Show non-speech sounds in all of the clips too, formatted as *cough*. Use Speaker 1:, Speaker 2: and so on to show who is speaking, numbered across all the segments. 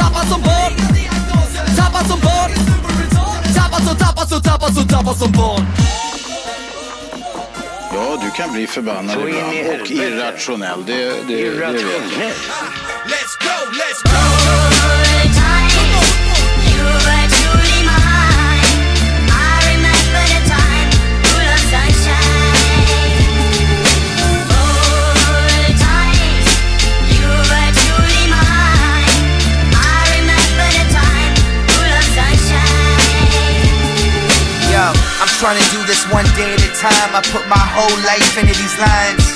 Speaker 1: Tappad som barn Tappad som barn Tappad som, tappad som, tappad som, tappad som barn
Speaker 2: Ja, du kan bli förbannad
Speaker 3: Så in i
Speaker 2: ibland och
Speaker 3: helvete.
Speaker 2: irrationell. Det, det, det, det vet jag.
Speaker 1: Let's go, let's go
Speaker 4: Yo, I'm trying to do this one day at a time. I put my whole life into these lines.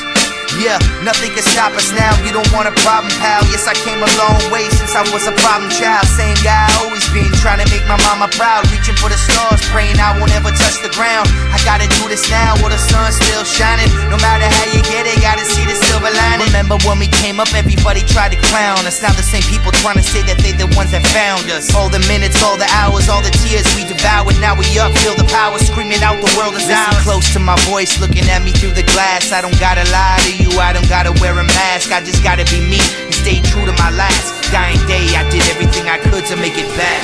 Speaker 4: Yeah, nothing can stop us now. You don't want a problem, pal. Yes, I came a long way since I was a problem child. Same guy I always been, trying to make my mama proud. Reaching for the stars, praying I won't ever touch the ground. I gotta do this now while the sun's still shining. No matter how you get it, gotta see the silver lining. Remember when we came up, everybody tried to clown us. Now the same people trying to say that they the ones that found us. All the minutes, all the hours, all the tears we devoured. Now we up, feel the power, screaming out the world is ours. Close to my voice, looking at me through the glass. I don't gotta lie to you, I don't gotta wear a mask. I just gotta be me and stay true to my last dying day. I did everything I could to make it back.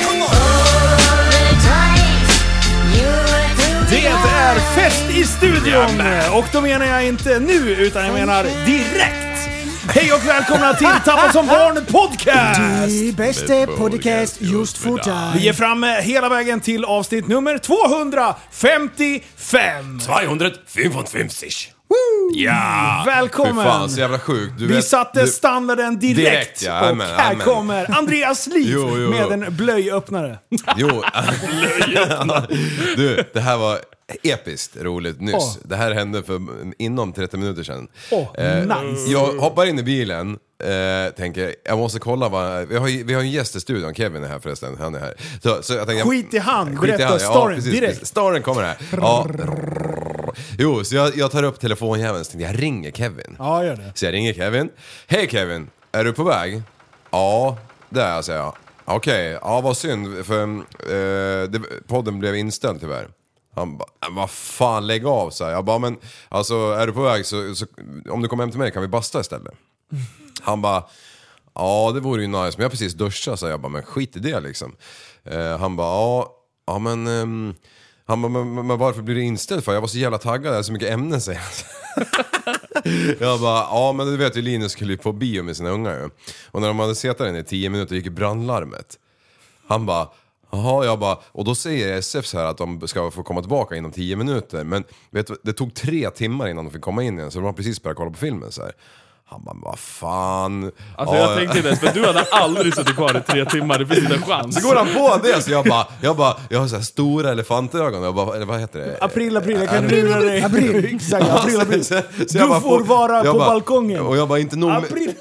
Speaker 5: Det är fest i studion! Och då menar jag inte nu, utan jag menar direkt! Hej och
Speaker 6: *laughs*
Speaker 5: välkomna till Tappad som barn podcast!
Speaker 6: Die bästa podcast just för
Speaker 5: Vi är
Speaker 6: dig.
Speaker 5: framme hela vägen till avsnitt nummer 255!
Speaker 7: 255. Ja!
Speaker 5: Välkommen!
Speaker 7: Fy fan, så jävla sjukt. Du
Speaker 5: Vi
Speaker 7: vet-
Speaker 5: satte
Speaker 7: du-
Speaker 5: standarden direkt,
Speaker 7: Direkt, ja,
Speaker 5: och
Speaker 7: amen,
Speaker 5: här
Speaker 7: amen.
Speaker 5: kommer Andreas
Speaker 7: *laughs*
Speaker 5: Liv
Speaker 7: Jo, jo,
Speaker 5: med
Speaker 7: jo.
Speaker 5: en blöjöppnare.
Speaker 7: Jo. *laughs* du, det här var episkt roligt nyss.
Speaker 5: Åh.
Speaker 7: Det här hände för inom 30 minuter sedan. Eh,
Speaker 5: Åh, nice.
Speaker 7: Jag hoppar in i bilen, eh, tänker jag måste kolla vad... Vi har, ju- vi har en gäst i studion, Kevin är här förresten. Han är här. Så, så jag tänker,
Speaker 5: Skit i han,
Speaker 7: Skit
Speaker 5: berätta storyn direkt.
Speaker 7: Storyn kommer här. Ja. Jo, så jag, jag tar upp telefonjäveln och tänker jag ringer Kevin.
Speaker 5: Ja, gör det.
Speaker 7: Så jag ringer Kevin. Hej Kevin, är du på väg? Ja, det är jag, säger jag. Okej, ja vad synd för eh, det, podden blev inställd tyvärr. Han bara, "Men vad fan lägg av så här. Jag bara, men alltså är du på väg så, så om du kommer hem till mig kan vi basta istället. Han bara, ja det vore ju nice men jag har precis duschat så jag bara, men skit i det liksom. Eh, han bara, ja, ja men, ehm, han bara, men, men men varför blir det inställt för? Jag var så jävla taggad, jag hade så mycket ämnen säger han. Jag bara, ja men du vet ju Linus skulle ju på bio med sina ungar ju. Och när de hade suttit där inne i tio minuter gick ju brandlarmet. Han bara, jaha, jag bara, och då säger SF så här att de ska få komma tillbaka inom tio minuter. Men vet du, det tog tre timmar innan de fick komma in igen så de har precis börjat kolla på filmen så här. Han bara, vad fan.
Speaker 8: Alltså
Speaker 7: Ja,
Speaker 8: jag tänkte det, för du hade aldrig suttit kvar i tre timmar, det finns inte en chans.
Speaker 7: Så går han på det så jag bara, jag bara, jag har så här stora elefantögon. Jag bara, eller vad heter det?
Speaker 5: April, april, jag kan lura dig.
Speaker 6: April.
Speaker 5: Exakt, april,
Speaker 7: *laughs*
Speaker 5: april.
Speaker 7: Så- så
Speaker 5: Du får vara
Speaker 7: jag
Speaker 5: på balkongen.
Speaker 7: Och jag bara, inte nog med,
Speaker 5: April.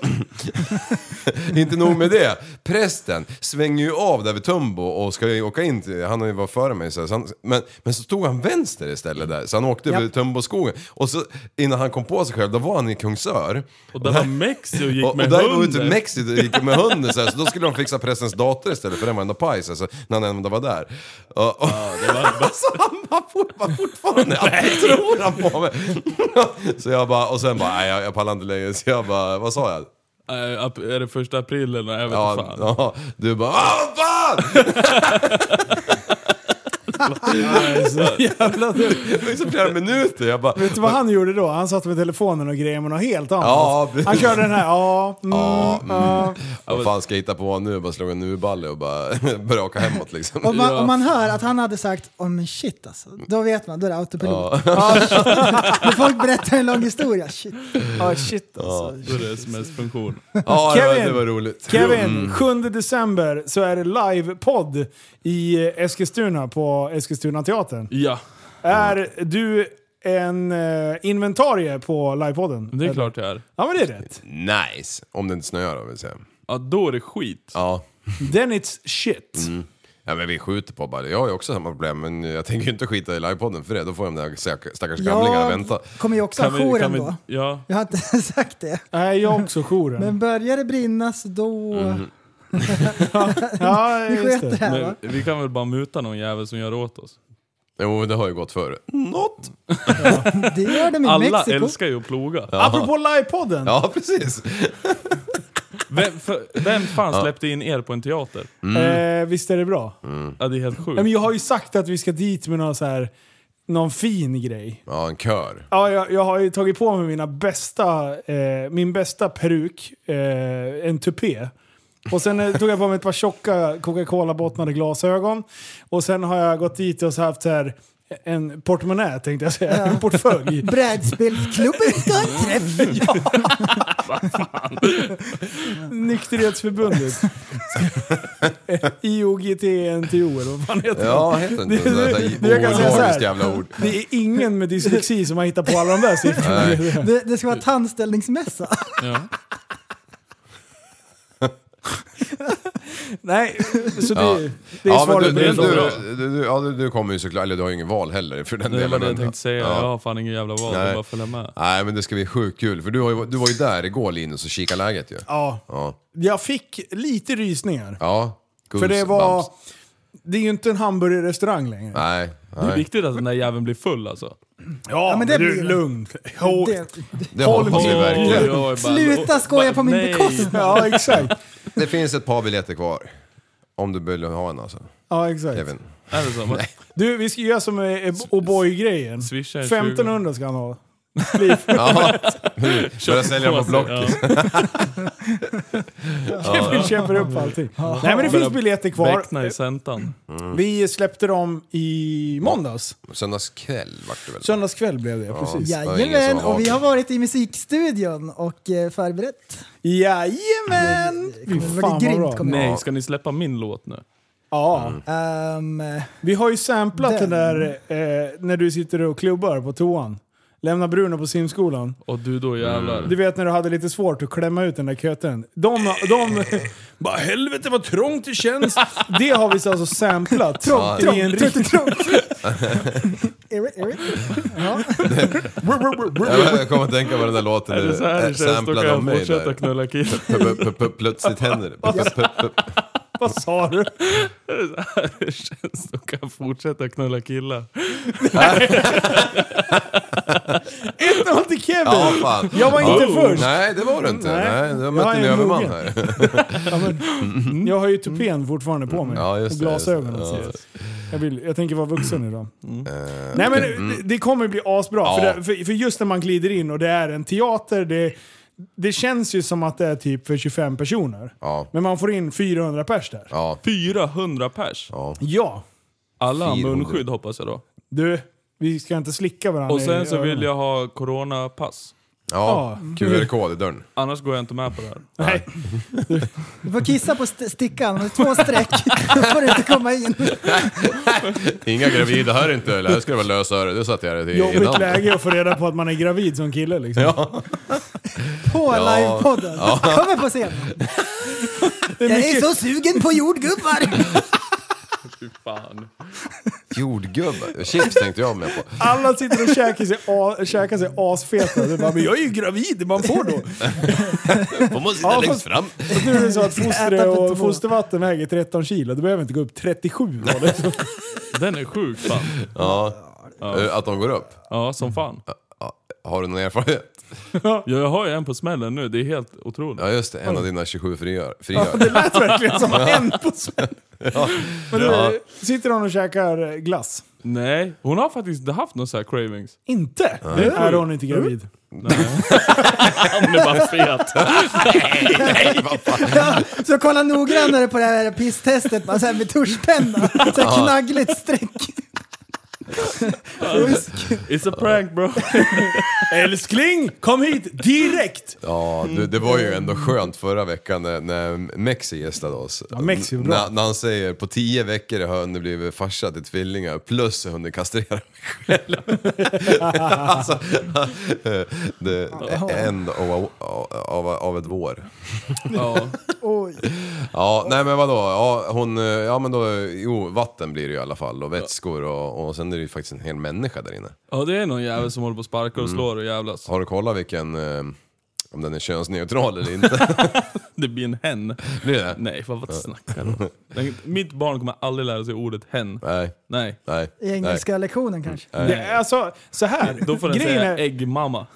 Speaker 7: *laughs* inte nog med det. Prästen svänger ju av där vid Tumbo och ska ju åka in till, han har ju varit före mig så, här, så han, men, men så tog han vänster istället där, så han åkte
Speaker 5: Japp.
Speaker 7: vid Tumboskogen. Och så innan han kom på sig själv, då var han i Kungsör.
Speaker 8: Och där var Mexi och gick
Speaker 7: Och, och
Speaker 8: med
Speaker 7: där var ute
Speaker 8: hunden.
Speaker 7: i Mexiko
Speaker 8: *laughs*
Speaker 7: och gick med hunden så, här, så då skulle de fixa prästens dator istället för den var ändå paj så, här, så när han ändå var där. Och, och, *laughs* så han bara fort- bara fortfarande, vad tror han på mig? *laughs* så jag bara, och sen bara, nej jag, jag pallar inte längre. Så jag bara, vad sa jag?
Speaker 8: Eh, ap- är det första april eller? Jag vet inte
Speaker 7: Ja,
Speaker 8: fan.
Speaker 7: ja, du bara, "Ah, vad fan!
Speaker 5: Jävlar, du.
Speaker 7: Det var ju så flera minuter. Jag bara,
Speaker 5: Vet du vad han gjorde då? Han satt med telefonen och grejade med något helt annat.
Speaker 7: Ja,
Speaker 5: han
Speaker 7: precis.
Speaker 5: körde den här, ja, mm,
Speaker 7: Ja,
Speaker 5: ja.
Speaker 7: mm. vad fan ska jag hitta på nu? Bara slog en nu-balle och bara *laughs* började åka hemåt liksom.
Speaker 6: Om man, om man hör att han hade sagt åh men shit alltså, då vet man, då är det autopilot. Men folk berättar en lång historia, shit.
Speaker 5: Ja, shit alltså.
Speaker 8: Då är
Speaker 7: *laughs*
Speaker 8: det sms-funktion.
Speaker 7: Ja, det var,
Speaker 5: Kevin.
Speaker 7: det var roligt. Mm,
Speaker 5: Kevin, 7 december så är det livepodd i Eskilstuna på Eskilstuna teatern.
Speaker 8: Ja,
Speaker 5: Är du en eh, inventarie på livepodden?
Speaker 8: det är klart jag är.
Speaker 5: Ja men det är rätt.
Speaker 7: Nice! Om det inte snöar då vill säga.
Speaker 8: Ja, då är det skit.
Speaker 7: Ja.
Speaker 5: Then it's shit.
Speaker 7: ja, men vi skjuter på bara. Jag har ju också samma problem, men jag tänker ju inte skita i livepodden för det. Då får de där stack- stackars gamlingarna vänta.
Speaker 6: kommer ju också ha jour ändå.
Speaker 8: ja.
Speaker 6: Jag har inte sagt det.
Speaker 5: Nej, jag har också jouren.
Speaker 6: Men börjar det brinna så då...
Speaker 8: Mm.
Speaker 5: *laughs* ja,
Speaker 6: Vi
Speaker 5: just
Speaker 6: sköter det
Speaker 5: det.
Speaker 6: här va?
Speaker 8: Men vi kan väl bara muta någon jävel som gör åt oss.
Speaker 7: Jo, det har ju gått förr.
Speaker 5: Mm.
Speaker 7: Något!
Speaker 6: Det gör de i
Speaker 8: Alla
Speaker 6: Mexiko.
Speaker 8: älskar ju att ploga.
Speaker 5: Apropå livepodden.
Speaker 7: Ja, precis.
Speaker 8: Vem, för, vem fan släppte in er på en teater?
Speaker 5: Eh, visst är det bra?
Speaker 8: Ja, det är helt
Speaker 5: Nej, Men
Speaker 8: sjukt.
Speaker 5: jag har ju sagt att vi ska dit med någon, så här, någon fin grej.
Speaker 7: Ja, en kör.
Speaker 5: Ja, jag, jag har ju tagit på mig mina bästa, eh, min bästa peruk, eh, en tupé. Och sen eh, tog jag på mig ett par tjocka Coca-Cola-bottnade glasögon. Och sen har jag gått dit och så haft så här, eh, en portmonnä tänkte jag säga, en
Speaker 6: *laughs*
Speaker 5: portfölj.
Speaker 6: Brädspelsklubben ska ha en träff!
Speaker 5: *laughs* Nykterhetsförbundet. IOGT-NTO eller vad fan heter det?
Speaker 7: Ja, heter inte
Speaker 5: Det-
Speaker 7: sådär,
Speaker 5: det- jag kan säga så här.
Speaker 7: oologiskt jävla ord.
Speaker 5: Det är ingen med dyslexi som har hittat på alla de där siffrorna.
Speaker 6: Det, det ska vara tandställningsmässa.
Speaker 8: Ja.
Speaker 5: Nej, så det,
Speaker 7: Ja.
Speaker 5: det är
Speaker 7: ja, men
Speaker 5: svaret på
Speaker 7: du,
Speaker 5: den
Speaker 7: du,
Speaker 5: frågan.
Speaker 7: du, du, du, ja, du, du kommer ju såklart, eller du har ju ingen val heller för den
Speaker 8: Det var
Speaker 7: delen.
Speaker 8: det jag
Speaker 7: men-
Speaker 8: tänkte säga. Jag har fan ingen jävla val,
Speaker 7: Nej.
Speaker 8: jag bara följa med.
Speaker 7: Nej men det ska bli sjukt kul, för du, har ju, du var ju där igår Linus och kikade läget ju.
Speaker 5: Ja,
Speaker 7: Ja.
Speaker 5: jag fick lite rysningar.
Speaker 7: Ja.
Speaker 5: För det var...
Speaker 7: goosebumps.
Speaker 5: Det är ju inte en hamburgerrestaurang längre.
Speaker 7: Nej,
Speaker 8: Det är
Speaker 7: nej.
Speaker 8: viktigt att den där jäveln blir full alltså.
Speaker 5: Ja,
Speaker 6: men
Speaker 5: men
Speaker 6: det
Speaker 5: det
Speaker 6: blir
Speaker 5: är
Speaker 6: det.
Speaker 5: lugnt. Jo,
Speaker 6: Det,
Speaker 7: Det hoppas vi
Speaker 5: Tolv-
Speaker 7: verkligen.
Speaker 8: Oj, oj, oj,
Speaker 6: Sluta
Speaker 8: bara-
Speaker 6: skoja på min
Speaker 8: nej.
Speaker 6: bekostnad.
Speaker 5: Ja, exakt.
Speaker 7: Det finns ett par biljetter kvar. Om du vill ha en alltså,
Speaker 5: Ja, exakt. *laughs*
Speaker 7: Kevin.
Speaker 8: Är det så? Man
Speaker 5: Du, vi ska göra som eh, O'boy-grejen.
Speaker 8: Swisha en
Speaker 5: 1500 ska han *laughs* ha. Liv.
Speaker 7: Ja, börja sälja
Speaker 8: på
Speaker 7: på
Speaker 8: sig,
Speaker 7: Blocket.
Speaker 5: Kevin köper upp allting. Nej, men det finns biljetter kvar.
Speaker 8: Beckna i sentan.
Speaker 5: Vi släppte dem i måndags.
Speaker 7: Söndagskväll vart det väl?
Speaker 5: Söndagskväll blev det, precis.
Speaker 7: Ja. Det var ingen
Speaker 6: Jajamän,
Speaker 7: som har
Speaker 6: och vi har
Speaker 7: hört.
Speaker 6: varit i musikstudion och eh, förberett.
Speaker 5: Jajamän!
Speaker 6: Det kommer
Speaker 5: Fy
Speaker 6: bli
Speaker 5: fan vad
Speaker 6: grymt,
Speaker 5: bra.
Speaker 6: kommer det
Speaker 8: Nej, ska ni släppa min låt nu?
Speaker 5: Ja.
Speaker 6: Ehm, eh,
Speaker 5: Vi har ju samplat den,
Speaker 6: Den.
Speaker 5: där eh, när du sitter och klubbar på toan. Lämna Bruno på simskolan.
Speaker 8: Och du då jävlar.
Speaker 5: Du vet när du hade lite svårt att klämma ut den där köten. De,
Speaker 7: *laughs*
Speaker 5: de bara helvete vad trångt det känns. Det har vi alltså samplat. Trångt,
Speaker 6: trångt,
Speaker 5: i en
Speaker 6: trångt,
Speaker 5: riktig...
Speaker 6: trångt. Är det- är det- Ja.
Speaker 7: Ja, Jag kommer att tänka på den där låten
Speaker 8: Är det så här
Speaker 5: Äh,
Speaker 7: du eh,
Speaker 8: det känns, då kan
Speaker 7: samplade om
Speaker 8: jag
Speaker 7: mig
Speaker 8: fortsätta
Speaker 7: där.
Speaker 8: knulla killar.
Speaker 7: P- p- p- Plötsligt händer det. P- p- p-
Speaker 5: *laughs* Vad sa du?
Speaker 8: *laughs* Är det så här det känns, då kan jag fortsätta knulla killar.
Speaker 5: Noll till Kevin!
Speaker 7: Ja, fan.
Speaker 5: Jag var inte
Speaker 7: Ja.
Speaker 5: först.
Speaker 7: Nej, det var du inte.
Speaker 5: Nej.
Speaker 7: Nej, du har
Speaker 5: Jag
Speaker 7: mött
Speaker 5: är
Speaker 7: en
Speaker 5: en
Speaker 7: överman
Speaker 5: mogen.
Speaker 7: här.
Speaker 5: Ja, men, jag har ju tupén fortfarande på mig.
Speaker 7: Mm. Ja, just
Speaker 5: och
Speaker 7: det, just det.
Speaker 5: glasögonen.
Speaker 7: Ja. Mm. Eh,
Speaker 5: så att Jag, vill, jag tänker vara vuxen idag.
Speaker 6: Mm.
Speaker 5: Nej men det, det kommer bli asbra.
Speaker 7: Ja.
Speaker 5: För, det, för, för just när man glider in och det är en teater, det, det känns ju som att det är typ för 25 personer.
Speaker 7: Ja.
Speaker 5: Men man får in 400 pers där.
Speaker 7: Ja.
Speaker 8: 400 pers.
Speaker 5: Ja.
Speaker 8: Alla har
Speaker 7: 400.
Speaker 8: munskydd hoppas jag då.
Speaker 5: Du, vi ska inte slicka varandra
Speaker 8: Och
Speaker 5: i
Speaker 8: sen så
Speaker 5: öronen.
Speaker 8: vill jag ha coronapass.
Speaker 7: Ja, QR-kod i dörren.
Speaker 8: Annars går jag inte med på det här.
Speaker 5: Nej.
Speaker 6: Du får kissa på st- stickan, med två
Speaker 5: *laughs*
Speaker 6: streck. Då får du inte komma in.
Speaker 7: Inga gravida här inte, eller här ska det vara lösöre. Det satt jag där till
Speaker 5: Jobbigt
Speaker 7: innan.
Speaker 5: läge att få reda på att man är gravid som kille liksom.
Speaker 6: På livepodden. Kommer på scen.
Speaker 5: Det
Speaker 6: Jag
Speaker 5: är
Speaker 6: är
Speaker 5: mycket-
Speaker 6: så sugen på jordgubbar.
Speaker 8: Fy fan.
Speaker 7: Jordgubbar. Chips tänkte jag med på.
Speaker 5: Alla sitter och käkar sig, a, käkar sig asfeta. Du bara, men jag är ju gravid, man får då.
Speaker 7: Man måste sitta
Speaker 5: Ja,
Speaker 7: längst
Speaker 5: fast-
Speaker 7: fram.
Speaker 5: Och nu är det så att foster
Speaker 6: Äta för
Speaker 5: och
Speaker 6: två.
Speaker 5: fostervatten väger 13 kilo. Du behöver inte gå upp 37 var det.
Speaker 8: *laughs* Den är sjuk fan.
Speaker 7: Ja. Eh, Att de går upp.
Speaker 8: Ja, som fan.
Speaker 7: Har du någon erfarenhet?
Speaker 8: Ja, Jag har ju en på smällen nu, det är helt otroligt.
Speaker 7: Ja just det, en av dina 27 friår.
Speaker 5: Ja,
Speaker 7: friår.
Speaker 5: *laughs* det lät verkligen som en på svenska. Men du, sitter hon och käkar glass?
Speaker 8: Nej, hon har faktiskt inte haft några så här cravings.
Speaker 5: Inte! Det är hon inte
Speaker 6: Mm.
Speaker 5: gravid.
Speaker 8: Hon är bara fet.
Speaker 5: *laughs*
Speaker 6: Ja, så kolla noggrannare på det här pisstestet bara så här med tuschpenna. Så här knaggligt streck.
Speaker 8: It's a prank bro.
Speaker 5: Älskling, kom hit direkt!
Speaker 7: Ja, du, det var ju ändå skönt förra veckan när, när Mexi gästade oss.
Speaker 5: Mexi är bra.
Speaker 7: när, när han säger på 10 veckor har hunden blivit farsa till tvillingar plus har hunden kastrerat mig själv. *laughs* alltså, *laughs* det, är en av, av, av ett vår.
Speaker 8: Ja.
Speaker 6: Oj, Oj.
Speaker 7: Ja, nej men vadå? Ja, hon, eh, ja men då, jo vatten blir det ju i alla fall och vätskor och, och sen är det ju faktiskt en hel människa där inne.
Speaker 8: Ja, det är någon jävel som håller på och sparkar och
Speaker 7: Mm.
Speaker 8: slår och jävlas.
Speaker 7: Har du kollat vilken, eh, om den är könsneutral eller
Speaker 6: *laughs*
Speaker 7: inte?
Speaker 8: Det blir en hen.
Speaker 7: blir det?
Speaker 8: Nej, vad, vad snackar du om?
Speaker 7: *laughs*
Speaker 8: Den- Mitt barn kommer aldrig lära sig ordet hen.
Speaker 7: Nej,
Speaker 8: Nej.
Speaker 7: nej.
Speaker 6: I engelska lektionen kanske.
Speaker 5: Det är, alltså, så här.
Speaker 8: Då får den
Speaker 5: Grejen
Speaker 8: säga
Speaker 5: är-
Speaker 8: äggmamma.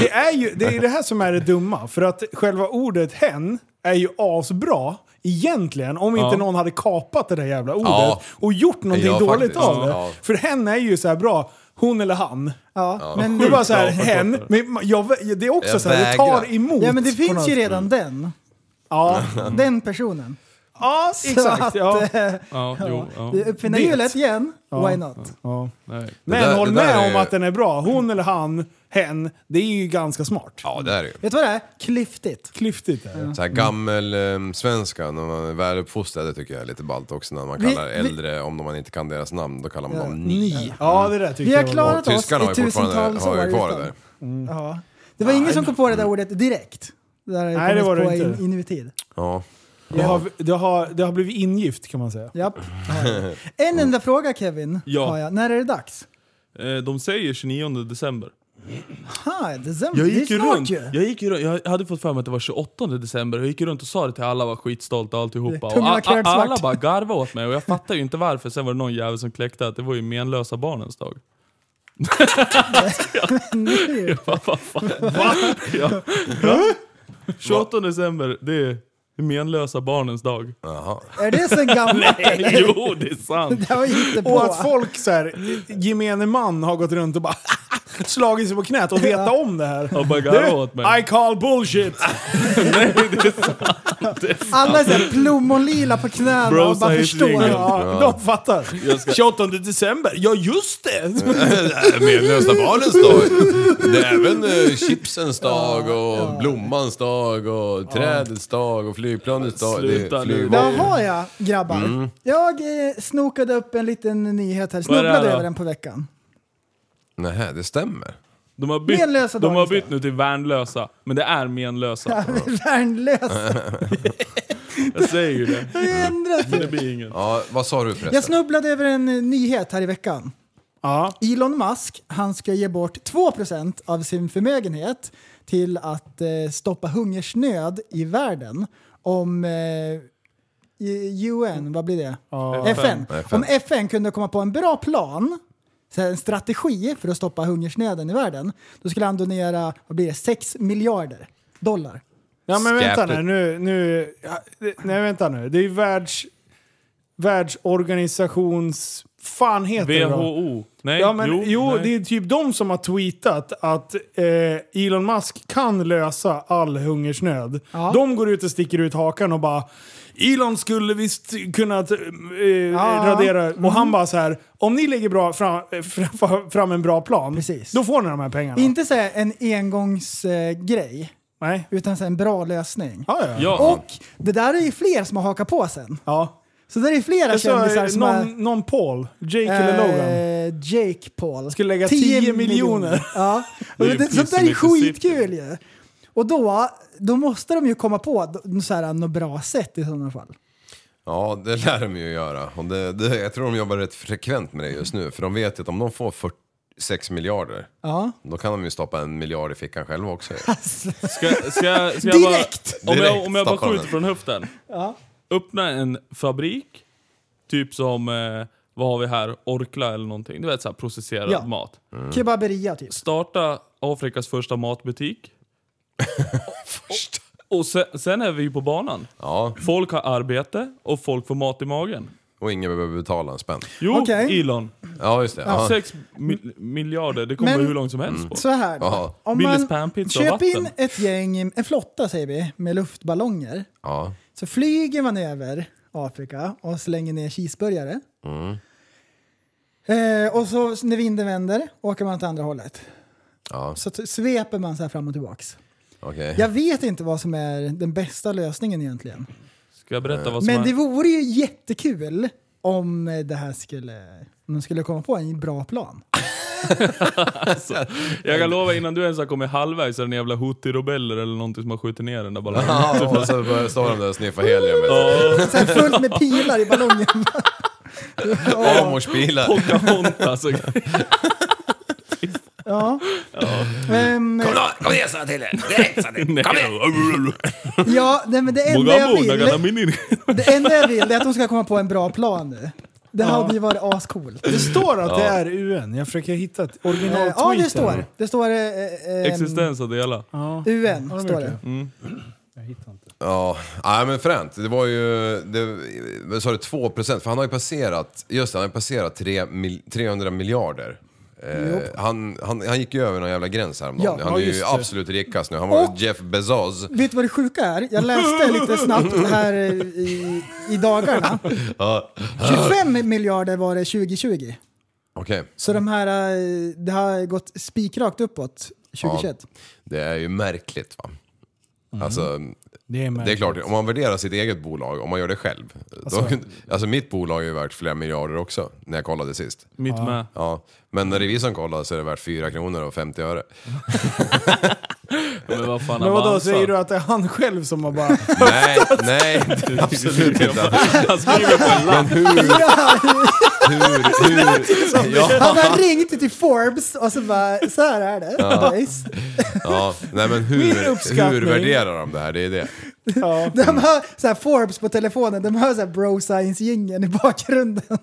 Speaker 5: det är ju det, är det här som är det dumma. För att själva ordet hen är ju asbra egentligen. Om inte
Speaker 8: Ja.
Speaker 5: någon hade kapat det där jävla ordet
Speaker 7: Ja.
Speaker 5: och gjort någonting
Speaker 7: Ja,
Speaker 5: dåligt
Speaker 7: faktiskt.
Speaker 5: av det.
Speaker 7: Ja.
Speaker 5: För hen är ju så här bra. Hon eller han.
Speaker 6: Ja, Men,
Speaker 5: Det är bara så här,
Speaker 8: bra
Speaker 5: hen.
Speaker 8: förkortat.
Speaker 5: Men jag, det är också
Speaker 7: Jag
Speaker 5: så här, det tar
Speaker 7: vägrar.
Speaker 5: emot.
Speaker 6: ja, men det
Speaker 5: på
Speaker 6: finns
Speaker 5: något-
Speaker 6: ju redan den.
Speaker 5: Ja,
Speaker 6: *laughs* Den personen.
Speaker 5: ja exakt.
Speaker 6: att,
Speaker 5: Ja.
Speaker 6: eh,
Speaker 8: Ja, jo, ja.
Speaker 6: Vi uppfinner
Speaker 5: Det.
Speaker 6: hjulet igen. Why not?
Speaker 5: Ja.
Speaker 8: Nej.
Speaker 5: Men
Speaker 7: Det där-
Speaker 5: håll
Speaker 7: det där
Speaker 5: med
Speaker 7: är-
Speaker 5: om att den är bra. Hon eller han, hen. Det är ju ganska smart.
Speaker 7: Ja det är det ju.
Speaker 6: Vet du vad det är? Klyftigt.
Speaker 5: Klyftigt är det.
Speaker 7: Så här gammel eh, svenska när man är väluppfostrad, det tycker jag är lite ballt också när man
Speaker 6: Vi-
Speaker 7: kallar
Speaker 6: vi-
Speaker 7: äldre, om man inte kan deras namn, då kallar man
Speaker 6: Ja.
Speaker 7: dem ni.
Speaker 5: Ni. Ja, det där tycker
Speaker 6: Vi har
Speaker 5: jag var bra.
Speaker 6: klarat oss
Speaker 7: Tyskarna har
Speaker 6: i
Speaker 7: ju fortfarande
Speaker 6: tusentals år.
Speaker 7: har ju kvar det
Speaker 6: utan-
Speaker 7: där.
Speaker 6: Ja. Det var ingen som kom på det där ordet direkt. Det där har ju
Speaker 5: Nej, det
Speaker 6: kommit
Speaker 5: var det
Speaker 6: på
Speaker 5: inte.
Speaker 6: in, inuti.
Speaker 7: Ja.
Speaker 5: Det har, det, har, det har blivit ingift kan man säga.
Speaker 6: Japp. det har jag. En enda fråga Kevin.
Speaker 8: Ja.
Speaker 6: Har jag. När är det dags?
Speaker 8: Eh, De säger 29 december.
Speaker 6: Ha, december.
Speaker 8: Jag gick
Speaker 6: det är
Speaker 8: ju
Speaker 6: snart
Speaker 8: runt.
Speaker 6: ju.
Speaker 8: Jag, gick ju runt. jag hade fått för mig att det var 28 december. Jag gick ju runt och sa det till alla, var skitstolt och alltihopa.
Speaker 6: Tungan
Speaker 8: Och
Speaker 6: var
Speaker 8: a- a-
Speaker 6: klädd svart.
Speaker 8: alla bara garvade åt mig och jag fattar ju inte varför. Sen var det någon jävel som kläckte att det var ju menlösa barnens dag. *laughs*
Speaker 6: Nu.
Speaker 8: Vad fan? Ja. Va? 28 december, det är menlösa barnens dag.
Speaker 7: Jaha.
Speaker 6: Är det så
Speaker 8: *laughs*
Speaker 6: gammalt? eller?
Speaker 8: Jo, det är sant!
Speaker 6: Det har jag hittat på.
Speaker 5: Och att folk så här, gemene man har gått runt och bara *laughs* slagit sig på knät och veta om det här.
Speaker 8: Och bara
Speaker 5: Du,
Speaker 8: garvade åt mig.
Speaker 5: I call
Speaker 8: *laughs*
Speaker 5: bullshit!
Speaker 6: Alla är såhär plommonlila på knäna
Speaker 8: Bro,
Speaker 6: och bara
Speaker 8: säger
Speaker 6: förstår.
Speaker 8: slinget.
Speaker 6: Ja.
Speaker 5: Ja, de fattar. 28 december, ja just det!
Speaker 7: Medlösa barnens dag. Det är även eh, chipsens dag och blommans dag och trädets dag och flygplanets dag. Det
Speaker 8: Sluta
Speaker 7: är
Speaker 8: nu.
Speaker 7: flyg-
Speaker 6: Där har jag grabbar. Jag eh, snokade upp en liten nyhet här.
Speaker 8: Mm. Vad är det här
Speaker 6: Snubblade
Speaker 8: då?
Speaker 6: över den på veckan.
Speaker 7: Nähä, det stämmer.
Speaker 8: De har bytt,
Speaker 6: Menlösa
Speaker 8: de har
Speaker 6: dagens
Speaker 8: bytt nu till värnlösa, men det är menlösa. *laughs*
Speaker 6: Värnlös.
Speaker 8: Jag säger ju det.
Speaker 6: Det har ändrats.
Speaker 8: Men det blir inget.
Speaker 7: Ja, vad sa du förresten?
Speaker 6: Jag snubblade över en eh, nyhet här i veckan.
Speaker 5: Ja.
Speaker 6: Elon Musk, han ska ge bort 2% av sin förmögenhet till att eh, stoppa hungersnöd i världen om eh, i- UN, vad blir det? FN.
Speaker 7: FN.
Speaker 6: Om FN kunde komma på en bra plan, så här en strategi för att stoppa hungersnöden i världen, då skulle han donera, vad blir det, 6 miljarder dollar.
Speaker 5: Ja men vänta
Speaker 7: Skärpet.
Speaker 5: nu, nu, nu ja, det- nej vänta nu. Det är ju världs, världsorganisations... Fan heter det då?
Speaker 8: WHO. Nej,
Speaker 5: Ja, men, jo,
Speaker 8: nej.
Speaker 5: det är typ de som har tweetat att eh, Elon Musk kan lösa all hungersnöd.
Speaker 6: Ja.
Speaker 5: De går ut och sticker ut hakan och bara Elon skulle visst kunna eh, radera...
Speaker 6: Mm.
Speaker 5: Och han bara så här, om ni lägger bra fram, eh, fram, fram en bra plan,
Speaker 6: Precis.
Speaker 5: då får ni de här pengarna.
Speaker 6: Inte så här en engångsgrej, eh, grej,
Speaker 5: Nej.
Speaker 6: utan så här en bra lösning.
Speaker 5: Ja, ja. ja.
Speaker 8: Ja,
Speaker 6: Och det där är ju fler som har hakat på sen.
Speaker 5: ja.
Speaker 6: Så det är flera
Speaker 5: Jag sa,
Speaker 6: kändisar
Speaker 5: eh,
Speaker 6: som
Speaker 5: någon,
Speaker 6: har...
Speaker 5: någon Paul, Jake eller Logan.
Speaker 6: Eh, Jake Paul.
Speaker 5: Skulle lägga 10 miljoner.
Speaker 6: Ja. Och
Speaker 8: Det är ju
Speaker 6: det, sånt där är
Speaker 8: pissmycket
Speaker 6: skitkul ju. Och då, då måste de ju komma på d- så här, något bra sätt i sådana fall.
Speaker 7: Ja, det lär de ju göra. Och det, det, jag tror de jobbar rätt frekvent med det just nu. För de vet ju att om de får 46 miljarder,
Speaker 6: Ja.
Speaker 7: då kan de ju stoppa en miljard i fickan själva också.
Speaker 8: Ska, ska, jag- ska jag bara,
Speaker 6: Direkt!
Speaker 8: om, jag,
Speaker 7: Direkt
Speaker 8: om jag bara
Speaker 7: stoppar den.
Speaker 8: skjuter från höften. Öppna en fabrik, typ som, eh, vad har vi här, Orkla eller någonting. Du vet såhär processerad
Speaker 6: Ja.
Speaker 8: mat.
Speaker 6: Kebaberia typ.
Speaker 8: Starta Afrikas första matbutik. och sen, sen är vi ju på banan.
Speaker 7: Ja,
Speaker 8: Folk har arbete och folk får mat i magen.
Speaker 7: och ingen behöver betala en spänn.
Speaker 8: Jo,
Speaker 6: Okej.
Speaker 8: Elon.
Speaker 7: Ja, just det. Ja. Mm.
Speaker 8: 6 mil- miljarder, det kommer
Speaker 6: Men-
Speaker 8: hur långt som helst på.
Speaker 6: Så här
Speaker 7: Ja.
Speaker 6: då. Om
Speaker 8: Billys
Speaker 6: man
Speaker 8: panpizza och
Speaker 6: köper in
Speaker 8: vatten.
Speaker 6: ett gäng, en flotta säger vi, med luftballonger.
Speaker 7: ja.
Speaker 6: Så flyger man över Afrika och slänger ner cheeseburgare.
Speaker 8: Mm.
Speaker 6: Eh, och så när vinden vänder åker man åt andra hållet.
Speaker 7: Ja.
Speaker 6: Så t- sveper man så här fram och tillbaks.
Speaker 7: Okej.
Speaker 6: Jag vet inte vad som är den bästa lösningen egentligen.
Speaker 8: Ska jag berätta vad som
Speaker 6: Men det
Speaker 8: är?
Speaker 6: vore ju jättekul om det här skulle... Om de skulle komma på en bra plan.
Speaker 8: Jag kan lova innan du ens har kommit halvvägs är det en jävla hutirobeller eller någonting som har skjutit ner den där ballongen.
Speaker 7: Ja, *laughs* och så börjar- står de där och sniffar helium.
Speaker 6: Så här fullt med pilar i
Speaker 5: *laughs*
Speaker 6: ballongen.
Speaker 7: Amorspilar. *laughs*
Speaker 8: Pocahontas.
Speaker 6: Ja. Ehm,
Speaker 7: Kom igen sa jag till er!
Speaker 8: *laughs*
Speaker 7: Direkt sa jag till er. Kom igen!
Speaker 6: ja, nej, men det enda jag
Speaker 8: Mogabo,
Speaker 6: vill,
Speaker 8: Naganaminin.
Speaker 6: det enda jag vill är att de ska komma på en bra plan nu. Det hade ju varit ascoolt.
Speaker 5: Det står att det är UN. Jag försöker hitta ett
Speaker 6: Eh,
Speaker 5: original
Speaker 6: Ja, det
Speaker 5: tweet
Speaker 6: står.
Speaker 5: här.
Speaker 6: *laughs* Det står... eh, eh, ehm,
Speaker 8: Existens av det hela.
Speaker 6: UN, står det.
Speaker 7: Ja, nej men fränt. Det var ju, det, vad sa du, 2 procent? För han har ju passerat, just det, han har ju passerat tre mil, 300 miljarder. Eh, han, han, han gick ju över någon jävla gräns häromdagen.
Speaker 6: Ja,
Speaker 7: han är
Speaker 5: ja, just
Speaker 7: ju
Speaker 5: det.
Speaker 7: absolut rikast nu. Han var
Speaker 6: Och-
Speaker 7: ju Jeff Bezos.
Speaker 6: Vet du vad det sjuka är? Jag läste lite snabbt här eh, i, i dagarna. 25 miljarder var det 2020.
Speaker 7: Okej,
Speaker 6: Så de här, eh, det har gått spikrakt uppåt 2021.
Speaker 7: det är ju märkligt va? Alltså,
Speaker 5: Det är,
Speaker 7: det är klart, om man värderar sitt eget bolag, om man gör det själv. Alltså, då, *laughs* alltså mitt bolag är ju värt flera miljarder också, när jag kollade sist.
Speaker 8: Mitt med.
Speaker 7: Ja, men när revisorn kollar så är det värt 4 kronor och 50 öre.
Speaker 8: Men vad fan,
Speaker 5: Men vadå,
Speaker 8: Avanza? *laughs*
Speaker 5: säger du att det är han själv som har bara...
Speaker 7: nej,
Speaker 5: Alltså, *laughs*
Speaker 7: nej, absolut inte.
Speaker 8: Han skriver på en lapp.
Speaker 7: Men hur, hur, hur, ja,
Speaker 6: *laughs* Han har ringt till Forbes och så bara, så här är det. Nice.
Speaker 7: ja, nej men
Speaker 5: Min
Speaker 7: hur,
Speaker 5: uppskattning.
Speaker 7: hur värderar de det här? Det är det.
Speaker 5: Ja.
Speaker 6: De hör, så här, Forbes på telefonen, de hör så här bro science-jingeln i bakgrunden. *laughs*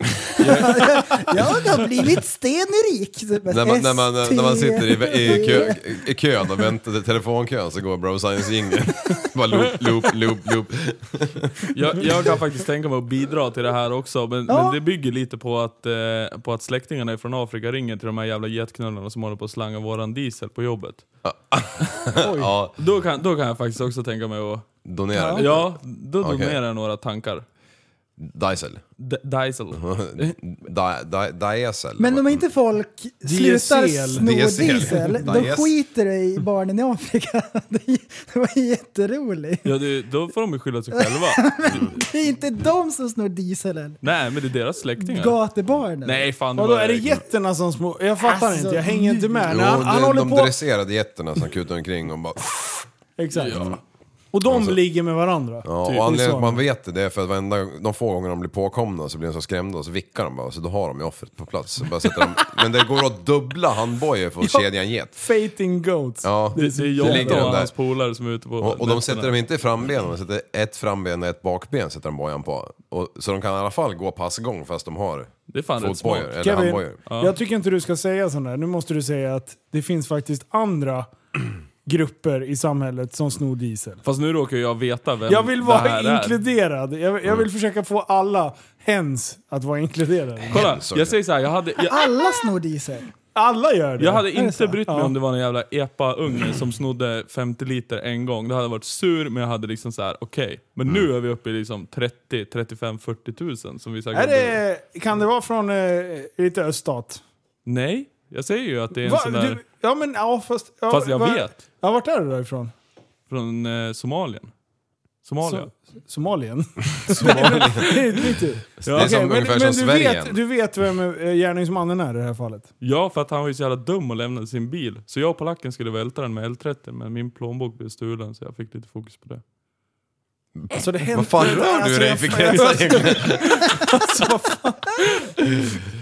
Speaker 6: jag har blivit stenrik. Så bara,
Speaker 7: När man, när man, när man
Speaker 6: ST.
Speaker 7: sitter i, i, kö,
Speaker 5: E.
Speaker 7: i kön och väntar i telefonkön så går Bro Science jingeln. *laughs* Bara loop, loop, loop, loop.
Speaker 8: Jag,
Speaker 5: Mm-hmm.
Speaker 8: jag kan faktiskt tänka mig att bidra till det här också, men,
Speaker 6: Ja.
Speaker 8: men det bygger lite på att, eh, på att släktingarna från Afrika ringer till de här jävla getknullarna som håller på att slanga våran diesel på jobbet.
Speaker 7: Ja,
Speaker 8: Då kan, då kan jag faktiskt också tänka mig att...
Speaker 7: donera lite.
Speaker 8: Ja, då
Speaker 7: Okej.
Speaker 8: donerar jag några tankar.
Speaker 7: Diesel.
Speaker 8: D-
Speaker 7: *laughs*
Speaker 8: diesel.
Speaker 7: Di- di- Diesel.
Speaker 6: Men om inte folk slutar
Speaker 5: DSL.
Speaker 6: sno
Speaker 7: DSL. *laughs*
Speaker 6: diesel, då
Speaker 7: Nice.
Speaker 6: skiter det i barnen i Afrika. *laughs* Det det var jätteroligt.
Speaker 8: Ja, det, då får de ju skylla sig själva.
Speaker 5: *laughs*
Speaker 6: Det är inte de som snor dieselen.
Speaker 8: Nej, men det är deras släktingar.
Speaker 6: Gatubarnen.
Speaker 8: Nej, fan. det
Speaker 5: Vadå,
Speaker 8: var-
Speaker 5: är det getterna som små... Jag fattar
Speaker 6: Alltså,
Speaker 5: inte, jag hänger inte med.
Speaker 7: Jo,
Speaker 5: Nej, han, han
Speaker 7: de,
Speaker 5: håller
Speaker 7: de
Speaker 5: på...
Speaker 7: dresserade getterna som kutar omkring och bara...
Speaker 5: Exakt. Och de ligger med varandra.
Speaker 7: Alltså- Ja,
Speaker 5: Typ.
Speaker 7: och
Speaker 5: Det är
Speaker 8: Liksom.
Speaker 7: anledningen
Speaker 5: så.
Speaker 7: till att man vet det, det är för att varenda, de få gånger de blir påkomna så blir de så skrämda och så vickar de bara, så då har de ju offret på plats. Så bara
Speaker 8: *laughs*
Speaker 7: sätter de, men det går att dubbla handbojor för att kedja en get.
Speaker 5: Fating goats.
Speaker 7: Ja,
Speaker 8: Det, det är
Speaker 7: så
Speaker 8: jag
Speaker 7: ligger de
Speaker 8: och
Speaker 7: där.
Speaker 8: hans polare som är ute på...
Speaker 7: Och, och
Speaker 8: nätterna.
Speaker 7: de sätter dem inte i frambenen, de sätter ett framben och ett bakben sätter de bojan på. Och, så de kan i alla fall gå passgång fast de har
Speaker 8: Det är fan rätt
Speaker 7: fotbojor,
Speaker 8: smart.
Speaker 7: eller
Speaker 5: Kevin,
Speaker 7: handbojor.
Speaker 5: jag tycker inte du ska säga sånt där. Nu måste du säga att det finns faktiskt andra *clears throat* grupper i samhället som snor diesel.
Speaker 8: Fast nu råkar jag veta vem
Speaker 5: Jag vill
Speaker 8: det
Speaker 5: vara
Speaker 8: här är.
Speaker 5: inkluderad. Jag, jag vill försöka få alla hens att vara inkluderade.
Speaker 8: Kolla,
Speaker 7: Hemskt,
Speaker 8: jag säger så här, jag hade... Jag,
Speaker 6: Alla snor diesel.
Speaker 5: Alla gör det.
Speaker 8: Jag hade
Speaker 6: Är det
Speaker 8: inte
Speaker 6: så?
Speaker 8: brytt mig om det var någon jävla epa-unge som snodde 50 liter en gång. Då hade jag varit sur, men jag hade liksom så här: okej. Men
Speaker 5: Mm.
Speaker 8: nu är vi uppe i liksom 30, 35, 40 tusen som vi säkert...
Speaker 5: Är det, kan det vara från eh, lite öststat?
Speaker 8: Nej, jag säger ju att det är en
Speaker 5: Va,
Speaker 8: sån där...
Speaker 5: du, ja, men, ja, fast, ja,
Speaker 8: Fast jag
Speaker 5: va-
Speaker 8: vet.
Speaker 5: Ja, vart är du då ifrån?
Speaker 8: Från eh, Somalien. Somalia.
Speaker 5: Somalien? *laughs*
Speaker 7: Det är som,
Speaker 8: Liksom,
Speaker 7: ungefär som
Speaker 5: du,
Speaker 7: Sverige.
Speaker 5: vet, du vet vem eh, gärningsmannen är i det här fallet?
Speaker 8: Ja, för att han var ju så jävla dum och lämnade sin bil. Så jag och polacken skulle välta den med L30, men min plånbok blev stulen så jag fick lite fokus på det.
Speaker 5: Alltså, det
Speaker 7: Vad fan rör du dig för gränser egentligen?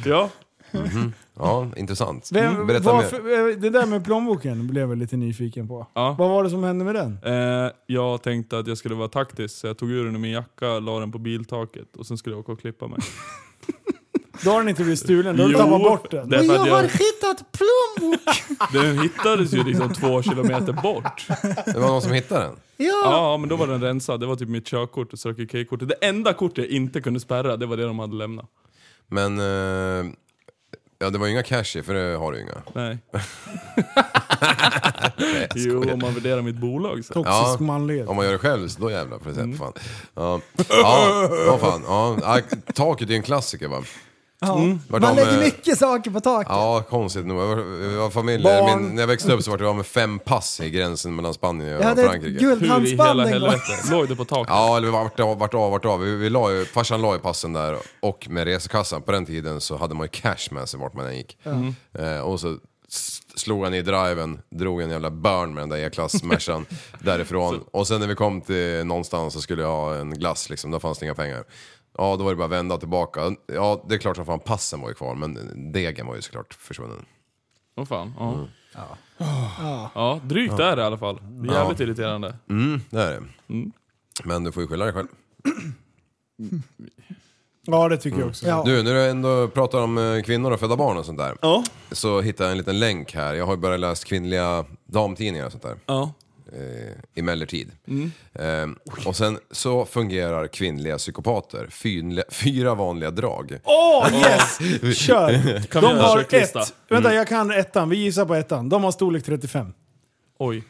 Speaker 8: Ja,
Speaker 7: Ja, intressant. Mm,
Speaker 5: Vem,
Speaker 7: Berätta
Speaker 5: varför,
Speaker 7: mer.
Speaker 5: eh, det där med plånboken blev jag lite nyfiken på.
Speaker 8: Ja.
Speaker 5: Vad var det som hände med den?
Speaker 8: Eh, jag tänkte att jag skulle vara taktisk, så jag tog ur den ur min jacka, la den på biltaket och sen skulle jag åka och klippa mig.
Speaker 5: Då har den inte blivit stulen, då har du
Speaker 8: Jo,
Speaker 5: tappat bort den.
Speaker 8: därför att jag,
Speaker 6: hittat plånbok.
Speaker 8: den hittades ju liksom två kilometer bort.
Speaker 7: Det var någon som hittade den.
Speaker 6: Ja.
Speaker 8: Ja, men då var den rensad. Det var typ mitt körkort och Circle K-kortet. Det enda kortet jag inte kunde spärra, det var det de hade lämnat.
Speaker 7: Men... eh, ja, det var ju inga cash i, för det har du ju inga. *laughs*
Speaker 8: Nej. jo, om man värderar mitt bolag så.
Speaker 5: Toxisk
Speaker 7: Ja.
Speaker 5: manlighet.
Speaker 7: Om man gör det själv så då jävlar
Speaker 6: Mm.
Speaker 7: får det sätta fan. Ja, ja, ja fan. Ja. Ja, taket är ju en klassiker va?
Speaker 6: Ja.
Speaker 7: Vart
Speaker 6: Man
Speaker 7: de,
Speaker 6: lägger
Speaker 7: eh,
Speaker 6: mycket saker på taket.
Speaker 7: Ja, konstigt nog. Jag var- jag var familj,
Speaker 5: Barn.
Speaker 7: min, när jag växte upp så var det av med fem pass i gränsen mellan Spanien och
Speaker 6: jag hade ett
Speaker 7: Frankrike.
Speaker 8: Hur i hela
Speaker 6: guldhalsband en gång.
Speaker 8: helvete? Låg du på taket?
Speaker 7: Ja, eller vart av, vart av, vart av. Vi, vi la ju, farsan la ju passen där och med resekassan. På den tiden så hade man ju cash med sig vart man än gick. Eh, och så s- slog han i driven, drog en jävla burn med den där jäkla smashan därifrån. Och sen när vi kom till någonstans så skulle jag ha en glass liksom, då fanns det inga pengar. Ja, då var det bara att vända tillbaka. Ja, det är klart som fan passen var ju kvar, men degen var ju såklart försvunnen.
Speaker 8: Åh fan. Ja.
Speaker 7: Mm.
Speaker 8: Ja. ja, drygt är det i alla fall. Det är jävligt irriterande.
Speaker 7: Mm, det är det. Men du får ju skylla dig själv.
Speaker 5: Ja, det tycker jag också.
Speaker 6: Ja.
Speaker 7: Du, när du ändå pratar om eh, kvinnor och födda barn och sånt där. Så hittade jag en liten länk här. Jag har ju börjat läsa kvinnliga damtidningar och sånt där.
Speaker 8: Ja.
Speaker 7: Eh, emellertid. Eh, och sen så fungerar kvinnliga psykopater. Fynliga, fyra vanliga drag.
Speaker 5: Åh, yes! Kör!
Speaker 8: *laughs* Kan vi
Speaker 5: De
Speaker 8: göra en
Speaker 5: har ett.
Speaker 8: checklista? Mm.
Speaker 5: Vänta, jag kan ettan. Vi gissar på ettan. De har storlek 35.
Speaker 8: Oj.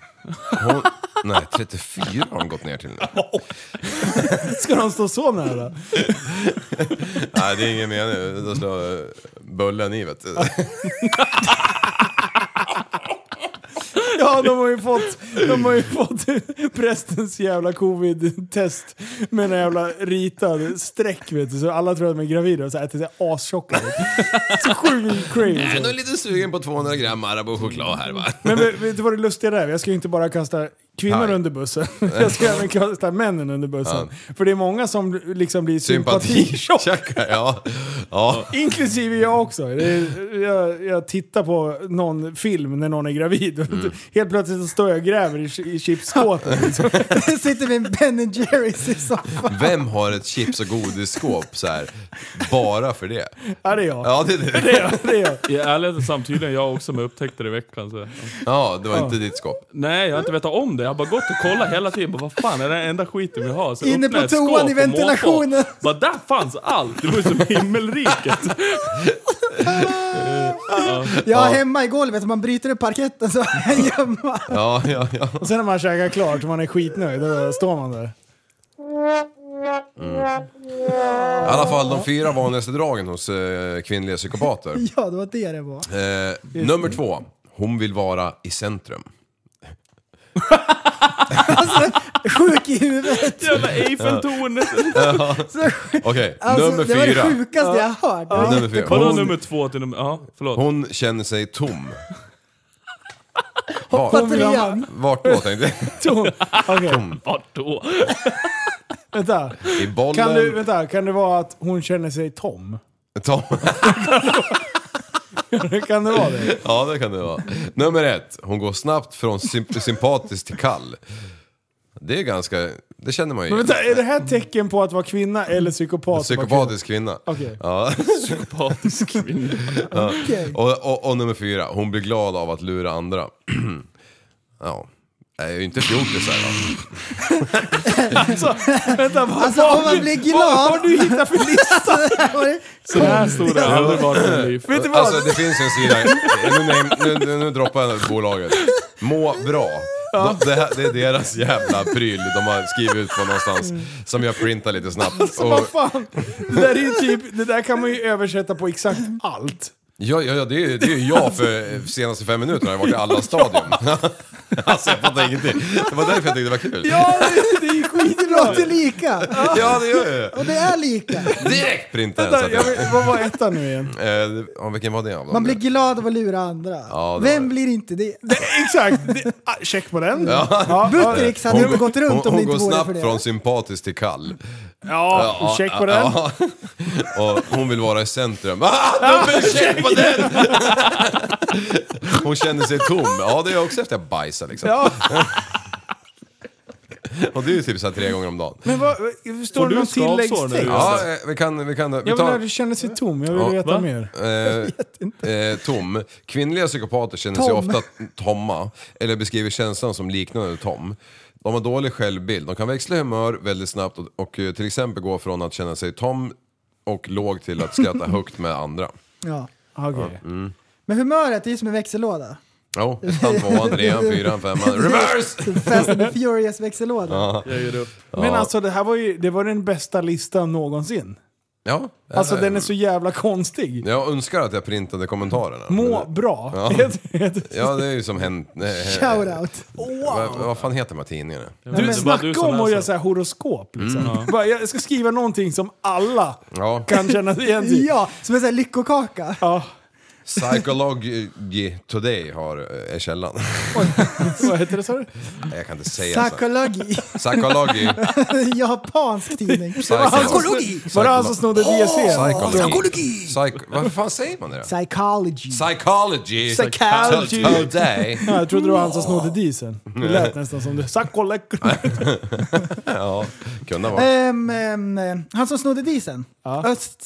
Speaker 7: Hon, nej, 34 har de gått ner till nu.
Speaker 5: *laughs* Ska de stå så nära?
Speaker 7: Nej, det är ingen mening. Då slår eh, bullen i vet du.
Speaker 5: Ja, de har ju fått, de har ju fått *laughs* prästens jävla covid-test med en jävla ritad streck vet du. Så alla tror att de är gravida och så äter sig astjocka. *laughs* Så sjukt crazy.
Speaker 7: *laughs* Jag är lite sugen på 200 gram Marabou choklad här va.
Speaker 5: Men
Speaker 7: *laughs*
Speaker 5: vet vet du vad det lustiga där är? Jag ska ju inte bara kasta kvinnor
Speaker 7: Nej.
Speaker 5: under bussen. *laughs* Jag ska även kasta männen under bussen. För det är många som liksom blir sympati.
Speaker 7: Sympatitjockar, ja. ja.
Speaker 5: Inklusive jag också. Det är, jag, jag tittar på någon film när någon är gravid. Helt plötsligt så står jag och gräver i, chi- i chipsskåpet. liksom. *laughs*
Speaker 6: Sitter med en Ben Jerrys i soffan.
Speaker 7: Vem har ett chips och godisskåp så här, bara för det?
Speaker 5: Ja, det är jag.
Speaker 7: Ja, det,
Speaker 5: Det
Speaker 7: det,
Speaker 5: är jag. Det är jag.
Speaker 8: I ärlighetens namn tydligen jag också, men jag upptäckte det i veckan. Så.
Speaker 7: ja, det var inte ditt skåp.
Speaker 8: Nej, jag har inte vetat om det. Jag har bara gått och kollat hela tiden. Bara, vad fan är det den enda skiten vi har? Så
Speaker 6: Inne
Speaker 8: öppnar
Speaker 6: på
Speaker 8: ett skåp
Speaker 6: toan i
Speaker 8: och
Speaker 6: ventilationen.
Speaker 8: måfå. Bara, där fanns allt! Det var ju som
Speaker 6: *laughs*
Speaker 8: himmelriket.
Speaker 6: Jag har hemma i golvet, om man bryter upp parketten
Speaker 5: *laughs*
Speaker 6: så har jag en gömma.
Speaker 7: Ja, ja, ja.
Speaker 5: Och sen när man käkar klart och man är skitnöjd, då står man där.
Speaker 7: I alla fall de fyra vanligaste dragen hos eh, kvinnliga psykopater.
Speaker 6: *laughs* Ja, det var det det var.
Speaker 7: Eh, nummer två, hon vill vara i centrum.
Speaker 6: Sjuk i huvudet.
Speaker 8: Jävla Eiffeltornet.
Speaker 7: Okej,
Speaker 6: Alltså,
Speaker 7: nummer
Speaker 6: det var det
Speaker 7: fyra.
Speaker 6: sjukaste jag har hört.
Speaker 7: Nummer fyra.
Speaker 8: Vadå
Speaker 7: Hon,
Speaker 8: nummer två till nummer... Ja, förlåt.
Speaker 7: hon känner sig tom.
Speaker 6: Hoppa
Speaker 7: Var,
Speaker 6: trean.
Speaker 7: vart då tänkte jag?
Speaker 5: Tom. Okej,
Speaker 8: Vart då?
Speaker 5: vänta.
Speaker 7: I
Speaker 5: Kan, du,
Speaker 7: bollen?
Speaker 5: vänta. kan det vara att hon känner sig tom? *laughs*
Speaker 7: Tom.
Speaker 5: Kan det vara det?
Speaker 7: Ja, det kan det vara. Nummer ett, hon går snabbt från symp- sympatisk till kall. Det är ganska, det känner man ju
Speaker 5: Men
Speaker 7: igen.
Speaker 5: vänta, är det här tecken på att vara kvinna eller psykopat?
Speaker 7: Psykopatisk kvinna.
Speaker 5: Okej.
Speaker 7: Ja.
Speaker 8: Sympatisk kvinna.
Speaker 6: Okej.
Speaker 7: Och, och, och nummer fyra, hon blir glad av att lura andra. *clears throat* ja, jag är ju inte fjortisar va?
Speaker 6: Alltså om man blir glad.
Speaker 5: Vad har du hittat för *laughs*
Speaker 6: Alltså, det här var det-
Speaker 8: Så här stor har jag aldrig varit i mitt liv.
Speaker 5: Vet du vad?
Speaker 7: Alltså det finns en sida, nu, nu, nu, nu droppar jag bolaget. Må bra. De, det, här, det är deras jävla pryl de har skrivit ut på någonstans. Som jag printar lite snabbt. Och,
Speaker 5: *laughs* Vad fan? Det där, är ju typ, det där kan man ju översätta på exakt allt.
Speaker 7: ja, ja, ja, det är det är ju jag för de senaste fem minuterna har jag varit i alla stadion. *laughs* alltså jag fattar ingenting. Det var därför jag tyckte det var kul.
Speaker 5: Ja, det, det är ju skit.
Speaker 6: Det låter lika.
Speaker 7: Ja, det gör jag ju.
Speaker 6: Och det är lika.
Speaker 7: Direkt printar jag. så
Speaker 5: Vänta,
Speaker 7: att
Speaker 5: jag
Speaker 7: jag-
Speaker 5: vet, vad var ettan nu igen?
Speaker 7: Eh, ja, vilken var det av dem?
Speaker 6: Man blir glad av att lura andra.
Speaker 7: Ja, det var
Speaker 6: Vem
Speaker 7: det.
Speaker 6: blir inte det?
Speaker 5: Exakt! Det, ah, check på den. Ja, ja,
Speaker 6: Buttericks hade inte gått runt
Speaker 7: hon,
Speaker 6: om det
Speaker 7: hon
Speaker 6: inte
Speaker 7: går
Speaker 6: vore för
Speaker 7: snabbt
Speaker 6: det.
Speaker 7: från sympatisk till kall.
Speaker 5: ja, check på den.
Speaker 7: Ja. *laughs* Och hon vill vara i centrum. Ah, dubbelcheck på den! *laughs* Hon känner sig tom. Ja, det är jag också efter jag bajsar liksom.
Speaker 5: Ja.
Speaker 7: Och det är ju typ så här tre gånger om dagen.
Speaker 5: Men vad, står
Speaker 8: Får
Speaker 5: det
Speaker 8: du
Speaker 5: någon
Speaker 8: skavsår när du
Speaker 5: tilläggstext?
Speaker 8: gör
Speaker 7: Ja, eh, vi kan... Vi kan vi
Speaker 5: Jag vill
Speaker 7: tar,
Speaker 5: att du känner sig tom, jag vill
Speaker 7: Ja,
Speaker 5: veta
Speaker 8: va?
Speaker 5: mer.
Speaker 7: eh, eh, tom. Kvinnliga psykopater känner sig
Speaker 6: Tom.
Speaker 7: ofta tomma, eller beskriver känslan som liknande tom. De har dålig självbild, de kan växla humör väldigt snabbt och, och eh, till exempel gå från att känna sig tom och låg till att
Speaker 5: *laughs*
Speaker 7: skratta högt med andra.
Speaker 6: Ja.
Speaker 5: Okej.
Speaker 7: mm.
Speaker 6: Men humöret är ju som en
Speaker 5: *laughs*
Speaker 6: växellåda.
Speaker 7: Jo, ettan, tvåan, trean, fyran, femman, reverse!
Speaker 6: Fast and the Furious växellåda.
Speaker 8: Jag ger upp.
Speaker 5: Men alltså det här var ju det var den bästa listan någonsin.
Speaker 7: Ja,
Speaker 5: Alltså
Speaker 7: eller-
Speaker 5: den är så jävla konstig.
Speaker 7: Jag önskar att jag printade kommentarerna.
Speaker 5: Må
Speaker 7: Men det-
Speaker 5: bra.
Speaker 7: Ja.
Speaker 5: *laughs* Helt- helt-
Speaker 7: Ja, det är ju som hänt...
Speaker 5: *laughs*
Speaker 7: eh, nej,
Speaker 6: Shoutout.
Speaker 7: Vad, vad fan heter de här tidningarna?
Speaker 5: Du,
Speaker 8: men- bara du
Speaker 5: snacka
Speaker 8: som
Speaker 5: om att
Speaker 8: läser. Mm,
Speaker 5: göra så här horoskop. Liksom. Bara, jag ska skriva någonting som alla
Speaker 7: Ja,
Speaker 5: kan känna igen sig i.
Speaker 6: Ja, som en sån här lyckokaka.
Speaker 5: Ja,
Speaker 7: Psychology Today har, eh, är källan.
Speaker 5: vad heter det sa du?
Speaker 7: Nej, Jag kan inte säga så.
Speaker 6: Psykologi. *laughs*
Speaker 5: *laughs*
Speaker 7: Psychology.
Speaker 6: Japansk tidning.
Speaker 7: Psychology.
Speaker 5: Var det han som snodde
Speaker 6: E?
Speaker 5: E? DSC?
Speaker 7: Psychology. Psych- vad fan säger man det då?
Speaker 6: Psychology.
Speaker 7: Psychology.
Speaker 5: Psychology.
Speaker 7: Today.
Speaker 5: *laughs* Ja, jag trodde det var han som snodde dieseln. Det lät nästan som det. Sakolek.
Speaker 7: Ja, kunde
Speaker 5: Eh.
Speaker 7: vara.
Speaker 6: Ehm, ehm, ehm, han som snodde disen.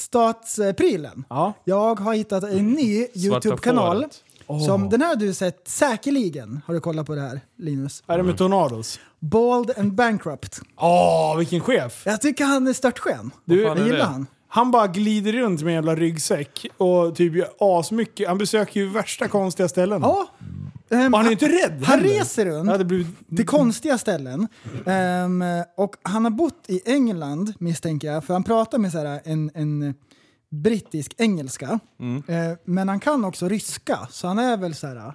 Speaker 6: Öststatsprylen.
Speaker 5: Ja.
Speaker 6: Jag har hittat en ny YouTube-kanal.
Speaker 8: fåret.
Speaker 6: Som, den här har du sett säkerligen. Har du kollat på det här Linus?
Speaker 5: Är det med Tornados?
Speaker 6: Bald and bankrupt.
Speaker 5: Åh, vilken chef!
Speaker 6: Jag tycker han är störtskön.
Speaker 5: Du,
Speaker 8: fan är
Speaker 6: jag gillar
Speaker 8: det?
Speaker 6: han.
Speaker 5: Han bara glider runt med en jävla ryggsäck och typ gör asmycket. Han besöker ju värsta konstiga ställen.
Speaker 6: Ja. Ehm,
Speaker 5: Och han är inte rädd
Speaker 6: Han
Speaker 5: heller.
Speaker 6: reser runt.
Speaker 5: Jag hade blivit...
Speaker 6: till konstiga ställen. Ehm, och han har bott i England misstänker jag, för han pratar med så här, en, en brittisk engelska. Eh, men han kan också ryska, så han är väl så här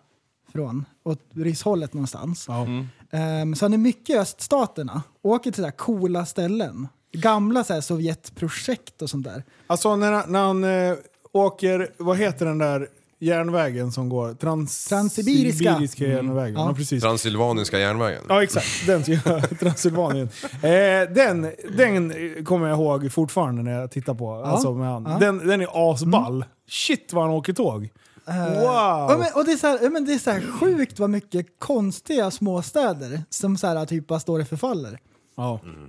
Speaker 6: från åt rysshållet någonstans.
Speaker 5: Mm.
Speaker 6: Ehm, så han är mycket i öststaterna, åker till så här coola ställen. Gamla så här, Sovjetprojekt och sånt där.
Speaker 5: Alltså när han, när han eh, åker, vad heter den där järnvägen som går? Trans-
Speaker 6: Transsibiriska. Mm.
Speaker 5: Sibiriska järnvägen. Ja.
Speaker 6: Ja.
Speaker 5: precis.
Speaker 7: Transylvaniska järnvägen.
Speaker 5: Ja exakt, den ska jag- Transylvanien. Eh, den, den kommer jag ihåg fortfarande när jag tittar på. Alltså med han. Den, den är asball. Shit vad han åker tåg. wow!
Speaker 6: Mm. Eh, Ja, men, och det är, så här, ja, men det är så här sjukt vad mycket konstiga småstäder som så här, typ bara står och förfaller.
Speaker 5: ja. är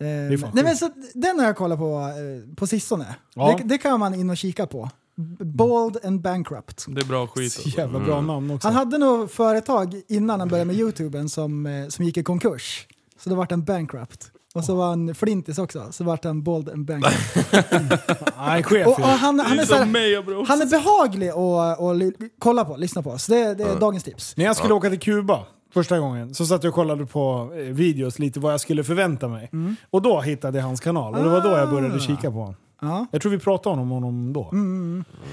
Speaker 6: Eh,
Speaker 5: fan
Speaker 6: nej, men
Speaker 5: sjukt.
Speaker 6: så, den har jag kollat på eh, på sistone.
Speaker 5: Ja.
Speaker 6: Det, det kan man in och kika på. B- Bald and bankrupt.
Speaker 8: Det är bra skit.
Speaker 5: Så jävla bra namn också.
Speaker 6: Mm. Han hade nog företag innan han började med YouTuben som, eh, som gick i konkurs. Så då vart han bankrupt. Och så var han flintis också, så vart han bald and bankrupt.
Speaker 5: *laughs* Nej, chef
Speaker 6: Och,
Speaker 5: ju.
Speaker 6: och han, han, är så
Speaker 8: Som
Speaker 6: här,
Speaker 8: mig och bror.
Speaker 6: han är behaglig att och li, kolla på, lyssna på. Så det, det är dagens tips.
Speaker 5: När jag skulle åka till Kuba första gången så satt jag och kollade på eh, videos lite vad jag skulle förvänta mig.
Speaker 6: Mm.
Speaker 5: Och då hittade jag hans kanal och det var då jag började kika på honom.
Speaker 6: Ah. Ja. Mm,
Speaker 5: Jag tror vi pratade om honom då.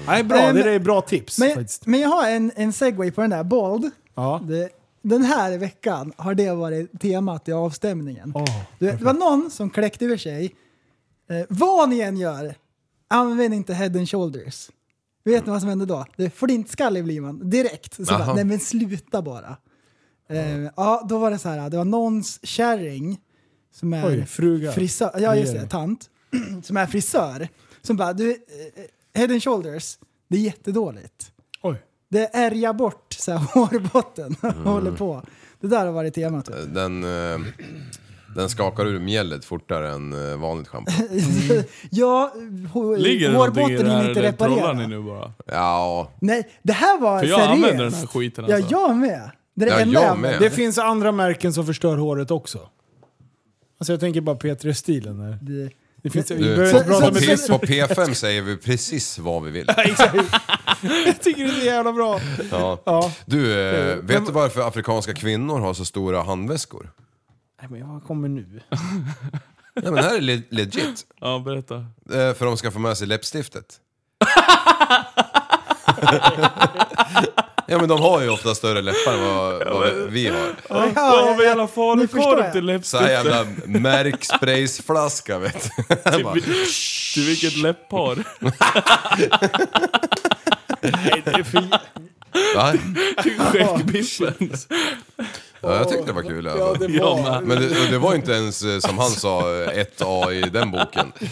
Speaker 5: Nej, bra.
Speaker 6: Ähm,
Speaker 5: det där är bra tips
Speaker 6: Men,
Speaker 5: faktiskt.
Speaker 6: men jag har en, en segway på den där, bald.
Speaker 5: Ja.
Speaker 6: Det, den här veckan har det varit temat i avstämningen.
Speaker 5: Åh,
Speaker 6: Du, det var någon som kläckte ur sig. Eh, vad ni än gör, använd inte head and shoulders. Vet ni vad som händer då? Det är flintskallig blir man direkt. Så
Speaker 7: Jaha.
Speaker 6: bara, nej men sluta bara. Eh, ja, då var det så här, det var någons kärring som är
Speaker 5: Oj, fruga.
Speaker 6: frisör, ja just
Speaker 5: Regering.
Speaker 6: det, tant, *clears throat* som är frisör. Som bara, du, eh, head and shoulders, det är jättedåligt.
Speaker 5: Oj.
Speaker 6: Det ärjar bort så här, *laughs* hårbotten och håller på. Det där har varit temat. Typ.
Speaker 7: Den, eh, den skakar ur mjället fortare än eh, vanligt
Speaker 5: *laughs*
Speaker 7: schampo.
Speaker 6: *laughs* Ja, hår,
Speaker 8: Ligger det någonting i
Speaker 6: hårbotten
Speaker 8: det här
Speaker 6: hinner inte
Speaker 8: eller trollar
Speaker 6: reparera.
Speaker 8: ni nu bara?
Speaker 7: Ja,
Speaker 6: Nej, det här var
Speaker 8: För jag
Speaker 6: seriöst.
Speaker 8: använder den här skiten
Speaker 6: Ja,
Speaker 8: alltså.
Speaker 6: jag med. Det är det
Speaker 7: Ja,
Speaker 6: enda
Speaker 7: jag
Speaker 6: jag med.
Speaker 7: med.
Speaker 5: Det finns andra märken som förstör håret också. Alltså jag tänker bara P3-stilen där. Det finns, vi
Speaker 7: du,
Speaker 5: behöver
Speaker 7: på,
Speaker 5: inte prata
Speaker 7: på,
Speaker 5: med
Speaker 7: P,
Speaker 5: P3.
Speaker 7: på P5 säger vi precis vad vi
Speaker 5: *laughs*
Speaker 7: vill.
Speaker 5: Jag tycker det är så jävla bra.
Speaker 7: Ja.
Speaker 5: Ja.
Speaker 7: Du, eh, vet du varför afrikanska kvinnor har så stora handväskor?
Speaker 5: Nej men vad kommer
Speaker 7: Nej
Speaker 5: nu?
Speaker 7: men det här är le- legit.
Speaker 8: Ja, berätta.
Speaker 7: Eh, För de ska få med sig läppstiftet. ja men de har ju ofta större läppar än vad, vad vi har.
Speaker 6: Ja,
Speaker 8: Vad har
Speaker 6: ja,
Speaker 8: vi alla
Speaker 6: nu förstår jag.
Speaker 8: falukorv till
Speaker 7: Så här
Speaker 8: läppstift?
Speaker 7: jävla märkspraysflaska vet
Speaker 5: *laughs* Typ
Speaker 7: du. Jag bara,
Speaker 8: Till vilket läppar?
Speaker 7: Va?
Speaker 8: Till skäggbiffen?
Speaker 7: Ja, jag tyckte det var kul i alla fall.
Speaker 8: Jag med.
Speaker 7: Men det, och det var inte ens eh, som han sa eh, ett A i den boken.
Speaker 5: *laughs*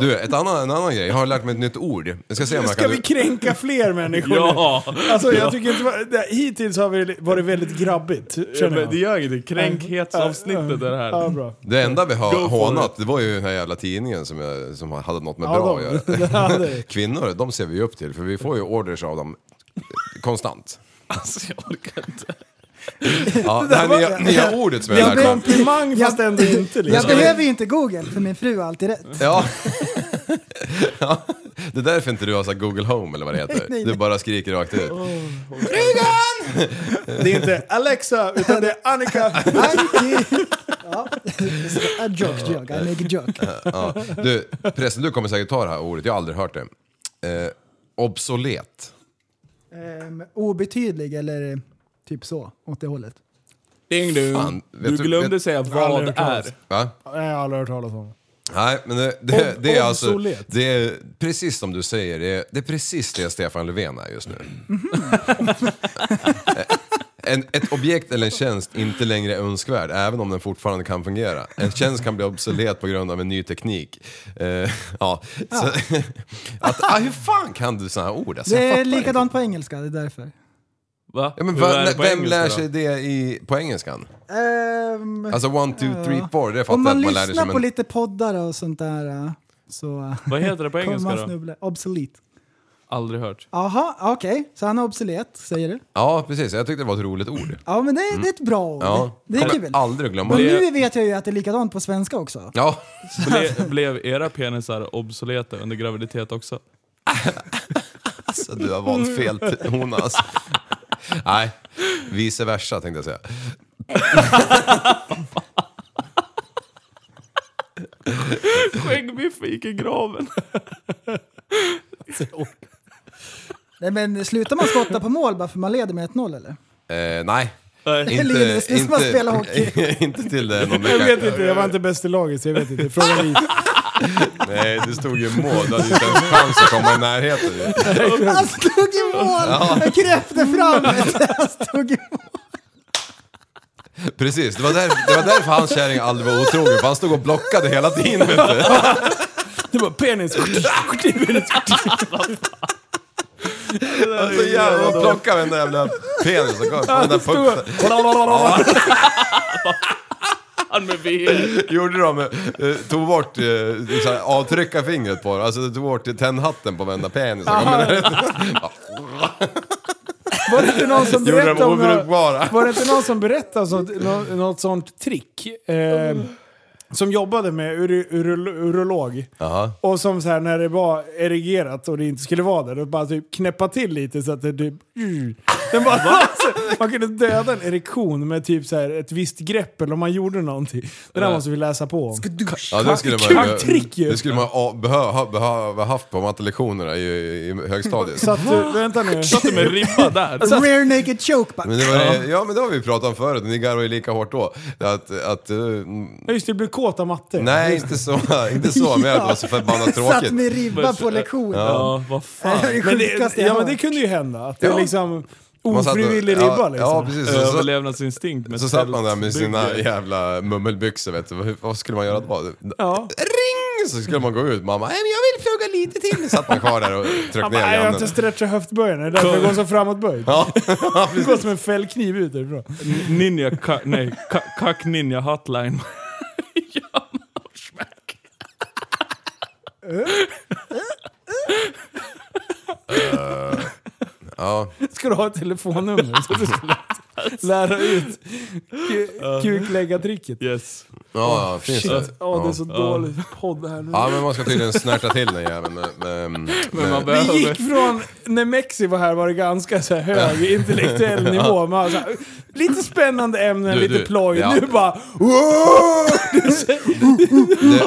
Speaker 7: Du, ett annan, en annan grej. Jag har lärt mig ett nytt ord. Jag ska se om jag
Speaker 5: Ska
Speaker 7: kan...
Speaker 5: vi kränka fler människor nu?
Speaker 8: Ja!
Speaker 5: Alltså jag tycker inte... Det, hittills har vi varit väldigt grabbigt, känner
Speaker 8: Men det
Speaker 5: jag.
Speaker 8: gör inget. Kränkthetsavsnittet är det
Speaker 5: Ja,
Speaker 8: här.
Speaker 5: bra.
Speaker 7: Det enda vi
Speaker 8: Go
Speaker 7: har
Speaker 8: for
Speaker 7: hånat, det var ju den här jävla tidningen som, jag, som hade något med
Speaker 5: Ja,
Speaker 7: bra
Speaker 5: de-
Speaker 7: att
Speaker 5: det
Speaker 7: göra.
Speaker 5: hade vi.
Speaker 7: Kvinnor, de ser vi ju upp till, för vi får ju orders av dem konstant.
Speaker 8: Alltså jag orkar inte.
Speaker 7: Ja, det här
Speaker 5: var-
Speaker 7: nya, nya ordet som
Speaker 5: Det
Speaker 7: jag
Speaker 5: är
Speaker 7: lärde
Speaker 5: en
Speaker 7: mig.
Speaker 5: komplimang fast ändå inte.
Speaker 6: jag
Speaker 5: Liksom.
Speaker 6: behöver ju inte Google, för min fru har alltid rätt.
Speaker 7: Ja. *laughs* ja. Det är därför inte du har sagt Google Home eller vad det heter.
Speaker 6: Nej,
Speaker 7: Du
Speaker 6: nej.
Speaker 7: bara skriker rakt ut.
Speaker 5: Det är inte Alexa, utan det är Annika.
Speaker 6: Anki. Ja. A joke, joke. I make a joke.
Speaker 7: Ja. Du, förresten, du kommer säkert ta det här ordet, jag har aldrig hört det. Eh, obsolet.
Speaker 6: Ehm, obetydlig eller typ så, åt det hållet.
Speaker 8: Ding du.
Speaker 7: Fan, vet
Speaker 8: du
Speaker 7: du-
Speaker 8: glömde
Speaker 7: vet-
Speaker 8: säga
Speaker 5: aldrig
Speaker 8: vad
Speaker 5: hört
Speaker 8: är.
Speaker 5: talas.
Speaker 7: Va?
Speaker 5: Jag har aldrig hört talas om.
Speaker 7: Nej, men det, det, det är alltså...
Speaker 5: obsolet.
Speaker 7: Det är precis som du säger, det är, det är precis det Stefan Löfven är just nu.
Speaker 6: Mm-hmm.
Speaker 7: en, ett objekt eller en tjänst inte längre är önskvärd, även om den fortfarande kan fungera. En tjänst kan bli obsolet på grund av en ny teknik. Eh, ja. Så, *laughs* att, ah, hur fan kan du sådana här ord? Alltså, jag
Speaker 6: Det är
Speaker 7: fattar inte.
Speaker 6: likadant på engelska, det är därför.
Speaker 8: Va?
Speaker 7: Ja, men
Speaker 8: Hur
Speaker 7: va,
Speaker 8: är det på
Speaker 7: vem
Speaker 8: engelska
Speaker 7: lär
Speaker 8: då?
Speaker 7: sig det i, på engelskan?
Speaker 6: Ehm,
Speaker 7: Alltså one, two, three, four, det fattar
Speaker 6: om
Speaker 7: jag
Speaker 6: man
Speaker 7: att man lär sig.
Speaker 6: lyssnar på
Speaker 7: Men
Speaker 6: lite poddar och sånt där eh, så
Speaker 8: Vad heter det på
Speaker 6: kommer
Speaker 8: engelska
Speaker 6: man
Speaker 8: då?
Speaker 6: snubbla. Obsolete.
Speaker 8: Aldrig hört.
Speaker 6: Jaha, okej. Så han är obsolet, säger du?
Speaker 7: Ja, precis. Jag tyckte det var ett roligt ord.
Speaker 6: Ja, men det, det är ett bra ord.
Speaker 7: Mm. Ja.
Speaker 6: Det är
Speaker 7: Kommer
Speaker 6: kul.
Speaker 7: aldrig att glömma
Speaker 6: Men
Speaker 7: det.
Speaker 6: nu vet jag ju att det är likadant på svenska också.
Speaker 7: Ja,
Speaker 8: Ble, blev era penisar obsoleta under graviditet också?
Speaker 7: alltså du har valt fel
Speaker 5: *laughs*
Speaker 7: t- hona alltså. Nej, vice versa tänkte jag säga.
Speaker 8: Skäggbiffen gick i graven.
Speaker 6: Nej, men slutar man skotta på mål bara för man leder med 1-0 eller?
Speaker 7: Eh, nej.
Speaker 8: Nej.
Speaker 7: Inte,
Speaker 6: Linus, nu ska man spela hockey.
Speaker 7: *laughs* inte till det någon
Speaker 5: *laughs* Jag vet
Speaker 7: vecka.
Speaker 5: inte, jag var inte bäst i laget så jag vet inte. Fråga Lis.
Speaker 7: Nej, det stod ju mål. Du hade ju inte ens chans att komma i närheten. ju.
Speaker 6: *laughs* Han stod i mål! Jag kräpte fram!
Speaker 7: *laughs*
Speaker 6: Han stod i mål.
Speaker 7: Precis, det var, där, det var därför hans kärring aldrig var otrogen. För han stod och blockade hela tiden. Vet du.
Speaker 5: Det var penis.
Speaker 7: Han så jävla och plockade med den där jävla penisen. Kolla, på den där pucken.
Speaker 8: Han med VR.
Speaker 7: gjorde de, eh, tog bort, eh, så här, avtrycka fingret på det. Alltså tog bort tändhatten på varenda penis. *laughs*
Speaker 5: Var det inte någon som
Speaker 7: Gjorde dem
Speaker 5: berättade om...
Speaker 7: obrukbara.
Speaker 5: Var det inte någon som berättade så, något, något sånt trick? Eh, som jobbade med uri, uri, urolog.
Speaker 7: Jaha.
Speaker 5: Och som så här när det var erigerat och det inte skulle vara det, då bara typ knäppa till lite så att det typ... Den bara, alltså, *laughs* man kunde döda en erektion med typ så här ett visst grepp eller om man gjorde någonting. Det där måste vi läsa på om.
Speaker 7: Ja, det skulle man
Speaker 5: Kul trick ju.
Speaker 7: Det skulle man ah, behöva behöva haft på mattelektionerna i, i högstadiet.
Speaker 5: Så att, du- vänta nu.
Speaker 8: Satt du med ribba där?
Speaker 6: Rear naked choke bara.
Speaker 7: Men det var, ja. men det har vi pratat om förut, ni garvade ju lika hårt då. Att, att, eh,
Speaker 5: Ja, Just det, du blev kåt av matte.
Speaker 7: nej, inte så, *laughs* inte så, men att det var så
Speaker 5: *laughs*
Speaker 7: förbannat
Speaker 6: Satt
Speaker 7: tråkigt.
Speaker 6: med ribba på lektion.
Speaker 8: Ja, vad fan.
Speaker 6: Det är det
Speaker 5: Men det,
Speaker 6: sjukaste jag
Speaker 5: ja, men det
Speaker 6: hört.
Speaker 5: kunde ju hända. Att det
Speaker 7: Ja.
Speaker 5: är liksom
Speaker 7: Man satt och-
Speaker 5: ofrivillig
Speaker 7: ja,
Speaker 5: ribba liksom.
Speaker 7: Ja, precis. Så, så,
Speaker 8: Överlevnadsinstinkt med
Speaker 7: så satt man där med
Speaker 8: tältbygge.
Speaker 7: sina jävla mummelbyxor vet du. Vad- Vad skulle man göra då?
Speaker 5: Ja.
Speaker 7: Ring! Så skulle man gå ut. Mamma, "Nej, men jag vill plugga lite till. Så satt man kvar där och tryckte
Speaker 5: Han
Speaker 7: ner
Speaker 5: bara, "Nej, jag har
Speaker 7: grannen.
Speaker 5: inte stretchat höftböjen. Det är därför jag går så framåtböjd.
Speaker 7: Ja, ja,
Speaker 5: *laughs* Det
Speaker 7: precis.
Speaker 5: går som en fällkniv ut därifrån.
Speaker 8: Ninja, ka, nej, ka, kack ninja hotline. ja, smack.
Speaker 7: Ja.
Speaker 5: Ska du ha ett telefonnummer? Så att
Speaker 7: *laughs*
Speaker 5: du ska lära ut ku- kukläggartricket.
Speaker 8: Yes.
Speaker 7: Ja, ja, finns
Speaker 5: Shit,
Speaker 7: det.
Speaker 5: ja, det är så
Speaker 7: Ja.
Speaker 5: dålig podd här nu.
Speaker 7: Ja, men man ska tydligen snärta till den jäveln. med- med-
Speaker 8: Men man
Speaker 7: med-
Speaker 5: Vi gick
Speaker 8: behöver...
Speaker 5: från, när Mexi var här var det ganska så här hög intellektuell nivå. Man var så här, lite spännande ämnen,
Speaker 7: Du,
Speaker 5: lite
Speaker 7: du,
Speaker 5: ploj.
Speaker 7: ja.
Speaker 5: Nu bara...
Speaker 7: Det,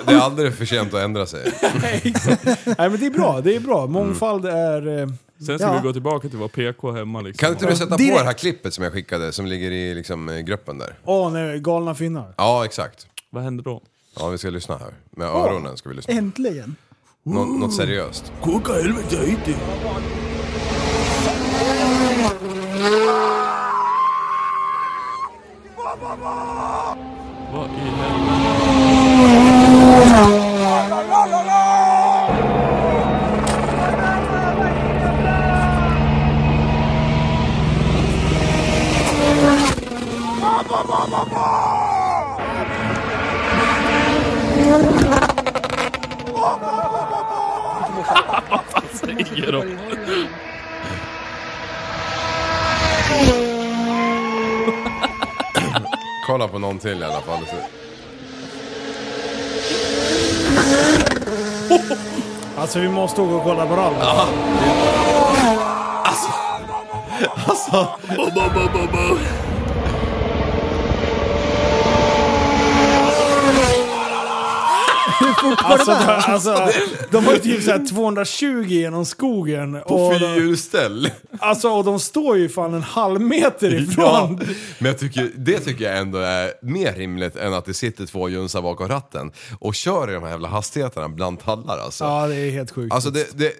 Speaker 7: det är aldrig för sent att ändra sig.
Speaker 5: *laughs* Nej men det är bra, det är
Speaker 7: Mm.
Speaker 5: bra. Mångfald är... eh,
Speaker 8: Sen ska
Speaker 6: Ja.
Speaker 8: vi gå tillbaka till vår PK hemma liksom.
Speaker 7: Kan inte du sätta på
Speaker 6: Direkt.
Speaker 7: det här klippet som jag skickade som ligger i liksom, eh, gruppen där?
Speaker 5: Åh nej, galna finnar.
Speaker 7: Ja, exakt.
Speaker 8: Vad händer då?
Speaker 7: Ja, vi ska lyssna här. Med öronen ska vi lyssna.
Speaker 6: Äntligen.
Speaker 7: Nå något seriöst.
Speaker 8: Vad i helvete? Säger de.
Speaker 7: Kolla på någon till i alla fall. Så-
Speaker 5: Alltså vi måste åka och kolla på rally. Ja.
Speaker 8: Vad
Speaker 5: Alltså, de, alltså, de var ju typ såhär 220 genom skogen.
Speaker 7: På
Speaker 5: och, de,
Speaker 7: fyrhjulsställ.
Speaker 5: alltså, och de står ju fan en halv meter
Speaker 7: Ja,
Speaker 5: ifrån.
Speaker 7: men jag tycker, det tycker jag ändå är mer rimligt än att det sitter två jönsar bakom ratten och kör i de här jävla hastigheterna bland tallar alltså.
Speaker 5: Ja, det är helt sjukt.
Speaker 7: Alltså det, det,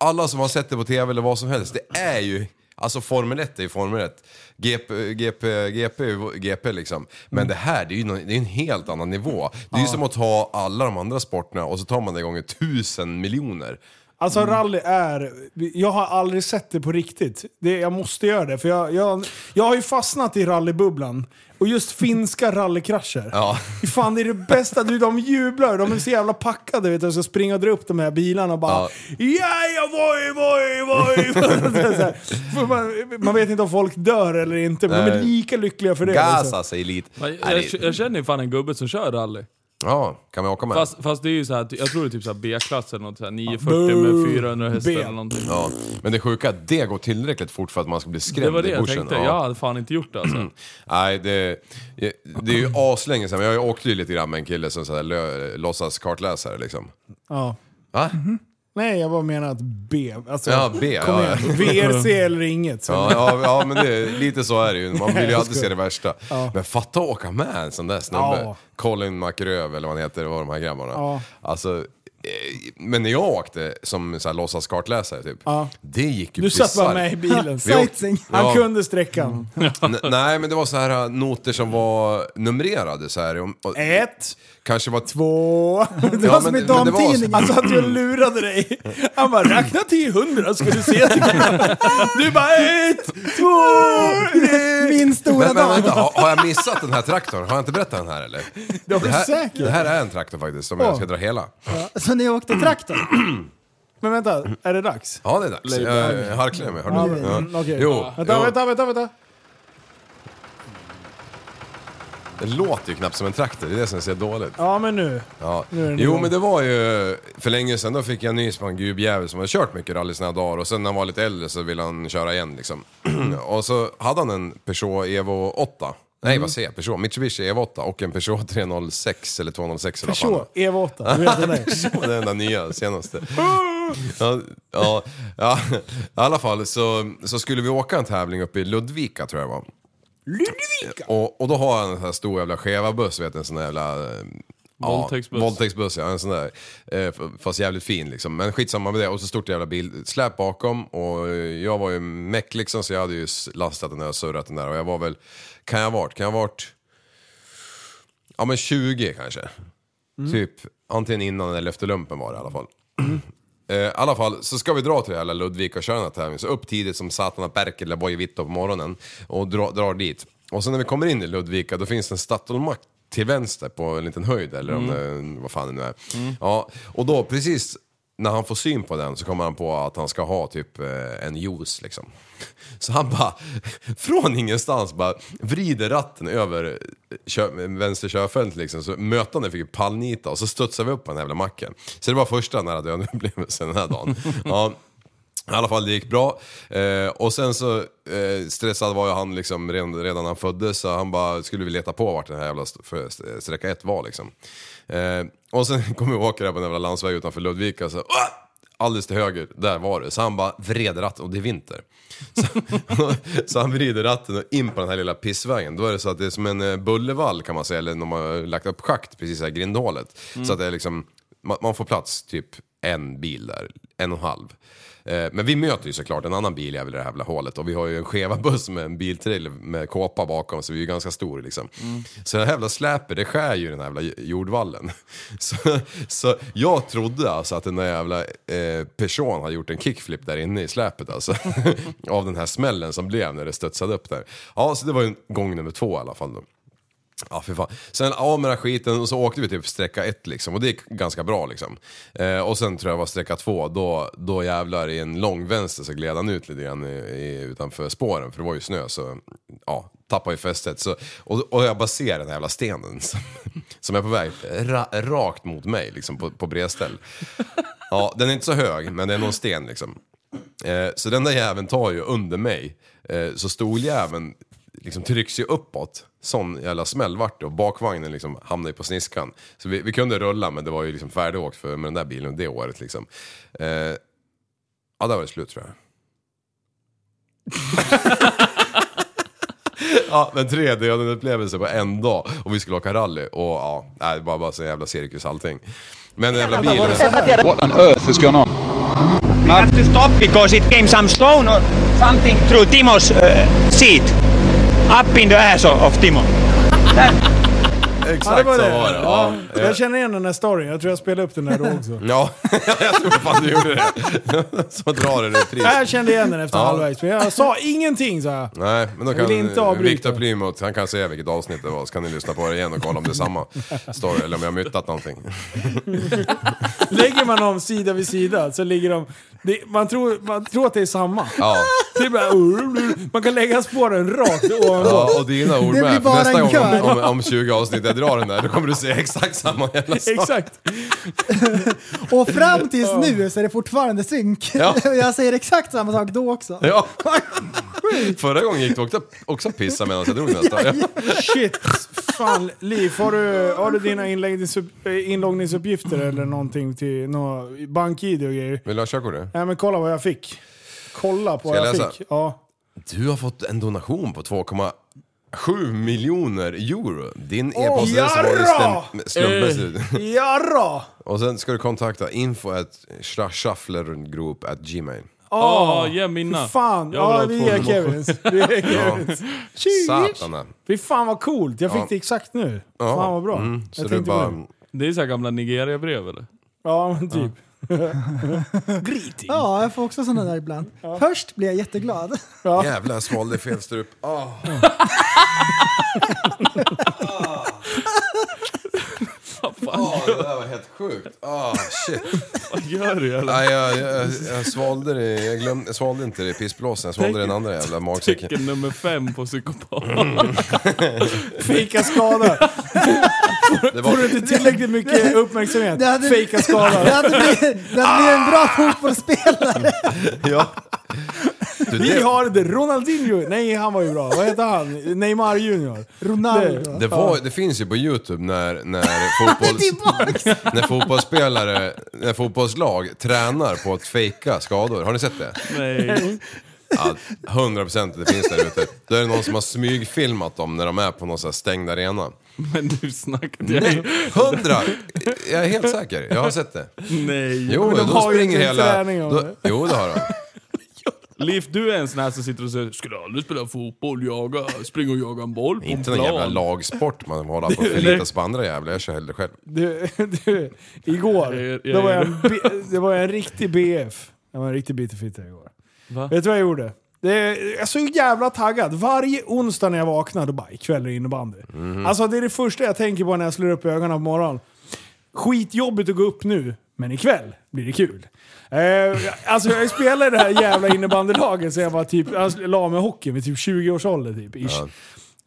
Speaker 7: alla som har sett det på tv eller vad som helst, det är ju... Alltså Formel 1 är ju Formel 1. GP, GP, GP, är ju GP liksom. Men
Speaker 5: Mm.
Speaker 7: det här, det är ju någon, det är en helt annan nivå. Det är ju som att ta alla de andra sporterna och så tar man det gånger tusen miljoner.
Speaker 5: Alltså
Speaker 7: Mm.
Speaker 5: rally är... Jag har aldrig sett det på riktigt. Det, jag måste göra det. För jag, jag, jag har ju fastnat i rallybubblan. Och just
Speaker 7: *laughs*
Speaker 5: finska rallykrascher.
Speaker 7: Ja.
Speaker 5: Fy Fan det är det bästa. Du, de jublar. De är så jävla packade vet du. Och så springer och drar upp de här bilarna och bara... Ja, ja, voj, voj, voj. Det är så här.
Speaker 7: *laughs*
Speaker 5: För *laughs* man, man vet inte om folk dör eller inte. Men de är
Speaker 7: Nej.
Speaker 5: lika lyckliga för det.
Speaker 7: Gas
Speaker 5: liksom.
Speaker 7: alltså, elit.
Speaker 8: Jag,
Speaker 7: Nej,
Speaker 8: jag,
Speaker 7: det-
Speaker 8: jag känner ju fan en gubbe som kör rally.
Speaker 7: Ja, kan vi åka med?
Speaker 8: Fast, fast det är ju såhär, jag tror det är typ såhär B-klass eller något såhär, 940 med 400 hästar
Speaker 5: B.
Speaker 8: eller någonting.
Speaker 7: Ja. Men det sjuka är att det går tillräckligt fort för att man ska bli skrämd
Speaker 8: Det var det
Speaker 7: i
Speaker 8: jag
Speaker 7: bushen.
Speaker 8: tänkte,
Speaker 7: Ja.
Speaker 8: jag hade fan inte gjort det alltså.
Speaker 7: Nej, det, det är ju aslänge sedan. men Jag åkte ju lite grann med en kille som så här, lö, låtsas kartläsare liksom.
Speaker 5: Ja.
Speaker 7: Va?
Speaker 5: Mhm. Nej, jag bara menar att B. Alltså,
Speaker 7: Ja, B.
Speaker 5: kom
Speaker 7: Ja, ja. *laughs*
Speaker 5: igen. VRC eller inget. Så.
Speaker 7: Ja, ja, ja men det, lite så är det ju. Man vill ju alltid se det värsta. Men fatta att åka med en sån där snubbe.
Speaker 5: Ja.
Speaker 7: Colin McRöv eller vad han heter, vad de här grabbarna.
Speaker 5: Ja.
Speaker 7: Alltså, eh, men när jag åkte som så här, låtsas kartläsare typ.
Speaker 5: Ja.
Speaker 7: Det gick ju
Speaker 5: Du satt bara
Speaker 7: bisarrt.
Speaker 5: med i
Speaker 7: *laughs*
Speaker 5: bilen.
Speaker 7: Vi åkte-
Speaker 6: Sightseeing.
Speaker 5: Han
Speaker 7: Ja. Mm.
Speaker 5: kunde sträckan.
Speaker 7: N- Nej, men det var så här äh, noter som var numrerade så här. om- och-
Speaker 5: Ett,
Speaker 7: Kanske var två.
Speaker 5: två... *laughs*
Speaker 6: Det var
Speaker 7: Ja,
Speaker 6: som
Speaker 7: men-
Speaker 6: i
Speaker 7: men det var-
Speaker 6: damtidningen.
Speaker 5: Alltså att jag lurade dig. Han bara räkna till hundra ska du se. Du bara ett, två, tre.
Speaker 6: *laughs* Min stora
Speaker 7: Men, men
Speaker 6: dag.
Speaker 7: vänta, har, har jag missat den här traktorn? Har jag inte berättat den här
Speaker 5: *laughs*
Speaker 7: eller?
Speaker 5: Det var
Speaker 7: här,
Speaker 5: säkert.
Speaker 7: det här är en traktor faktiskt, som jag ska dra hela.
Speaker 6: Så ni åkte traktor?
Speaker 5: *clears throat* Men vänta, är det dags?
Speaker 7: Ja, det är dags. Jag harklar mig, hör du?
Speaker 5: Mm,
Speaker 7: Ja.
Speaker 5: Okej.
Speaker 7: Jo,
Speaker 5: Vänta,
Speaker 7: jo.
Speaker 5: vänta, vänta, vänta.
Speaker 7: Det låter ju knappt som en traktor, det är det som är så dåligt.
Speaker 5: Ja men nu.
Speaker 7: Ja.
Speaker 5: Nu är den
Speaker 7: Jo
Speaker 5: igång.
Speaker 7: men det var ju för länge sedan, då fick jag nys på en gubbjävel som hade kört mycket rally sina dagar och sen när han var lite äldre så ville han köra igen liksom. *clears throat* och så hade han en Peugeot Evo 8.
Speaker 5: Mm.
Speaker 7: Nej vad säger jag, Peugeot, Mitsubishi Evo 8 och en Peugeot 306 eller 206 eller vad fan det var.
Speaker 5: Peugeot Evo 8. E Du vet
Speaker 7: *laughs*
Speaker 5: den där.
Speaker 7: Det var den enda nya, senaste. Ja, ja, ja, i alla fall så, så skulle vi åka en tävling uppe i Ludvika tror jag det var. Ludvika? Eh, Och, och då har han en sån här stor jävla Cheva-buss, vet en sån där jävla... eh,
Speaker 8: Våldtäktsbuss.
Speaker 7: Ja, våldtäktsbuss ja, en sån där. eh, f- Fast jävligt fin liksom. Men skitsamma med det. Och så stort jävla bilsläp bakom. Och eh, jag var ju meck liksom så jag hade ju s- lastat den där och surrat den där. Och jag var väl, kan jag ha varit, kan jag ha varit... Ja men 20 kanske. Typ antingen innan eller efter lumpen var det i alla fall. Eh, I alla fall så ska vi dra till det här lilla Ludvika och köra den här tävlingen. Så upp tidigt som satan och Perkele eller Bojevitta på morgonen och dra, drar dit. Och sen när vi kommer in i Ludvika då finns det en Statoilmack till vänster på en liten höjd eller om det, vad fan det nu är. Ja, och då precis när han får syn på den så kommer han på att han ska ha typ eh, en juice liksom. Så han bara, från ingenstans bara vrider ratten över kö, vänster körfält liksom. Så mötande fick ju pallnita och så studsade vi upp på den här jävla macken. Så det var första nära döden upplevelsen den här dagen. Ja. I alla fall, det gick bra. Eh, och sen så eh, stressad var ju han liksom redan, redan när han föddes så han bara skulle vi leta på vart den här jävla st- för, st- sträcka ett var liksom. Eh, och sen *laughs* kom vi åka där på en jävla landsväg utanför Ludvika så "Åh!" alldeles till höger, där var det. Så han bara vred ratten och det är vinter. Så, *laughs* så han vrider ratten och in på den här lilla pissvägen. Då är det så att det är som en eh, bullervall kan man säga, eller när man har lagt upp schakt precis här i grindhålet. Så att det är liksom, man, man får plats typ en bil där, en och en halv. Eh, Men vi möter ju såklart en annan bil jävel i det här jävla hålet och vi har ju en skeva buss med en biltrailer med kåpa bakom så vi är ju ganska stor liksom. Så det här jävla släpet det skär ju den här jävla jordvallen. *laughs* Så, så jag trodde alltså att den där jävla eh, Peugeot hade gjort en kickflip där inne i släpet alltså. *laughs* Av den här smällen som blev när det studsade upp där. Ja, så det var ju gång nummer två i alla fall då. Ja, för fan. Sen av med den här skiten och så åkte vi typ sträcka ett liksom och det gick ganska bra liksom. Eh, och sen tror jag det var sträcka två, då, då jävlar i en lång vänster så gled han ut lite grann i, i, utanför spåren för det var ju snö så ja, tappade ju fästet. Så, och, och jag bara ser den här jävla stenen som, *laughs* som är på väg ra, rakt mot mig liksom på, på bredställ. Ja, den är inte så hög men det är någon sten liksom. Eh, så den där jäveln tar ju under mig. Eh, så stoljäveln liksom trycks ju uppåt. Sån jävla smäll vart det och bakvagnen liksom hamnade ju på sniskan. Så vi, vi kunde rulla men det var ju liksom färdigåkt för, med den där bilen det året liksom. Eh, ja, där var det slut tror jag. *laughs* Ja, men tre döden upplevelser på en dag och vi skulle åka rally och ja, nej, det var bara så jävla cirkus allting. Men den jävla bilen...
Speaker 9: What on earth is going on?
Speaker 10: We have to stop because it came some stone or something through Timo's uh, seat. Up in the ass of, of Timo.
Speaker 7: Exakt så var det. Ja, eh,
Speaker 5: Jag känner igen den här storyn. Jag tror jag spelade upp den här då också.
Speaker 7: ja *laughs* jag tror fan du gjorde det. Så drar det repris.
Speaker 5: Jag kände igen den efter
Speaker 7: Ja.
Speaker 5: halvvägs, men jag sa ingenting så här.
Speaker 7: Nej, men då
Speaker 5: Jag vill inte
Speaker 7: kan
Speaker 5: avbryta.
Speaker 7: Viktor Plymouth, han kan säga vilket avsnitt det var, så kan ni lyssna på det igen och kolla om det är samma story, eller om jag har myttat någonting.
Speaker 5: Lägger man dem sida vid sida så ligger de... Det, man, tror, man tror att det är samma.
Speaker 7: Ja,
Speaker 5: Det är bara, man kan lägga spåren rakt ovanpå.
Speaker 7: ja och dina ord
Speaker 6: Det blir
Speaker 7: med. För
Speaker 6: bara
Speaker 7: Nästa
Speaker 6: en
Speaker 7: gång
Speaker 6: kör.
Speaker 7: om, om, om 20 avsnitt jag drar den där, då kommer du se exakt samma jävla sak.
Speaker 5: Exakt.
Speaker 6: *laughs* Och fram tills nu så är det fortfarande synk.
Speaker 7: Ja.
Speaker 6: *laughs* Jag säger exakt samma sak då också.
Speaker 7: Ja. Förra gången gick du också, också pissa medan jag drog nästa. Ja,
Speaker 5: *laughs* Shit. Fan, Liv, har du, har du dina inläggnings- eh, inloggningsuppgifter eller någonting till några bank-id och grejer?
Speaker 7: Vill du ha körkortet?
Speaker 5: Nej men kolla vad jag fick. Kolla på
Speaker 7: Ska
Speaker 5: vad
Speaker 7: jag
Speaker 5: jag,
Speaker 7: läsa?
Speaker 5: fick. Ja.
Speaker 7: Du har fått en donation på 2,7 miljoner euro. Din e-postadress var ju
Speaker 5: jarra!
Speaker 7: stäm- slumpmässigt.
Speaker 5: Jarra!
Speaker 7: Och sen ska du kontakta info at shufflergroup at gmail.
Speaker 8: Ah, Ja, ge mina.
Speaker 5: Ah, Fan,
Speaker 8: Jag vill
Speaker 5: ja,
Speaker 8: ha
Speaker 5: vi
Speaker 8: två
Speaker 5: är
Speaker 8: nummer.
Speaker 5: Kevins.
Speaker 7: *laughs*
Speaker 5: Vi är Kevins.
Speaker 7: Satana.
Speaker 5: Fy fan vad coolt, jag fick
Speaker 7: Ja.
Speaker 5: det exakt nu.
Speaker 7: Ja.
Speaker 5: Fan vad bra.
Speaker 7: Mm, så
Speaker 5: jag
Speaker 7: du
Speaker 5: tänkte på det.
Speaker 7: bara...
Speaker 8: *laughs* Det är så här gamla Nigeria-brev
Speaker 5: *laughs*
Speaker 8: eller?
Speaker 5: Ja men typ.
Speaker 7: *laughs*
Speaker 6: Ja, jag får också sådana där ibland. Först blir jag jätteglad.
Speaker 7: Jävlar, jag svalde fel strup.
Speaker 5: *laughs*
Speaker 7: Ah. Ah, det där var helt sjukt. Ah, shit.
Speaker 8: Vad gör du *laughs* eller?
Speaker 7: Nej, jag, jag, jag svalde det. Jag, glömde, jag svalde inte det i pissblåsen. Jag svalde den andra
Speaker 5: *laughs*
Speaker 7: jävla magsäcken.
Speaker 8: Tecken nummer fem på psykopat.
Speaker 6: *laughs*
Speaker 5: Fejka skada.
Speaker 7: Det var,
Speaker 5: Får du inte tillräckligt mycket uppmärksamhet?
Speaker 6: Det hade-
Speaker 5: Fejka Ah! skada.
Speaker 6: Det hade blivit, det hade blivit en bra fotbollsspelare.
Speaker 7: ja.
Speaker 5: *laughs*
Speaker 7: du,
Speaker 5: Vi
Speaker 7: det,
Speaker 5: har det. Ronaldinho. Nej, han var ju bra. Vad heter han? Neymar Junior.
Speaker 6: Ronaldo.
Speaker 7: det, var, det finns ju på Youtube när,
Speaker 5: *laughs*
Speaker 7: när, fotbolls, *laughs*
Speaker 6: Tillbaks!
Speaker 7: när fotbollsspelare, när fotbollslag tränar på att fejka skador. Har ni sett det?
Speaker 8: Nej.
Speaker 7: Ja, 100 procent det finns där ute. Då är det någon som har smygfilmat dem när de är på någon sån här stängd arena.
Speaker 8: *laughs* Men du snackar
Speaker 7: Nej,
Speaker 8: jag.
Speaker 7: 100! Jag är helt säker. Jag har sett det.
Speaker 8: Nej.
Speaker 7: Jo,
Speaker 5: men de
Speaker 7: de
Speaker 5: har ju
Speaker 7: springer
Speaker 5: inte
Speaker 7: hela...
Speaker 5: träning om
Speaker 7: då-
Speaker 5: det.
Speaker 7: Jo, det har de.
Speaker 8: Liv, du är en sån här som sitter och säger Skulle aldrig spela fotboll, jaga, springa och jaga en boll på en
Speaker 7: Inte någon jävla
Speaker 8: plan.
Speaker 7: lagsport man håller på att förlita sig på andra jävlar. Jag kör hellre själv.
Speaker 5: Du, *laughs* du, igår,
Speaker 8: Jag- jag-
Speaker 5: då var jag, en B, det var jag en riktig BF. Jag var en riktig bitterfitta igår.
Speaker 8: Va?
Speaker 5: Vet du vad jag gjorde? Det, jag är så jävla taggad. Varje onsdag när jag vaknar, då bara ikväll är det innebandy.
Speaker 8: Mhm.
Speaker 5: Alltså det är det första jag tänker på när jag slår upp ögonen på morgonen. Skitjobbigt att gå upp nu, men ikväll blir det kul. Eh, alltså jag spelade i det här jävla innebandylaget sen jag var typ, jag la mig i hockeyn vid typ 20 års ålder typ. Ish.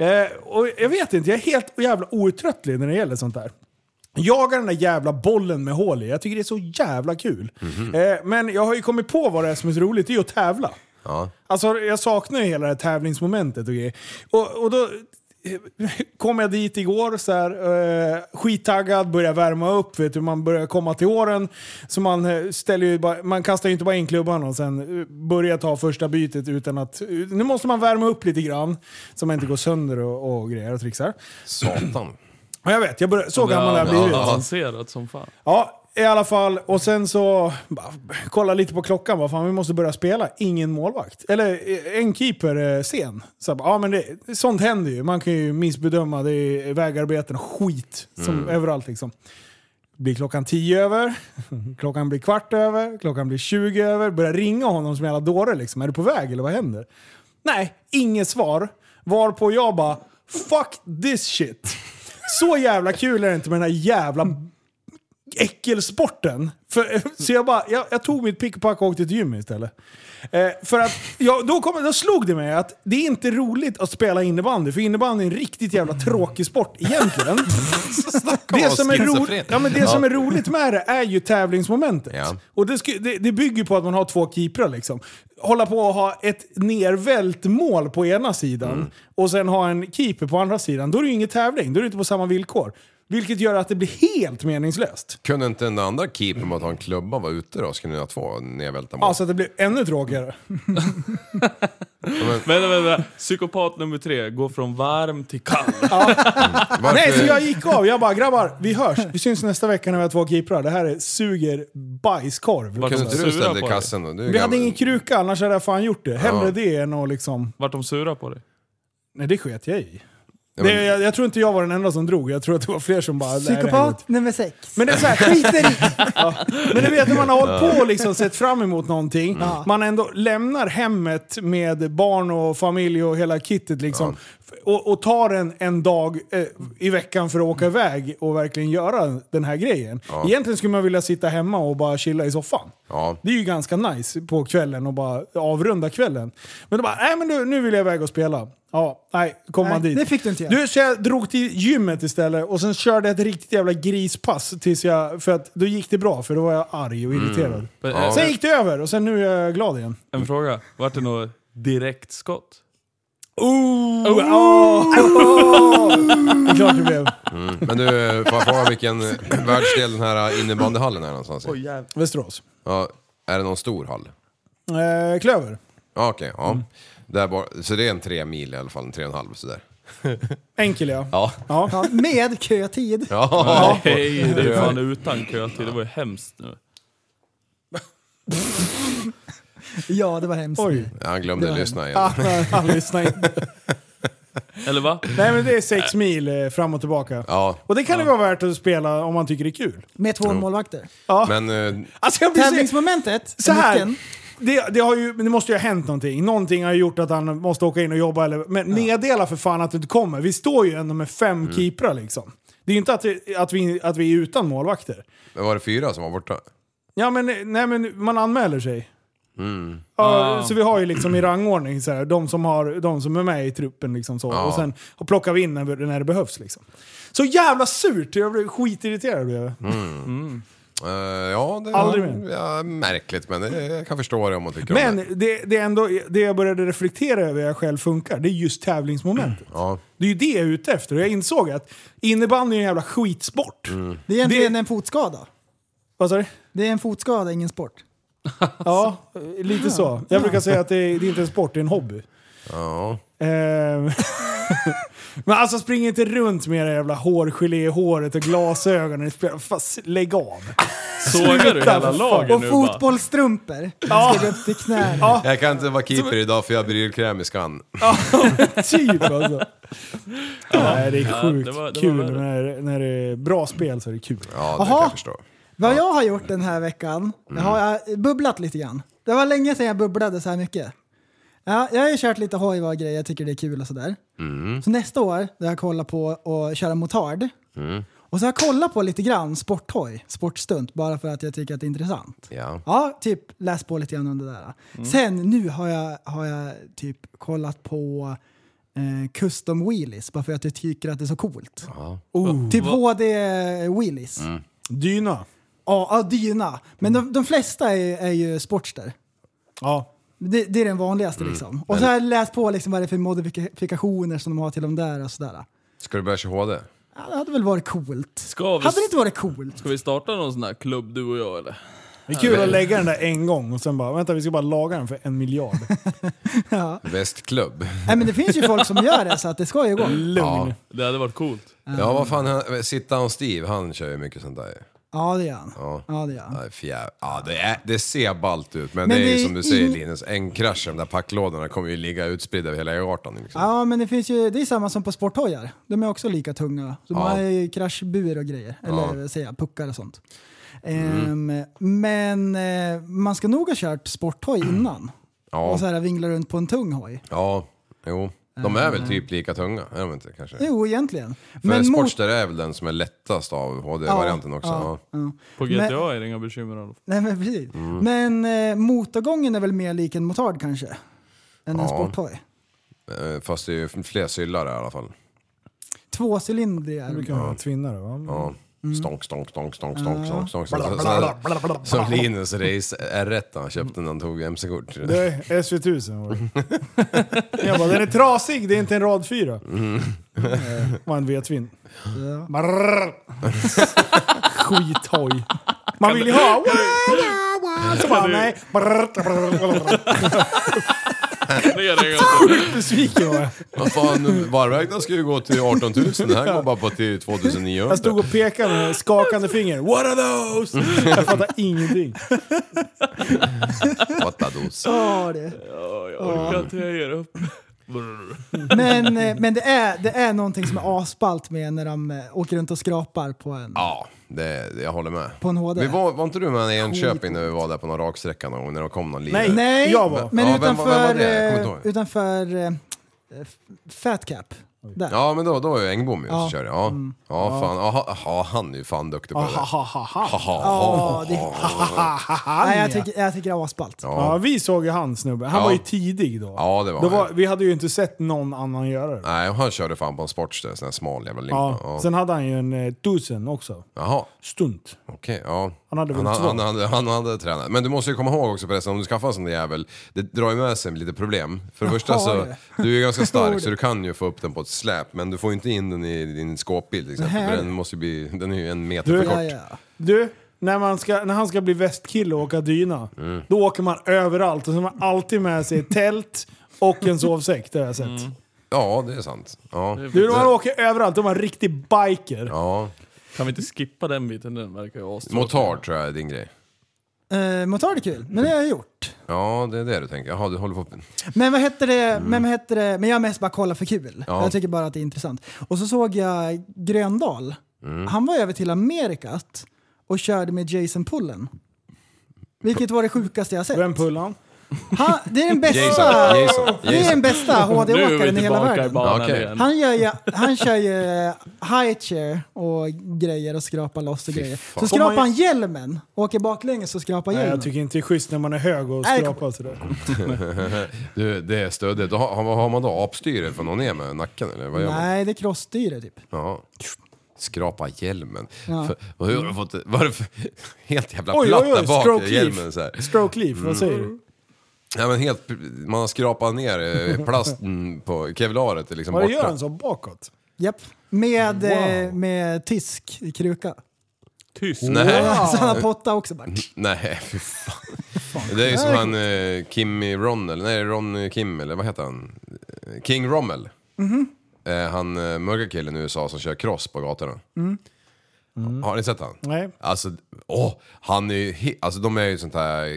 Speaker 5: Eh, och jag vet inte, jag är helt jävla outtröttlig när det gäller sånt där. Jagar den där jävla bollen med hål i. Jag tycker det är så jävla kul. eh, men jag har ju kommit på vad det är som är så roligt, det är ju att tävla.
Speaker 7: Ja.
Speaker 5: Alltså jag saknar ju hela det här tävlingsmomentet och grejer. Och, och då eh, kom jag dit igår så här, eh, skittaggad, börjar värma upp, vet du, man börjar komma till åren. Så man, eh, ställer ju bara, man kastar ju inte bara in klubban och sen eh, börjar ta första bytet utan att... eh, Nu måste man värma upp lite grann så man inte går sönder och, och grejer och trixar.
Speaker 7: Satan.
Speaker 5: Ja, jag vet, jag börjar, så gammal har jag blivit.
Speaker 8: Ja, avancerat som fan.
Speaker 5: Ja, i alla fall. Och sen så bara, kolla lite på klockan. Vad fan, vi måste börja spela. Ingen målvakt. Eller eh, en keeper eh, sen. Så jag bara, ja, men det, sånt händer ju. Man kan ju missbedöma. Det är vägarbeten och skit som överallt liksom. Blir klockan tio över, klockan blir kvart över, klockan blir tjugo över. Börjar ringa honom som en jävla dåre liksom. Är du på väg eller vad händer? Nej, inget svar. Varpå jag bara, fuck this shit. Så jävla kul är det inte med den här jävla äckelsporten. För, så jag, bara, jag, jag tog mitt pick och pack och åkte till gymmet istället. Eh, för att jag, då, kom, då slog det mig att det är inte roligt att spela innebandy, för innebandy är en riktigt jävla tråkig sport egentligen. det som, är ro,
Speaker 7: schizofren.
Speaker 5: ja, men det som är roligt med det är ju tävlingsmomentet.
Speaker 7: Ja.
Speaker 5: Och det, sku, det, det bygger på att man har två keeprar liksom. Hålla på och ha ett nervält mål på ena sidan
Speaker 7: Mm.
Speaker 5: och sen ha en keeper på andra sidan. Då är det ju ingen tävling, då är det inte på samma villkor. Vilket gör att det blir helt meningslöst.
Speaker 7: Kunde inte den andra keepern bara ta en klubba och vara ute då? Skulle ni ha två nedvälta mål?
Speaker 5: Alltså att det blir ännu tråkigare.
Speaker 8: Vänta, vänta, vänta. Psykopat nummer tre går från varm till kall.
Speaker 7: Varför-
Speaker 5: Nej, så jag gick av. Jag bara grabbar, vi hörs. Vi syns nästa vecka när vi har två keeprar. Det här är, suger bajskorv.
Speaker 8: Vart,
Speaker 7: Kunde
Speaker 8: de
Speaker 7: inte du ställa
Speaker 8: sura
Speaker 7: dig
Speaker 8: på
Speaker 7: i
Speaker 8: dig?
Speaker 7: kassen då? Du är
Speaker 5: Vi hade
Speaker 7: gammal.
Speaker 5: ingen kruka, annars hade jag fan gjort det. Hellre
Speaker 7: Ja.
Speaker 5: det än att liksom...
Speaker 8: Vart de sura på dig?
Speaker 5: Nej, det sket jag i.
Speaker 7: Ja, men-
Speaker 5: Det, jag, jag tror inte jag var den enda som drog. Jag tror att det var fler som bara... "Nej, det här går inte."
Speaker 6: Psykopat nummer sex.
Speaker 5: Men det är så här, skiter i.
Speaker 7: *laughs*
Speaker 5: Ja. *laughs* Men du vet när man har hållit på och liksom sett fram emot någonting.
Speaker 7: Mm.
Speaker 5: Man ändå lämnar hemmet med barn och familj och hela kittet liksom. F- Och, och tar en, en dag eh, i veckan för att åka
Speaker 7: Mm.
Speaker 5: iväg och verkligen göra den här grejen. Egentligen skulle man vilja sitta hemma och bara chilla i soffan.
Speaker 7: Ja.
Speaker 5: Det är ju ganska nice på kvällen och bara avrunda kvällen. Men då bara, nej men nu, nu vill jag iväg och spela. Ja, nej, kom
Speaker 6: Nej,
Speaker 5: man dit.
Speaker 6: det fick du inte göra.
Speaker 5: Du, så jag drog till gymmet istället och sen körde jag ett riktigt jävla grispass tills jag... För att då gick det bra, för då var jag arg och
Speaker 7: Mm.
Speaker 5: irriterad.
Speaker 8: Men, eh,
Speaker 5: Sen gick det över och sen nu är jag glad igen.
Speaker 8: En fråga. Vart det något direktskott?
Speaker 5: Ooh, oh. Det är klart det blev.
Speaker 7: Men du, får jag fråga vilken världsdel den här innebandyhallen är någonstans i?
Speaker 5: Västerås.
Speaker 7: Ja, är det någon stor hall?
Speaker 5: Eh, klöver.
Speaker 7: Ja, okej. ja.
Speaker 5: Mm.
Speaker 7: Där bara, så det är en tre mil i alla fall, en tre och en halv sådär.
Speaker 5: Enkel ja.
Speaker 7: Ja.
Speaker 5: ja.
Speaker 6: Ja, med kötid.
Speaker 7: Ja.
Speaker 8: Hej, det är fan utan kötid. Det var ju hemskt nu.
Speaker 6: Ja, det var hemskt.
Speaker 5: Oj.
Speaker 7: Han glömde lyssna igen.
Speaker 5: Ah, nej, han lyssnar inte.
Speaker 8: Eller va?
Speaker 5: Nej men det är sex mil eh, fram och tillbaka.
Speaker 7: Ja,
Speaker 5: Och det kan det vara värt att spela om man tycker det är kul.
Speaker 6: Med två målvakter.
Speaker 7: men eh,
Speaker 5: Alltså jag blir så-
Speaker 6: Tävlingsmomentet,
Speaker 5: Så här,
Speaker 6: nyckeln.
Speaker 5: det, det, har ju, men det måste ju ha hänt någonting. Någonting har gjort att han måste åka in och jobba. Eller, men meddela för fan att du inte kommer. Vi står ju ändå med fem
Speaker 7: Mm.
Speaker 5: keeprar liksom. Det är ju inte att, vi- att, vi, att vi är utan målvakter.
Speaker 7: var det fyra som var borta?
Speaker 5: Ja men, nej, men man anmäler sig.
Speaker 7: Ah.
Speaker 5: Ja, Så vi har ju liksom i rangordning så här, de, som har, de som är med i truppen liksom så. Och sen plockar vi in när, när det behövs liksom. Så jävla surt! Jag blev skitirriterad. Blev jag.
Speaker 7: Eh, ja, det
Speaker 5: Aldrig
Speaker 7: var
Speaker 5: mer.
Speaker 7: ja, märkligt, men det, jag kan förstå det om man tycker om det.
Speaker 5: Men det, det, är ändå, det jag började reflektera över hur jag själv funkar, det är just tävlingsmomentet.
Speaker 7: Ja.
Speaker 5: Det är ju det jag är ute efter. Och jag insåg att innebandy är en jävla skitsport.
Speaker 8: Mm.
Speaker 6: Det är egentligen
Speaker 5: Det-
Speaker 6: en fotskada.
Speaker 5: Vad sa du?
Speaker 6: Det är en fotskada, ingen sport.
Speaker 5: *laughs* Ja, lite så. Jag brukar säga att det är, det är inte en sport, det är en hobby.
Speaker 7: Ja.
Speaker 5: Ehm, *laughs* Men alltså spring inte runt med era jävla hårgelé i håret och glasögonen. Fast lägg av.
Speaker 8: Sågar du hela
Speaker 5: för fan.
Speaker 8: laget
Speaker 6: Och
Speaker 8: nu bara?
Speaker 6: fotbollsstrumpor. Ja. Ska gå upp till knäna.
Speaker 7: Jag kan inte vara keeper idag för jag har brylkräm i skan.
Speaker 5: Typ alltså. Nej, det är
Speaker 8: Ja,
Speaker 5: sjukt
Speaker 8: det var- det var
Speaker 5: kul.
Speaker 8: värre.
Speaker 5: När, när det är bra spel så är det kul.
Speaker 7: Ja, det kan
Speaker 6: Jaha.
Speaker 7: jag förstå.
Speaker 6: Vad jag har gjort den här veckan, jag har eh, bubblat lite grann. Det var länge sedan jag bubblade så här mycket. Ja, jag har ju kört lite hoj och grejer, jag tycker det är kul och sådär. Så nästa år, då har jag kollat på att köra motard. Och så har jag kollat på lite grann sporthoj, sportstunt, bara för att jag tycker att det är intressant.
Speaker 7: Ja.
Speaker 6: Ja, typ läst på lite grann om det där. Sen nu har jag, har jag typ kollat på eh, custom wheelies, bara för att jag tycker att det är så coolt. Typ HD-wheelies.
Speaker 5: Dyna.
Speaker 6: Ja, ja, dyna. Men de, de flesta är, är ju sportster.
Speaker 5: Ja.
Speaker 6: Det, det är den vanligaste
Speaker 7: Mm.
Speaker 6: liksom. Och så har jag läst på liksom vad det är för modifikationer som de har till de där och sådär.
Speaker 7: Ska du börja köra HD?
Speaker 6: Ja, det hade väl varit coolt.
Speaker 8: Ska vi,
Speaker 6: Hade det inte varit coolt?
Speaker 8: ska vi starta någon sån här klubb du och jag eller?
Speaker 5: Det är kul att lägga den där en gång och sen bara, vänta vi ska bara laga den för en miljard.
Speaker 7: Västklubb?
Speaker 5: Mm.
Speaker 6: Nej, men det finns ju folk som gör det så att det ska ju gå.
Speaker 5: Lugn.
Speaker 8: Det hade varit coolt.
Speaker 7: Ja, vad fan, han, Sitta och Steve, han kör ju mycket sånt där ju.
Speaker 6: Ja, det gör han.
Speaker 7: Ja.
Speaker 6: Ja, det gör han.
Speaker 7: Ja, fjär- Ja, det, är, det ser ballt ut, men,
Speaker 6: Men
Speaker 7: det är
Speaker 6: det
Speaker 7: ju
Speaker 6: är
Speaker 7: som du säger
Speaker 6: ing-
Speaker 7: Linus, en krasch i de där packlådorna kommer ju ligga utspridda över hela E18. Liksom.
Speaker 6: Ja, men det finns ju, det är samma som på sporthojar. De är också lika tunga. De
Speaker 7: Ja.
Speaker 6: har ju kraschbur och grejer, eller ja. säga, puckar och sånt.
Speaker 7: Mm.
Speaker 6: Ehm, men eh, man ska nog ha kört sporthoj innan.
Speaker 7: *clears throat* Ja,
Speaker 6: Och så här vingla runt på en tung hoj.
Speaker 7: ja, jo. De är väl typ lika tunga? Är de inte kanske?
Speaker 6: Jo, egentligen.
Speaker 7: För
Speaker 6: Men mot-
Speaker 7: Sportster är väl den som är lättast av HD-varianten också. Ja.
Speaker 6: ja.
Speaker 8: På
Speaker 6: Men-
Speaker 8: GTA är det inga bekymmer
Speaker 7: *laughs*
Speaker 8: alls.
Speaker 6: Nej men precis.
Speaker 7: Mm.
Speaker 6: Men eh, motorgången är väl mer lik en motard kanske? Än en
Speaker 7: Ja.
Speaker 6: sporttoy.
Speaker 7: Eh, Fast det är ju fler syllar i alla fall.
Speaker 6: Tvåcylindrig är
Speaker 7: Mm.
Speaker 5: Det
Speaker 6: den.
Speaker 5: brukar vara tvinnare va?
Speaker 7: Ja. Stånk, stånk, stånk, stånk, stånk, stånk, stånk. Så- så- Som Linus Race R1 han köpte när han tog MC-kort.
Speaker 5: Det är SV1000 var det. Jag bara, den är trasig, det är inte en rad 4. Eh, Var en V-twin.
Speaker 6: Mm. Ja.
Speaker 5: Brrr. Skithoj. Man vill ju ha... Wah, wah, wah. Så bara, nej. Brrr, brrr, brrr.
Speaker 8: Det är det inga-
Speaker 5: Besviken var jag.
Speaker 7: Vad fan, varvvägden ska ju gå till 18 000, det här går bara på till 2900.
Speaker 5: Jag stod och pekade med skakande finger. What are those? Jag fattar ingenting.
Speaker 7: Fattados.
Speaker 6: Ja, det.
Speaker 8: Ja, jag orkar inte, jag ger upp. Brr.
Speaker 6: Men, eh, men det, är, det är någonting som är asballt med när de eh, åker runt och skrapar på en,
Speaker 7: Ja, det, jag håller med.
Speaker 6: på en HD.
Speaker 7: Vi var, var inte du med i Enköping när vi var där på någon raksträcka någon gång när det kom någon lirare?
Speaker 5: Nej,
Speaker 6: Nej,
Speaker 5: Jag var.
Speaker 6: men
Speaker 7: Ja, vem- vem var
Speaker 6: utanför,
Speaker 7: det? Jag kommer
Speaker 6: eh,
Speaker 7: inte ihåg.
Speaker 6: utanför eh, f- Fat Cap. Där.
Speaker 7: Ja men då, då var ju Engbom ute
Speaker 6: Ja. Mm.
Speaker 7: och körde. Ja, ja fan. Aha, aha, han är ju fan duktig på det. där.
Speaker 5: Ahahaha.
Speaker 7: Haha,
Speaker 6: Ja,
Speaker 7: haha.
Speaker 6: det, nej, jag, tycker, jag tycker det är asballt.
Speaker 5: Ja,
Speaker 7: Ja.
Speaker 5: vi såg ju han snubben. Han
Speaker 7: Ja.
Speaker 5: var ju tidig då.
Speaker 7: Ja, det var
Speaker 5: då
Speaker 7: han.
Speaker 5: var, Vi hade ju inte sett någon annan göra det.
Speaker 7: Nej, han körde fan på en sportster, en sån här smal jävla limpa.
Speaker 5: Ja.
Speaker 7: Ja.
Speaker 5: Sen hade han ju en eh, tusen också.
Speaker 7: Jaha,
Speaker 5: Stunt.
Speaker 7: okej. ja.
Speaker 5: Han hade väl
Speaker 7: han,
Speaker 5: två.
Speaker 7: han, han, han hade tränat. Men du måste ju komma ihåg också förresten, om du skaffar en sån där jävel, det drar ju med sig lite problem. För det första så,
Speaker 6: det.
Speaker 7: du är ju ganska
Speaker 6: det.
Speaker 7: stark så du kan ju få upp den på ett släp, men du får ju inte in den i din skåpbil till exempel.
Speaker 6: Nej.
Speaker 7: För den, måste ju bli, den är ju en meter
Speaker 5: Du-
Speaker 7: för
Speaker 6: Ja,
Speaker 7: kort.
Speaker 6: ja.
Speaker 5: Du, när, man ska, när han ska bli västkille och åka dyna,
Speaker 7: Mm.
Speaker 5: då åker man överallt och så har man alltid med sig tält och en sovsäck. Det har jag sett.
Speaker 7: Mm. Ja, det är sant. Ja.
Speaker 5: Du, man åker överallt, då är man riktig biker.
Speaker 7: Ja.
Speaker 8: Kan vi inte skippa den biten? Den verkar ju astråkig.
Speaker 7: Motard tror jag är din grej.
Speaker 6: Eh, motard är kul, men det har jag gjort.
Speaker 7: Ja, det är det du tänker. Jaha, du håller på...
Speaker 6: Men vad hette det? Men, vad hette det? men jag har mest bara kollat för kul.
Speaker 7: Mm. Ja.
Speaker 6: Jag tycker bara att det är intressant. Och så såg jag Gröndal.
Speaker 7: Mm.
Speaker 6: Han var över till Amerikat och körde med Jason Pullen. Vilket var det sjukaste jag har sett.
Speaker 5: Vem pullan?
Speaker 6: Han, det är den bästa,
Speaker 7: Jason, Jason,
Speaker 6: det är
Speaker 7: Jason.
Speaker 6: den bästa
Speaker 8: Nu är
Speaker 6: HD-åkaren
Speaker 8: vi
Speaker 6: i hela
Speaker 8: tillbaka i
Speaker 6: världen.
Speaker 8: banan
Speaker 7: Okej.
Speaker 8: igen.
Speaker 6: Han, gör ju, han kör ju high chair och grejer och skrapar loss och
Speaker 7: Fy
Speaker 6: grejer.
Speaker 7: fan.
Speaker 6: Så
Speaker 5: Om man-
Speaker 6: skrapar han hjälmen och åker baklänges och skrapar
Speaker 5: Nej,
Speaker 6: hjälmen.
Speaker 5: jag tycker inte det är schysst när man är hög och
Speaker 6: Nej,
Speaker 5: skrapar och sådär.
Speaker 7: Du, det är stödigt. Då har, vad har man då? Apstyre från och ner med nacken eller vad gör man?
Speaker 6: Nej, det är crossstyre typ.
Speaker 7: Ja. Skrapa hjälmen.
Speaker 6: Ja.
Speaker 7: För, och hur har du fått det? Varför? *laughs* Helt jävla
Speaker 5: Oj,
Speaker 7: platt
Speaker 5: oj, oj,
Speaker 7: där bak
Speaker 5: stroke
Speaker 7: i hjälmen så här.
Speaker 5: leaf. Stroke leaf, vad säger
Speaker 7: Mm.
Speaker 5: du?
Speaker 7: Ja, men helt, man har skrapat ner
Speaker 5: *laughs*
Speaker 7: eh, plasten på kevlaret är liksom
Speaker 5: Vad gör
Speaker 7: borta.
Speaker 5: han så bakåt?
Speaker 6: Japp. Med, eh,
Speaker 5: Wow.
Speaker 6: med tysk i kruka.
Speaker 8: Tyst.
Speaker 7: Nej,
Speaker 6: Så han har potta också bara.
Speaker 7: nej, *laughs* fy fan. Det är ju som han eh, Kimmy Ronnell, nej Ron eh, Kim eller vad heter han? Eh, King Rommel. Eh, han eh, mörka killen i USA som kör cross på gatorna. Har ni sett han?
Speaker 5: Nej.
Speaker 7: Alltså, åh, han är ju he- alltså de är ju sånt här eh,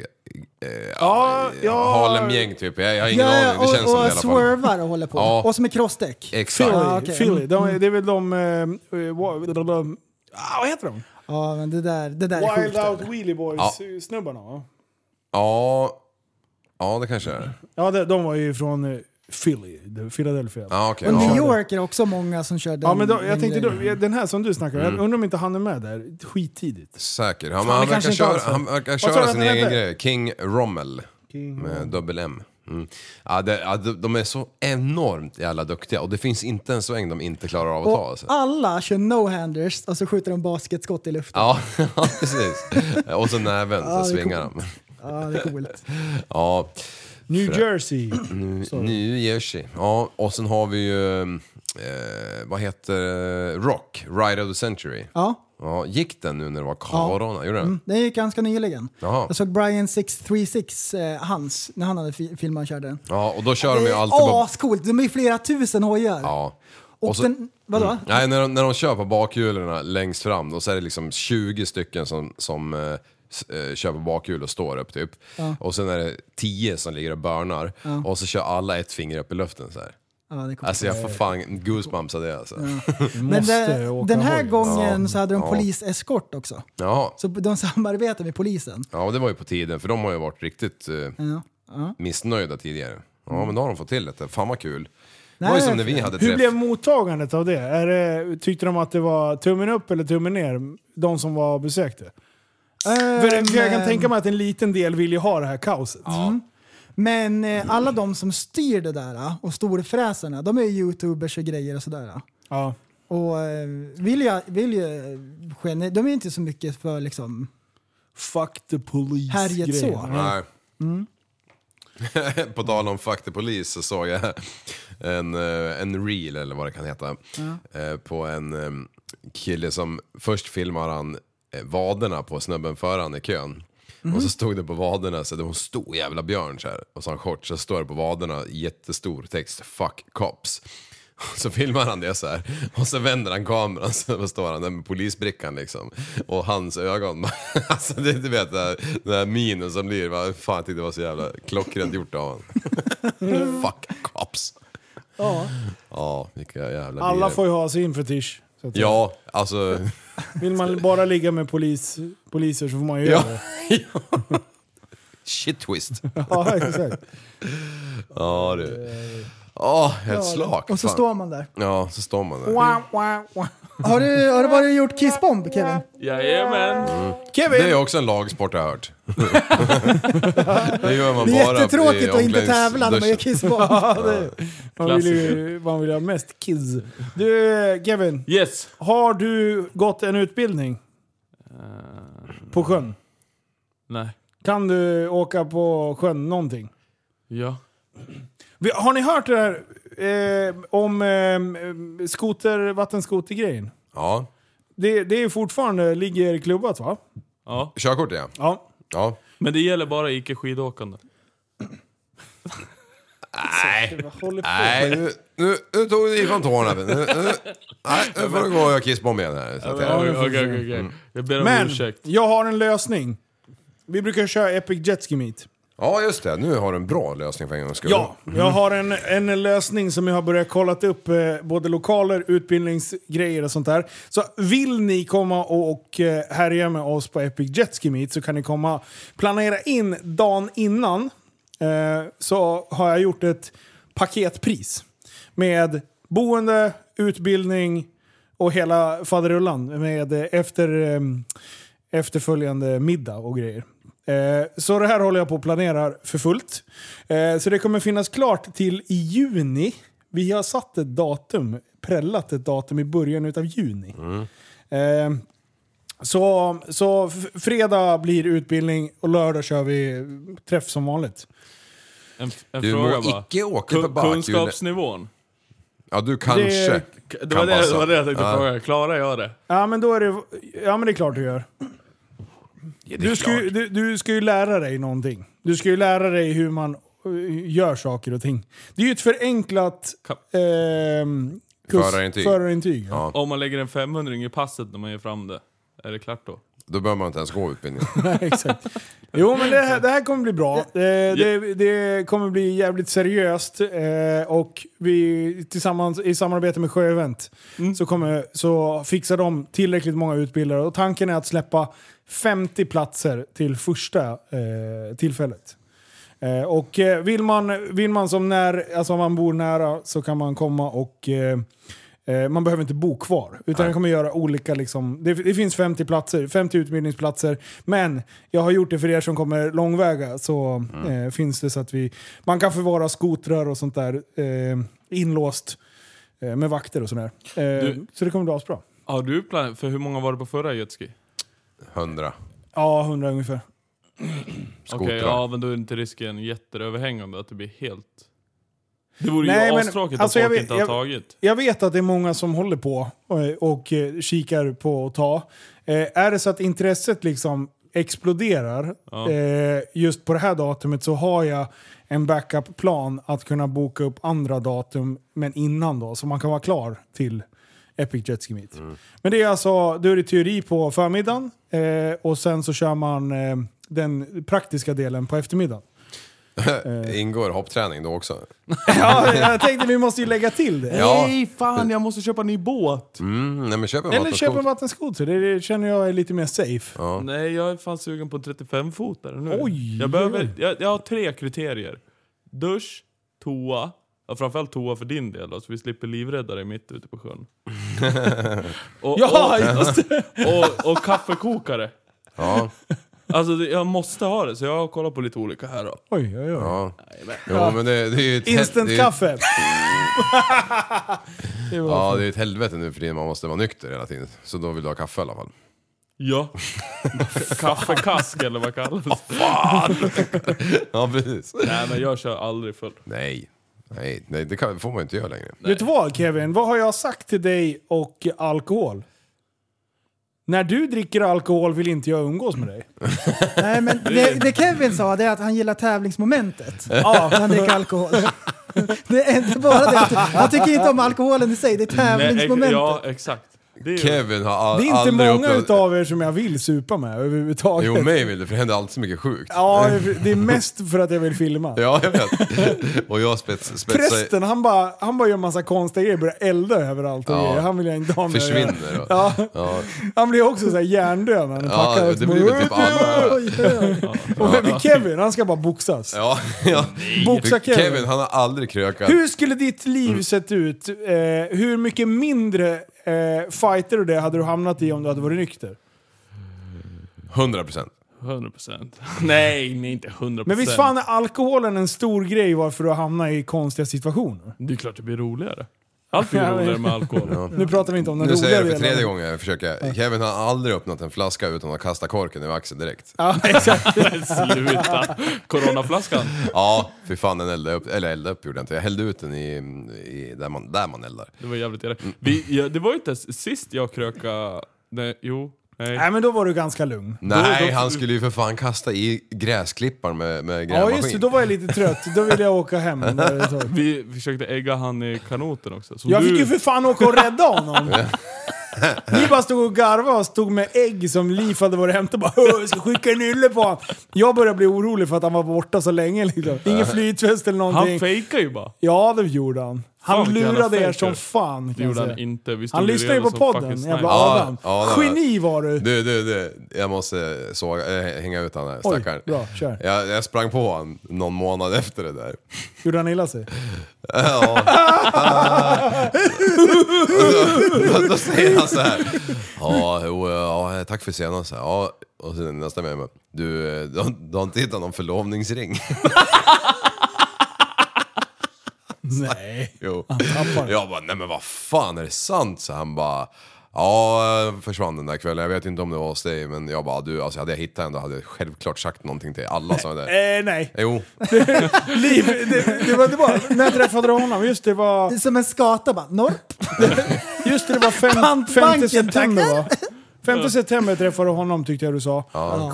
Speaker 5: Ja, ja.
Speaker 7: Harlem-gäng typ. Jag, jag har ingen aning, det
Speaker 6: och,
Speaker 7: känns som det i
Speaker 6: och
Speaker 7: alla fall.
Speaker 6: swervar och håller på.
Speaker 7: Ja.
Speaker 6: Och som är crossdäck.
Speaker 7: Exakt.
Speaker 6: Ja, Ah,
Speaker 5: Philly.
Speaker 6: okej. Mm.
Speaker 5: Philly. De, det är väl de... eh, eh, wa- de- de- de- Ah, vad heter de?
Speaker 6: Ja, men det där, det där är
Speaker 5: Wild
Speaker 6: sjukt.
Speaker 5: Out
Speaker 6: eller?
Speaker 5: Wheelie Boys-snubbarna va?
Speaker 7: Ja, ja det kanske är.
Speaker 5: Ja, de, de var ju från eh, Philly, de- Philadelphia. Ja.
Speaker 7: Ja, okej.
Speaker 6: Och
Speaker 7: ja.
Speaker 6: New York är det också många som kör den
Speaker 5: Ja, men då,
Speaker 6: den Mm.
Speaker 5: jag tänkte då,
Speaker 6: grejen.
Speaker 5: den här som du snackar om, jag undrar om inte han är med där skittidigt.
Speaker 7: Säker. Han,
Speaker 5: det
Speaker 7: han, verkar
Speaker 5: kanske inte
Speaker 7: köra,
Speaker 5: alls är.
Speaker 7: han verkar
Speaker 5: sa du
Speaker 7: köra
Speaker 5: att
Speaker 7: sin
Speaker 5: han
Speaker 7: egen
Speaker 5: hette?
Speaker 7: grej. King Rommel. med dubbel M. Mm. Ja, det, ja, de, de är så enormt jävla duktiga och det finns inte en sväng de inte klarar av att ta.
Speaker 6: Och
Speaker 7: Alltså.
Speaker 6: alla kör no-handers och så skjuter de basketskott i luften.
Speaker 7: Ja, *laughs* ja, precis. Och så näven,
Speaker 6: Ja,
Speaker 7: så
Speaker 6: det är
Speaker 7: svingar de.
Speaker 6: Ja, det är coolt.
Speaker 7: Ja,
Speaker 5: *laughs* New
Speaker 7: Frö-
Speaker 5: Jersey.
Speaker 7: New Jersey. Ja, och sen har vi ju, eh, vad heter eh, Rock, Ride of the Century.
Speaker 6: *clears throat* Ja,
Speaker 7: Ja, gick den nu när det var corona? Gjorde den?
Speaker 6: mm, det är ju ganska nyligen.
Speaker 7: Jaha.
Speaker 6: Jag såg Brian 636, eh, hans, när han hade fi- filmat och körde den.
Speaker 7: Ja, och då kör de
Speaker 6: Det
Speaker 7: ju
Speaker 6: är
Speaker 7: alltid på...
Speaker 6: ascoolt, de är ju flera tusen hojar.
Speaker 7: Ja.
Speaker 6: och
Speaker 7: och så- Mm.
Speaker 6: den, vadå?
Speaker 7: Nej, när de, när de kör på bakhjulen längst fram, då så är det liksom 20 stycken som, som eh, s- eh, kör på bakhjul och står upp typ. Och sen är det 10 som ligger och börnar. Och så kör alla ett finger upp i luften så här.
Speaker 6: Ja, det är coolt.
Speaker 7: Alltså jag får fan goosebumps av det alltså. *laughs*
Speaker 6: Men
Speaker 5: Måste
Speaker 6: det,
Speaker 5: åka
Speaker 6: den här
Speaker 5: hoj.
Speaker 6: gången
Speaker 7: Ja,
Speaker 6: så hade de
Speaker 7: ja.
Speaker 6: poliseskort också.
Speaker 7: Jaha.
Speaker 6: Så de samarbetar med polisen.
Speaker 7: Ja, och det var ju på tiden, för de har ju varit riktigt eh, missnöjda tidigare. Ja, men då har de fått till det. Fan vad kul. Det var ju som när vi hade
Speaker 5: Hur blev
Speaker 7: träff.
Speaker 5: mottagandet av det? Är det? Tyckte de att det var tummen upp eller tummen ner, de som var och besökte? Eh, För, för jag kan tänka mig att en liten del vill ju ha det här kaoset. Mm.
Speaker 6: Men eh, alla de som styr det där eh, och storfräsarna, de är ju youtubers och grejer och sådär. eh.
Speaker 5: Ja.
Speaker 6: Och eh, vill jag, vill ju, eh, gene- de är inte så mycket för liksom
Speaker 5: Fuck the police
Speaker 6: härjet så.
Speaker 7: Nej. *laughs* På tal om Fuck the Police så såg jag en, eh, en reel eller vad det kan heta. eh, På en eh, kille som först filmar han eh, vaderna på snubben före han i kön. Och så stod det på vaderna, så det var en stor jävla björn så här. Och så har han shorts, så står det på vaderna jättestor text, fuck cops. *laughs* Så filmar han det så här och så vänder han kameran så står han där med polisbrickan liksom. Och hans ögon, *laughs* alltså det, du vet den här, den här minen som blir, va? fan jag tyckte det var så jävla klockrent gjort av
Speaker 6: *laughs*
Speaker 7: honom. Fuck cops.
Speaker 5: Ja.
Speaker 7: Ja, vilka jävla
Speaker 5: Alla
Speaker 7: lirar.
Speaker 5: får ju ha sin fetisch. Så att
Speaker 7: Ja, alltså.
Speaker 5: Vill man bara ligga med polis, poliser så får man ju
Speaker 7: Ja.
Speaker 5: göra det.
Speaker 7: Shit twist.
Speaker 5: Ja, exakt.
Speaker 7: Ja du. Ja, helt slak.
Speaker 6: Och så
Speaker 7: fan.
Speaker 6: står man där.
Speaker 7: Ja, så står man där.
Speaker 6: Har du, har du varit och gjort kissbomb Kevin?
Speaker 8: Jajamän!
Speaker 7: Det är också en lagsport jag har
Speaker 6: *laughs*
Speaker 7: hört. *laughs* det gör man
Speaker 6: Det är
Speaker 7: bara
Speaker 6: jättetråkigt
Speaker 7: i
Speaker 6: att inte tävla när man gör
Speaker 7: omklädningsduschen.
Speaker 5: *laughs*
Speaker 6: kissbomb.
Speaker 5: Man vill ju man vill ha mest kids. Du, Kevin.
Speaker 8: Yes!
Speaker 5: Har du gått en utbildning på sjön?
Speaker 8: Nej.
Speaker 5: Kan du åka på sjön någonting?
Speaker 8: Ja.
Speaker 5: Vi- Har ni hört det här eh, om eh, skoter, vattenskotergrejen?
Speaker 7: Ja,
Speaker 5: Det, det är fortfarande, ligger klubbat va?
Speaker 8: Ja.
Speaker 7: körkort ja.
Speaker 5: Ja.
Speaker 7: ja.
Speaker 8: Men det gäller bara icke skidåkande.
Speaker 7: Nej,
Speaker 5: Håller på.
Speaker 7: nej nu, nu, nu tog du i från tårna. Nu, nu, nej, nu får du gå och göra kissbomb igen här. Så att jag,
Speaker 8: Okej, okej, okej. Jag ber om
Speaker 5: Men
Speaker 8: ursäkt.
Speaker 5: jag har en lösning. Vi brukar köra Epic Jet Ski Meet.
Speaker 7: ja, just det. Nu har du en bra lösning för en gångs skull.
Speaker 5: Ja, jag har en, en lösning som jag har börjat kolla upp, eh, både lokaler, utbildningsgrejer och sånt där. Så vill ni komma och, och eh, härja med oss på Epic Jet Ski Meet så kan ni komma, planera in dagen innan. Eh, så har jag gjort ett paketpris med boende, utbildning och hela faderullan med eh, efter... ehm, efterföljande middag och grejer. Eh, Så det här håller jag på och planerar för fullt. Eh, Så det kommer finnas klart till i juni. Vi har satt ett datum, prällat ett datum i början utav juni. Eh, Så, så f- fredag blir utbildning och lördag kör vi träff som vanligt.
Speaker 8: En, en
Speaker 7: Du
Speaker 8: fråga
Speaker 7: må
Speaker 8: bara.
Speaker 7: icke åka på
Speaker 8: Kun-
Speaker 7: bakhjulet.
Speaker 8: Kunskapsnivån?
Speaker 7: Ja, du kanske
Speaker 5: Det-
Speaker 8: Det var
Speaker 7: kan
Speaker 8: det, det
Speaker 7: passa.
Speaker 8: var det jag tänkte
Speaker 7: Ja.
Speaker 8: fråga. Klarar jag det?
Speaker 5: Ja men då är det, ja, men det är klart du gör.
Speaker 7: Ja, det är
Speaker 5: Du ska, ju,
Speaker 7: klart.
Speaker 5: du, du ska ju lära dig någonting. Du ska ju lära dig hur man eh, gör saker och ting. Det är ju ett förenklat
Speaker 8: Ka-
Speaker 5: ehm, kurs-
Speaker 7: Förarintyg.
Speaker 5: förarintyg, ja.
Speaker 8: Om man lägger en 500 i passet när man ger fram det, är det klart då?
Speaker 7: Då behöver man inte ens gå utbildningen.
Speaker 5: *laughs* Exakt. Jo, men det här, det här kommer bli bra. Eh, det, det kommer bli jävligt seriöst. Eh, och vi tillsammans i samarbete med Sjöevent så, kommer, så fixar de tillräckligt många utbildare. Och tanken är att släppa 50 platser till första eh, tillfället. Eh, och eh, vill man, vill man som när, alltså om man bor nära så kan man komma och eh, Eh, Man behöver inte bo kvar. Utan jag kommer göra olika, liksom, det, det finns 50 platser, 50 utbildningsplatser. Men jag har gjort det för er som kommer långväga. Så eh, finns det så att vi, man kan förvara skotrar och sånt där eh, inlåst eh, med vakter och sådär. Eh,
Speaker 8: Du-
Speaker 5: Så det kommer bli asbra.
Speaker 8: Har du plan För hur många var det på förra jetski?
Speaker 7: Hundra.
Speaker 5: Ja, 100 ungefär.
Speaker 8: Okej,
Speaker 7: Skotrar.
Speaker 8: ja men då är inte risken jätteöverhängande att det blir helt... Det vore
Speaker 5: Nej,
Speaker 8: ju
Speaker 5: men-
Speaker 8: astråkigt
Speaker 5: alltså,
Speaker 8: att
Speaker 5: jag
Speaker 8: folk
Speaker 5: vet-
Speaker 8: inte har
Speaker 5: jag-
Speaker 8: tagit.
Speaker 5: Jag vet att det är många som håller på och, och eh, kikar på att ta. Eh, är det så att intresset liksom exploderar
Speaker 8: Ja.
Speaker 5: eh, just på det här datumet så har jag en backup-plan att kunna boka upp andra datum men innan då så man kan vara klar till Epic Jet Ski Meet. Men det är alltså, då är det teori på förmiddagen eh, och sen så kör man eh, den praktiska delen på eftermiddagen.
Speaker 7: Ingår hoppträning då också?
Speaker 5: Ja, jag tänkte vi måste ju lägga till det.
Speaker 7: Ja.
Speaker 8: fan jag måste köpa en ny båt!
Speaker 7: Mm, nej men köp en
Speaker 5: Eller köpa en
Speaker 7: vattenskoter.
Speaker 5: vattenskoter, det det känner jag är lite mer safe.
Speaker 8: Nej, jag är fan sugen på en 35-fotare nu.
Speaker 5: Oj,
Speaker 8: jag, behöver,
Speaker 5: oj.
Speaker 8: jag, jag har tre kriterier. Dusch, toa Ja, framförallt toa för din del då, så vi slipper livrädda dig mitt ute på sjön. och,
Speaker 5: Ja,
Speaker 8: och, *laughs* och, och kaffekokare.
Speaker 7: Ja,
Speaker 8: Alltså det- jag måste ha det, så jag har kollat på lite olika här då.
Speaker 5: Oj, oj, oj.
Speaker 7: ja. Jo, men det, det är ju ett hel-
Speaker 5: Instant
Speaker 7: det är ju-
Speaker 5: kaffe. Det var-
Speaker 7: Ja, det är ett helvete nu för tiden. Man måste vara nykter hela tiden. Så då vill du ha kaffe i alla fall.
Speaker 8: Ja. *laughs* Kaffekask eller vad kallas det?
Speaker 7: Ja, precis.
Speaker 8: Nej men jag kör aldrig full.
Speaker 7: Nej, nej, nej det kan, får man ju inte göra längre.
Speaker 5: Vet du vad Kevin? Vad har jag sagt till dig och alkohol? När du dricker alkohol vill inte jag umgås
Speaker 7: *laughs*
Speaker 5: med dig.
Speaker 6: Nej, men det, det Kevin sa det är att han gillar tävlingsmomentet.
Speaker 5: Ja.
Speaker 6: Han dricker alkohol. Det är inte bara det. Han tycker inte om alkoholen i sig, det är
Speaker 8: Nej, ex-
Speaker 6: tävlingsmomentet.
Speaker 8: ja exakt. Det är ju,
Speaker 7: Kevin har all,
Speaker 5: Det är inte
Speaker 7: aldrig
Speaker 5: många
Speaker 7: upplevt-
Speaker 5: utav er som jag vill supa med överhuvudtaget.
Speaker 7: Jo, mig vill det, för det händer alltid så mycket sjukt.
Speaker 5: Ja, det är mest för att jag vill filma.
Speaker 7: Ja, jag vet. Och jag spets, spetsar...
Speaker 5: Prästen, han bara, han bara gör massa konstiga grejer, börjar elda överallt och
Speaker 7: Ja.
Speaker 5: grejer. Han vill jag inte ha med att göra.
Speaker 7: Försvinner. Och,
Speaker 5: Ja.
Speaker 7: ja.
Speaker 5: Han blir också såhär hjärndöd när han packar
Speaker 7: Ja,
Speaker 5: ut
Speaker 7: det blir väl typ alla.
Speaker 6: Oj, oj, oj.
Speaker 5: Och vem är Kevin? Han ska bara boxas.
Speaker 7: Ja, ja.
Speaker 5: Boxa Kevin.
Speaker 7: Kevin, Mm. han har aldrig krökat.
Speaker 5: Hur skulle ditt liv sett ut? Eh, hur mycket mindre eh, fighter och det hade du hamnat i om du hade varit nykter?
Speaker 7: 100 procent.
Speaker 8: 100%. *laughs* Nej, nej inte 100%.
Speaker 5: Men visst fan är alkoholen en stor grej varför du hamnar i konstiga situationer?
Speaker 8: Det är klart det blir roligare. Allt
Speaker 5: *laughs*
Speaker 8: blir roligare med
Speaker 7: *laughs*
Speaker 8: alkohol.
Speaker 5: Nu pratar vi inte om den
Speaker 7: Nu
Speaker 5: roliga
Speaker 7: säger jag det för
Speaker 5: delen.
Speaker 7: tredje gången jag försöker. Kevin har aldrig öppnat en flaska utan att kasta korken över axeln direkt.
Speaker 5: Ja, exakt.
Speaker 8: Men sluta! Coronaflaskan.
Speaker 7: Ja, fy fan den eldade upp. Eller eldade upp gjorde jag inte. Jag hällde ut den i, i där, man, där man eldar.
Speaker 8: Det var jävligt
Speaker 7: Mm.
Speaker 8: elakt. Vi, ja, det var ju inte ens sist jag kröka... Nej, jo. Nej.
Speaker 5: Nej men då var du ganska lugn.
Speaker 7: Nej,
Speaker 8: då-
Speaker 7: han skulle ju för fan kasta i gräsklipparen med, med
Speaker 5: Ja
Speaker 7: grävmaskin.
Speaker 5: just det, då var jag lite trött. Då ville jag
Speaker 7: *laughs*
Speaker 5: åka hem.
Speaker 8: Vi försökte ägga han i kanoten också. Så
Speaker 5: Jag
Speaker 8: du,
Speaker 5: fick ju för fan åka och rädda honom. Ni bara stod och garvade och stod med ägg som Liv hade varit och hämtat och bara "Åh, jag ska skicka en ylle på honom. Jag började bli orolig för att han var borta så länge liksom. Ingen flytväst eller
Speaker 8: Han
Speaker 5: någonting.
Speaker 8: fejkar ju bara.
Speaker 5: Ja, det gjorde han. Han
Speaker 8: Fan, vilken
Speaker 5: lurade
Speaker 8: jävla
Speaker 5: er som
Speaker 8: fejker.
Speaker 5: fan
Speaker 8: Det
Speaker 5: kan jag
Speaker 8: gjorde han
Speaker 5: säga.
Speaker 8: inte. Vi stod
Speaker 5: Han lyssnade ju
Speaker 8: redo
Speaker 5: på
Speaker 8: som
Speaker 5: podden,
Speaker 8: fucking
Speaker 5: jävla
Speaker 8: snipers.
Speaker 7: Ja,
Speaker 5: Adam.
Speaker 7: ja, det var-
Speaker 5: Geni var du!
Speaker 7: Du, du, du. Jag måste såga, äh, hänga ut han här
Speaker 5: Oj,
Speaker 7: stackaren.
Speaker 5: bra, kör.
Speaker 7: Jag, jag sprang på han någon månad efter det där. *laughs*
Speaker 5: Gjorde han illa sig?
Speaker 7: Då säger han så här. Ja, jo, ja, tack för senast. Ja, och sen nästa med mig. Du, eh, du, har- du har inte hittat någon förlovningsring? *laughs*
Speaker 5: Nej.
Speaker 7: Jo.
Speaker 5: tappar.
Speaker 7: Jag bara, nej men vad fan är det sant? Så han bara, ja försvann den där kvällen. Jag vet inte om det var hos dig, men jag bara, du, alltså hade jag hittat en då hade jag självklart sagt någonting till alla som var där.
Speaker 5: Eh, nej.
Speaker 7: Jo,
Speaker 5: Liv, det, det var det var, när träffade du honom? Just det var,
Speaker 6: Som en skata bara. Norp.
Speaker 5: just det, det var fem,
Speaker 6: Pantbanken,
Speaker 5: 5 september
Speaker 6: *laughs*
Speaker 5: va?
Speaker 6: tackar.
Speaker 5: 5 september träffade du honom tyckte jag du sa.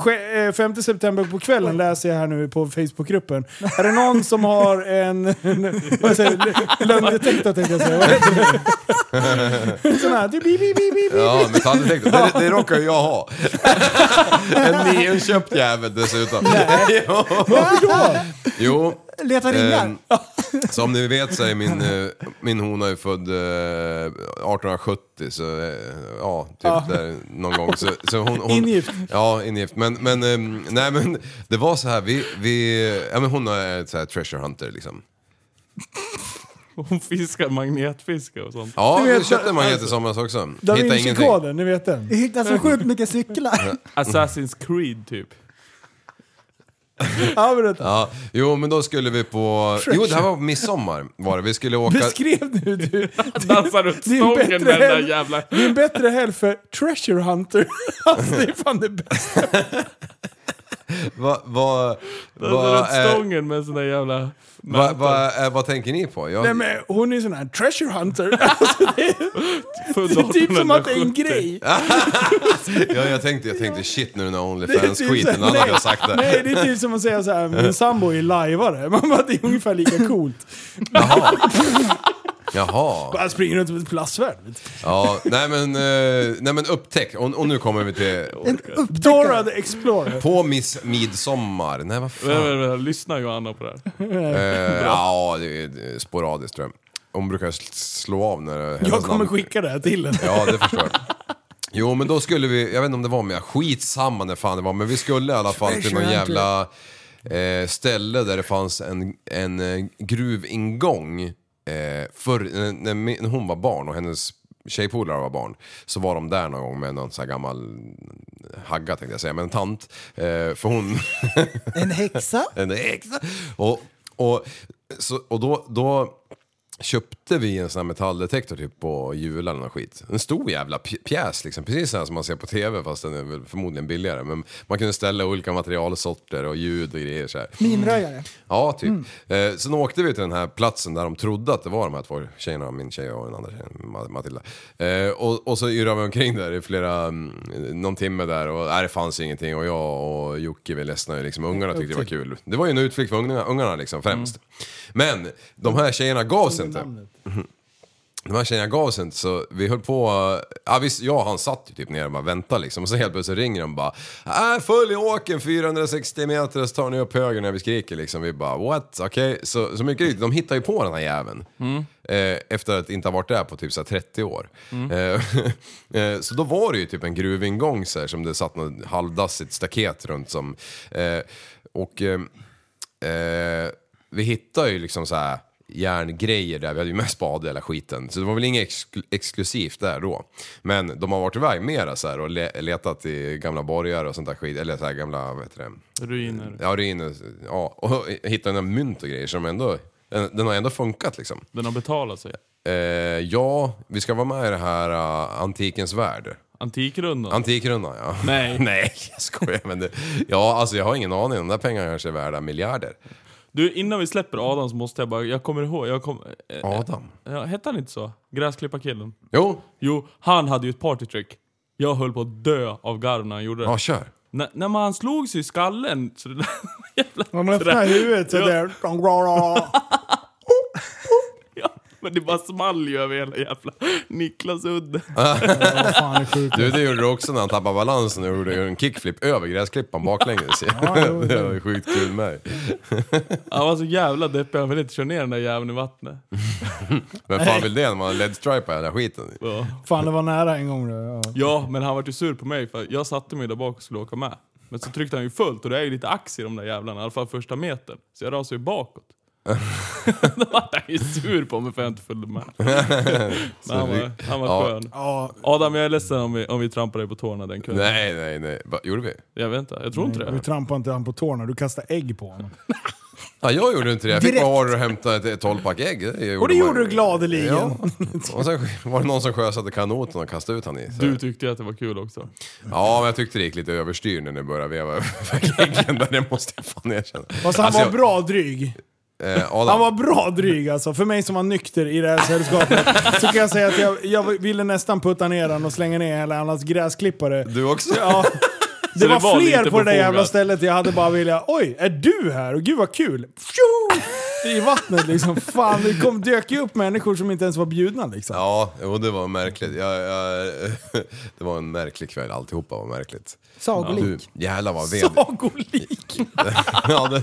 Speaker 5: Ske- eh, 5 september på kvällen läser jag här nu på Facebookgruppen. Är det någon som har en... *laughs* en- Vad säger du? Lögndetektor tänkte jag säga. *laughs* Vad heter det? En sån här... du, bi, bi, bi, bi, bi.
Speaker 7: ja, metalldetektor. Det, det råkar ju jag
Speaker 5: *laughs*
Speaker 7: ha. en nyinköpt jävel dessutom. jo.
Speaker 5: Varför då?
Speaker 7: *laughs* jo.
Speaker 6: Letar ringar.
Speaker 7: Ehm, som ni vet så är min, eh, min hona är född eh, 1870, så eh, ja, typ där någon gång. Så, så hon, hon,
Speaker 5: Ingift.
Speaker 7: Ja, ingift. Men, men, ehm, nej, men det var så här, vi, vi, ja, men hon är ett så här treasure hunter liksom.
Speaker 8: Hon fiskar magnetfiske och sånt.
Speaker 7: Ja,
Speaker 5: Du vet,
Speaker 7: vi köpte en magnet i somras också.
Speaker 5: Da
Speaker 7: Hittade ingenting.
Speaker 5: Vinci-koden, ni vet den.
Speaker 6: Det hittar så sjukt mycket cyklar.
Speaker 7: Mm.
Speaker 8: Assassin's Creed typ.
Speaker 5: Ja, berätta.
Speaker 7: Ja, jo, men då skulle vi på... Jo, det här var på midsommar var det. Vi skulle åka...
Speaker 5: Beskrev nu du
Speaker 8: Dansar runt
Speaker 5: *laughs* det är
Speaker 8: stången
Speaker 5: bättre
Speaker 8: med den där
Speaker 5: än-
Speaker 8: jävla...
Speaker 5: din bättre helg för Treasure Hunter? *laughs* Alltså det är fan det bästa.
Speaker 7: Vad va, va,
Speaker 8: Dansar runt
Speaker 7: är-
Speaker 8: stången med sån där jävla...
Speaker 7: va, va, är- vad tänker ni på? Jag,
Speaker 5: Nej, men hon är ju sån här Treasure
Speaker 7: *laughs*
Speaker 5: Hunter. Alltså, det, är,
Speaker 8: Född
Speaker 5: det är typ som att det är en
Speaker 8: 1870.
Speaker 5: grej.
Speaker 7: Ja, jag tänkte, jag tänkte shit nu är den här
Speaker 5: typ så
Speaker 7: Onlyfans-skiten,
Speaker 5: här,
Speaker 7: någon annan har sagt det.
Speaker 5: Nej, det är typ som att säga så här, min sambo är lajvare. Man bara, det är
Speaker 7: *laughs*
Speaker 5: ungefär lika coolt.
Speaker 7: Jaha. Jaha.
Speaker 5: Bara springer runt med ett plastsvärd.
Speaker 7: Ja, nej men, eh, nej men upptäck. Och, och nu kommer vi till...
Speaker 6: En upptäckare.
Speaker 5: Dora the Explorer.
Speaker 7: På miss, midsommar. Nej vad fan.
Speaker 8: Vänta, vänta, vänta. Lyssna Johanna på det här.
Speaker 7: Eh, ja, det är det är sporadiskt tror jag. Hon brukar sl- slå av när det- hennes
Speaker 5: Jag kommer
Speaker 7: namn-
Speaker 5: skicka det här till henne.
Speaker 7: *laughs* Ja, det förstår jag. Jo, men då skulle vi, jag vet inte om det var med, skitsamma när fan det var, men vi skulle i alla fall till någon jävla eh, ställe där det fanns en, en eh, gruvingång eh, förr, när, när min- när hon var barn och hennes tjejpolare var barn så var de där någon gång med någon sån här gammal hagga tänkte jag säga, men en tant. Eh, för hon...
Speaker 6: En häxa?
Speaker 7: *laughs* en häxa. Och, och, så, och då, då köpte vi en sån här metalldetektor typ på Jula eller något skit. En stor jävla pj- pjäs liksom, precis så här som man ser på tv fast den är väl förmodligen billigare. Men man kunde ställa olika materialsorter och ljud och grejer så här.
Speaker 6: Minröjare?
Speaker 7: Ja, typ. Eh, sen åkte vi till den här platsen där de trodde att det var de här två tjejerna, min tjej och den andra tjejen, Ma- Matilda. Eh, och, och så yrade vi omkring där i flera, mm, någon timme där och nej, det fanns ingenting och jag och Jocke vi ledsnade ju liksom. Ungarna tyckte det var kul. Det var ju en utflykt för ungarna, ungarna liksom främst. Men de här tjejerna gav sig inte. De här tjejerna gav sig inte så vi höll på, ja visst, jag och han satt ju typ nere och bara väntade liksom och så helt plötsligt ringer de bara äh, följ åken 460 meter så tar ni upp höger när vi skriker liksom. Vi bara what, okej. Så, så mycket riktigt, de hittar ju på den här jäveln. Eh, efter att inte ha varit där på typ så här 30 år. Eh, *laughs* eh, så då var det ju typ en gruvingång så här, som det satt något halvdassigt staket runt som. Eh, och eh, eh, vi hittade ju liksom så här järngrejer där, vi hade ju mest spade i hela skiten. Så det var väl inget exklu- exklusivt där då. Men de har varit iväg mera så här och le- letat i gamla borgar och sånt där skit, eller så här gamla, vad heter det?
Speaker 8: Ruiner.
Speaker 7: Ja, ruiner, ja, och *laughs* hittade några mynt och grejer som ändå, den, den har ändå funkat liksom.
Speaker 8: Den har betalat sig.
Speaker 7: Eh, ja, vi ska vara med i det här eh, Antikens Värld.
Speaker 8: Antikrundan.
Speaker 7: Antikrundan ja. *laughs*
Speaker 8: Nej.
Speaker 7: Nej, jag skojar. Men det, ja, alltså jag har ingen aning. De där pengarna kanske är värda miljarder.
Speaker 8: Du, innan vi släpper Adam så måste jag bara, jag kommer ihåg, jag kom, eh,
Speaker 7: Adam?
Speaker 8: ja, hette han inte så? Gräsklipparkillen?
Speaker 7: Jo,
Speaker 8: Jo, han hade ju ett partytrick. Jag höll på att dö av garv när han gjorde det.
Speaker 7: ja kör.
Speaker 8: N- när man han slog sig i skallen så det där *laughs* jävla...
Speaker 5: Om
Speaker 7: *laughs*
Speaker 5: man öppnar huvudet så
Speaker 8: Ja.
Speaker 5: där...
Speaker 8: Ja, men det bara small ju över hela jävla Niklasudden.
Speaker 5: *laughs*
Speaker 7: Äh?
Speaker 5: Fan, det är sjukt.
Speaker 7: Du, det gjorde du också när han tappade balansen och gjorde en kickflip över gräsklippan baklänges.
Speaker 5: *laughs* jo,
Speaker 7: det var ju sjukt kul med.
Speaker 8: Han var så jävla deppig, han ville inte köra ner den där jäveln i vattnet.
Speaker 7: Men fan vill det när man har ledstripar hela skiten?
Speaker 8: Ja.
Speaker 5: Fan, det var nära en gång. då. Ja.
Speaker 8: Ja, men han var ju sur på mig för jag satte mig där bak och skulle åka med. Men så tryckte han ju fullt och det är ju lite ax i de där jävlarna, i alla fall första metern. Så jag rasade ju bakåt. *laughs* Då var han ju sur på mig för jag inte följde *laughs* med. Men han var, han var
Speaker 7: Ja.
Speaker 8: skön. Adam, jag är ledsen om vi, om vi trampar dig på tårna den kvällen.
Speaker 7: Nej, nej, nej. Va, gjorde vi?
Speaker 8: Jag vet inte, jag tror inte
Speaker 5: Du
Speaker 8: det.
Speaker 5: trampar inte han på tårna, du kastar ägg på honom.
Speaker 7: Ja, jag gjorde inte det. Jag fick
Speaker 6: Direkt.
Speaker 7: bara order att hämta ett- ett tolvpack ägg. Det gjorde
Speaker 5: Och det
Speaker 7: man-
Speaker 5: gjorde du gladeligen.
Speaker 7: Ja. Och sen var det någon som sjösatte kanoten och kastade ut han i. Så-
Speaker 8: Du tyckte ju att det var kul också.
Speaker 7: Ja, men jag tyckte det gick lite överstyr när ni började veva *laughs* över väggen där, det måste jag fan erkänna.
Speaker 5: Fast han
Speaker 7: Alltså,
Speaker 5: var
Speaker 7: jag-
Speaker 5: bra dryg.
Speaker 7: Eh, Adam,
Speaker 5: Han var bra dryg alltså. För mig som var nykter i det här sällskapet så kan jag säga att jag, jag ville nästan putta ner han och slänga ner hela hans gräsklippare.
Speaker 7: Du också?
Speaker 8: *laughs*
Speaker 5: Ja. Det,
Speaker 8: det
Speaker 5: var,
Speaker 8: var lite
Speaker 5: fler på det där
Speaker 8: befogat.
Speaker 5: jävla stället jag hade bara velat, oj, är du här? Och gud vad kul! Pju! I vattnet liksom. Fan, det kom, dök ju upp människor som inte ens var bjudna liksom.
Speaker 7: Ja, jo, det var märkligt. Jag, jag, *laughs* det var en märklig kväll, alltihopa var märkligt. Du,
Speaker 6: Sagolik?
Speaker 7: jävlar vad ved...
Speaker 5: Sagolik!
Speaker 7: *laughs* ja, det,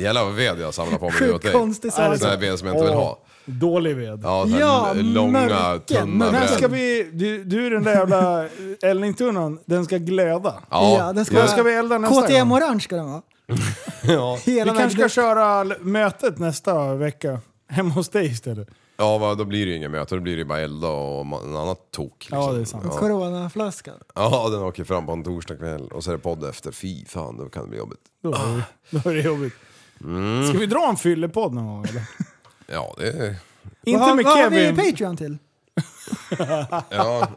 Speaker 7: jävlar vad ved jag samlade på mig nu åt dig.
Speaker 6: Sjukt konstig
Speaker 5: Är
Speaker 7: Sån
Speaker 5: det
Speaker 6: saga.
Speaker 7: här ved som jag inte vill ha.
Speaker 5: Dålig ved.
Speaker 7: Ja, så här
Speaker 6: Ja,
Speaker 7: l- långa,
Speaker 6: mörken,
Speaker 7: tunna
Speaker 5: När
Speaker 6: mörken.
Speaker 7: ved.
Speaker 5: ska vi... Du, du den där jävla eldningstunnan, den ska glöda.
Speaker 6: Ja, den ska,
Speaker 7: ja.
Speaker 5: Vad ska vi elda nästa
Speaker 6: KTM
Speaker 5: gång?
Speaker 6: orange ska den vara.
Speaker 5: Vi
Speaker 6: Hela vägen
Speaker 5: kanske ska
Speaker 6: upp.
Speaker 5: köra l- mötet nästa vecka. Hemma hos dig istället.
Speaker 7: ja vad- då blir det ju inga möten, då blir det ju bara elda och ma- en annat tok. Liksom.
Speaker 5: Ja, det är sant.
Speaker 7: Ja.
Speaker 6: Coronaflaskan.
Speaker 7: ja, den åker fram på en torsdag kväll och så är det podd efter. Fy fan, då kan det bli jobbigt.
Speaker 5: Då är det, då är det jobbigt. Ska vi dra en fyllepodd någon gång eller?
Speaker 7: Ja, det...
Speaker 5: Inte
Speaker 6: vad,
Speaker 5: med
Speaker 6: vad
Speaker 5: Kevin.
Speaker 6: har vi Patreon till?
Speaker 7: Ja,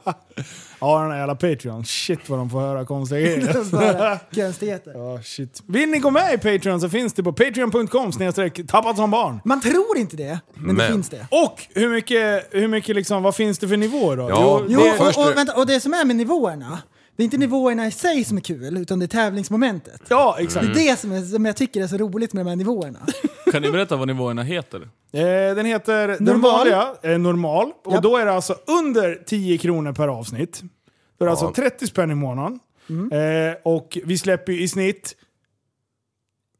Speaker 5: Ja, den här jävla Patreon. Shit vad de får
Speaker 6: *laughs*
Speaker 5: höra konstiga grejer.
Speaker 6: Bara Konstigheter.
Speaker 5: Ja, shit. Vill ni gå med i Patreon så finns det på patreon.com snedstreck tappat som barn. Mm.
Speaker 6: Man tror inte det, *laughs* men,
Speaker 7: Men.
Speaker 6: det finns det.
Speaker 5: Och hur mycket, hur mycket liksom, vad finns det för nivåer då?
Speaker 7: Ja.
Speaker 6: Jo,
Speaker 7: Det- först
Speaker 6: och,
Speaker 7: nu-
Speaker 6: och, vänta, och det som är med nivåerna, det är inte nivåerna i sig som är kul, utan det är tävlingsmomentet.
Speaker 5: ja exakt.
Speaker 6: Det är det som, är, som jag tycker är så roligt med de här nivåerna.
Speaker 8: Kan ni berätta vad nivåerna heter?
Speaker 5: Eh, den heter den
Speaker 6: Normal.
Speaker 5: vanliga, eh, normal. Och
Speaker 6: Japp.
Speaker 5: då är det alltså under 10 kronor per avsnitt. Då är det alltså 30 spänn i månaden.
Speaker 6: Mm.
Speaker 5: Eh, och vi släpper ju i snitt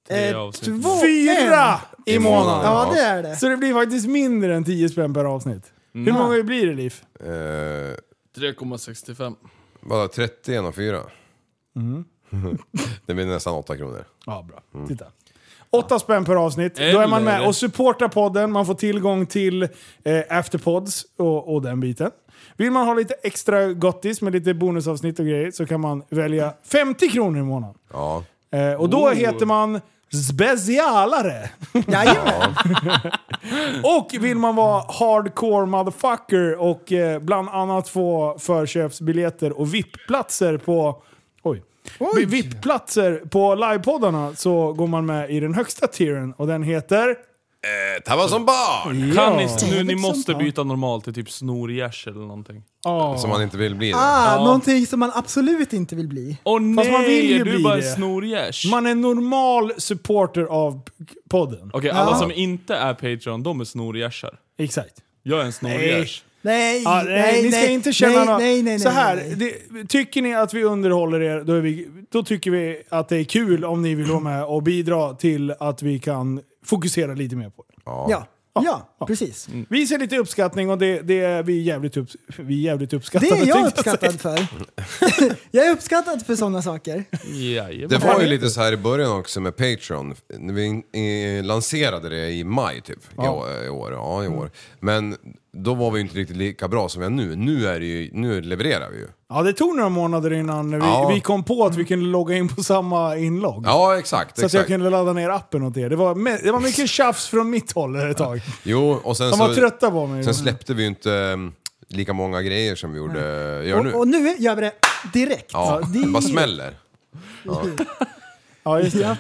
Speaker 8: Tre
Speaker 6: Eh,
Speaker 8: avsnitt.
Speaker 6: två- en.
Speaker 5: fyra i
Speaker 7: I månaden.
Speaker 5: månaden.
Speaker 6: Ja, det är det.
Speaker 5: Så det blir faktiskt mindre än 10 spänn per avsnitt. Hur många blir det Liv?
Speaker 7: eh,
Speaker 8: 3,65.
Speaker 7: vadå, 30
Speaker 6: Mm.
Speaker 7: genom 4? *laughs* Det blir nästan 8 kronor.
Speaker 5: Ja, bra. Titta. Åtta spänn per avsnitt. Då är man med och supportar podden. Man får tillgång till eh, afterpods och, och den biten. Vill man ha lite extra gottis med lite bonusavsnitt och grejer så kan man välja 50 kronor i månaden.
Speaker 7: Ja.
Speaker 5: Eh, och då
Speaker 8: Oh.
Speaker 5: heter man specialare.
Speaker 6: Jajamän!
Speaker 5: *laughs* Och vill man vara hardcore motherfucker och eh, bland annat få förköpsbiljetter och VIP-platser på... Oj.
Speaker 6: Oj.
Speaker 5: VIP-platser på livepoddarna så går man med i den högsta tieren och den heter...
Speaker 7: Eh, Tabba som barn!
Speaker 8: Kan ni, nu, ni
Speaker 6: Davidson,
Speaker 8: måste
Speaker 6: ja.
Speaker 8: byta normalt till typ snorgärsel eller någonting.
Speaker 5: Oh.
Speaker 7: Som man inte vill bli.
Speaker 6: Ah, Någonting som man absolut inte vill bli.
Speaker 8: Åh nej!
Speaker 5: Fast man vill ju
Speaker 8: är du
Speaker 5: bli
Speaker 8: bara
Speaker 5: det.
Speaker 8: en snorgärs?
Speaker 5: Man är normal supporter av p- podden.
Speaker 8: Okej, alla som inte är Patreon, de är snorgärsar.
Speaker 5: Exakt.
Speaker 8: Jag är en snorgärs.
Speaker 6: Nej,
Speaker 5: Ja, nej,
Speaker 6: nej,
Speaker 5: ni ska
Speaker 6: nej,
Speaker 5: inte känna
Speaker 6: nej,
Speaker 5: något.
Speaker 6: nej, nej,
Speaker 5: så
Speaker 6: nej,
Speaker 5: här,
Speaker 6: nej.
Speaker 5: Det, tycker ni att vi underhåller er, då, är vi, då tycker vi att det är kul om ni vill vara med och bidra till att vi kan fokusera lite mer på det.
Speaker 6: Ja, ja, precis.
Speaker 7: Mm.
Speaker 5: Visa lite uppskattning och det, det är vi jävligt, upp, vi är jävligt
Speaker 6: Det
Speaker 5: uppskattade.
Speaker 6: är jag
Speaker 5: tänkte säga. *laughs*
Speaker 6: uppskattad för. *laughs* jag är uppskattad för sådana saker.
Speaker 7: Det
Speaker 8: Jajamän.
Speaker 7: var ju lite så här i början också med Patreon. När vi in- i, lanserade det i maj typ. I, år, i år. Ja, i år. Men då var vi ju inte riktigt lika bra som vi är nu. Nu, är det ju, nu levererar vi ju.
Speaker 5: Ja, det tog några månader innan vi,
Speaker 7: Ja.
Speaker 5: vi kom på
Speaker 6: Mm.
Speaker 5: att vi kunde logga in på samma inlogg.
Speaker 7: Ja, exakt.
Speaker 5: Så att jag
Speaker 7: exakt.
Speaker 5: kunde ladda ner appen åt er. Det var, me- det var mycket tjafs från mitt håll ett tag.
Speaker 7: Jo, och sen
Speaker 5: De
Speaker 7: så,
Speaker 5: var trötta på mig.
Speaker 7: Sen släppte vi ju inte mm, lika många grejer som vi gjorde, gör nu.
Speaker 6: Och, och nu gör vi det direkt.
Speaker 7: ja,
Speaker 6: det
Speaker 7: det *laughs* bara smäller.
Speaker 5: Ja, just det.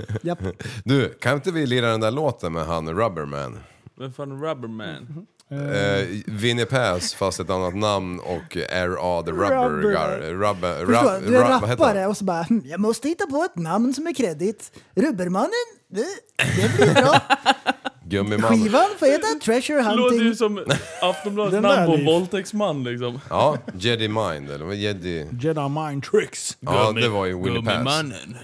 Speaker 7: *laughs*
Speaker 6: Japp.
Speaker 7: Du, kan inte vi lira den där låten med han Rubberman?
Speaker 8: Vem fan är
Speaker 5: Mm.
Speaker 8: Rubberman?
Speaker 7: Eh,
Speaker 6: Mm.
Speaker 7: Vinnie Pass fast ett annat namn och R.A. The Rubber
Speaker 6: Rubber.
Speaker 7: Guy. Rubber,
Speaker 6: Förstår,
Speaker 7: rub-
Speaker 6: du
Speaker 7: rub-
Speaker 6: är
Speaker 7: vad heter han?
Speaker 6: rappare och så bara "Hm, “Jag måste hitta på ett namn som är kredit. Rubbermannen, det, det blir
Speaker 7: *laughs*
Speaker 6: bra.
Speaker 7: Gummiman.
Speaker 6: Skivan får heta Treasure
Speaker 8: Låter ju
Speaker 6: Hunting.
Speaker 8: som Aftonbladets
Speaker 5: Den där
Speaker 8: namn på
Speaker 5: liv.
Speaker 8: en våldtäktsman liksom.
Speaker 7: Ja, Jedi Mind eller vad Jedi...
Speaker 5: Jedi Mind Tricks.
Speaker 7: Ja, det var ju Winnie Pass.
Speaker 8: Gummimannen.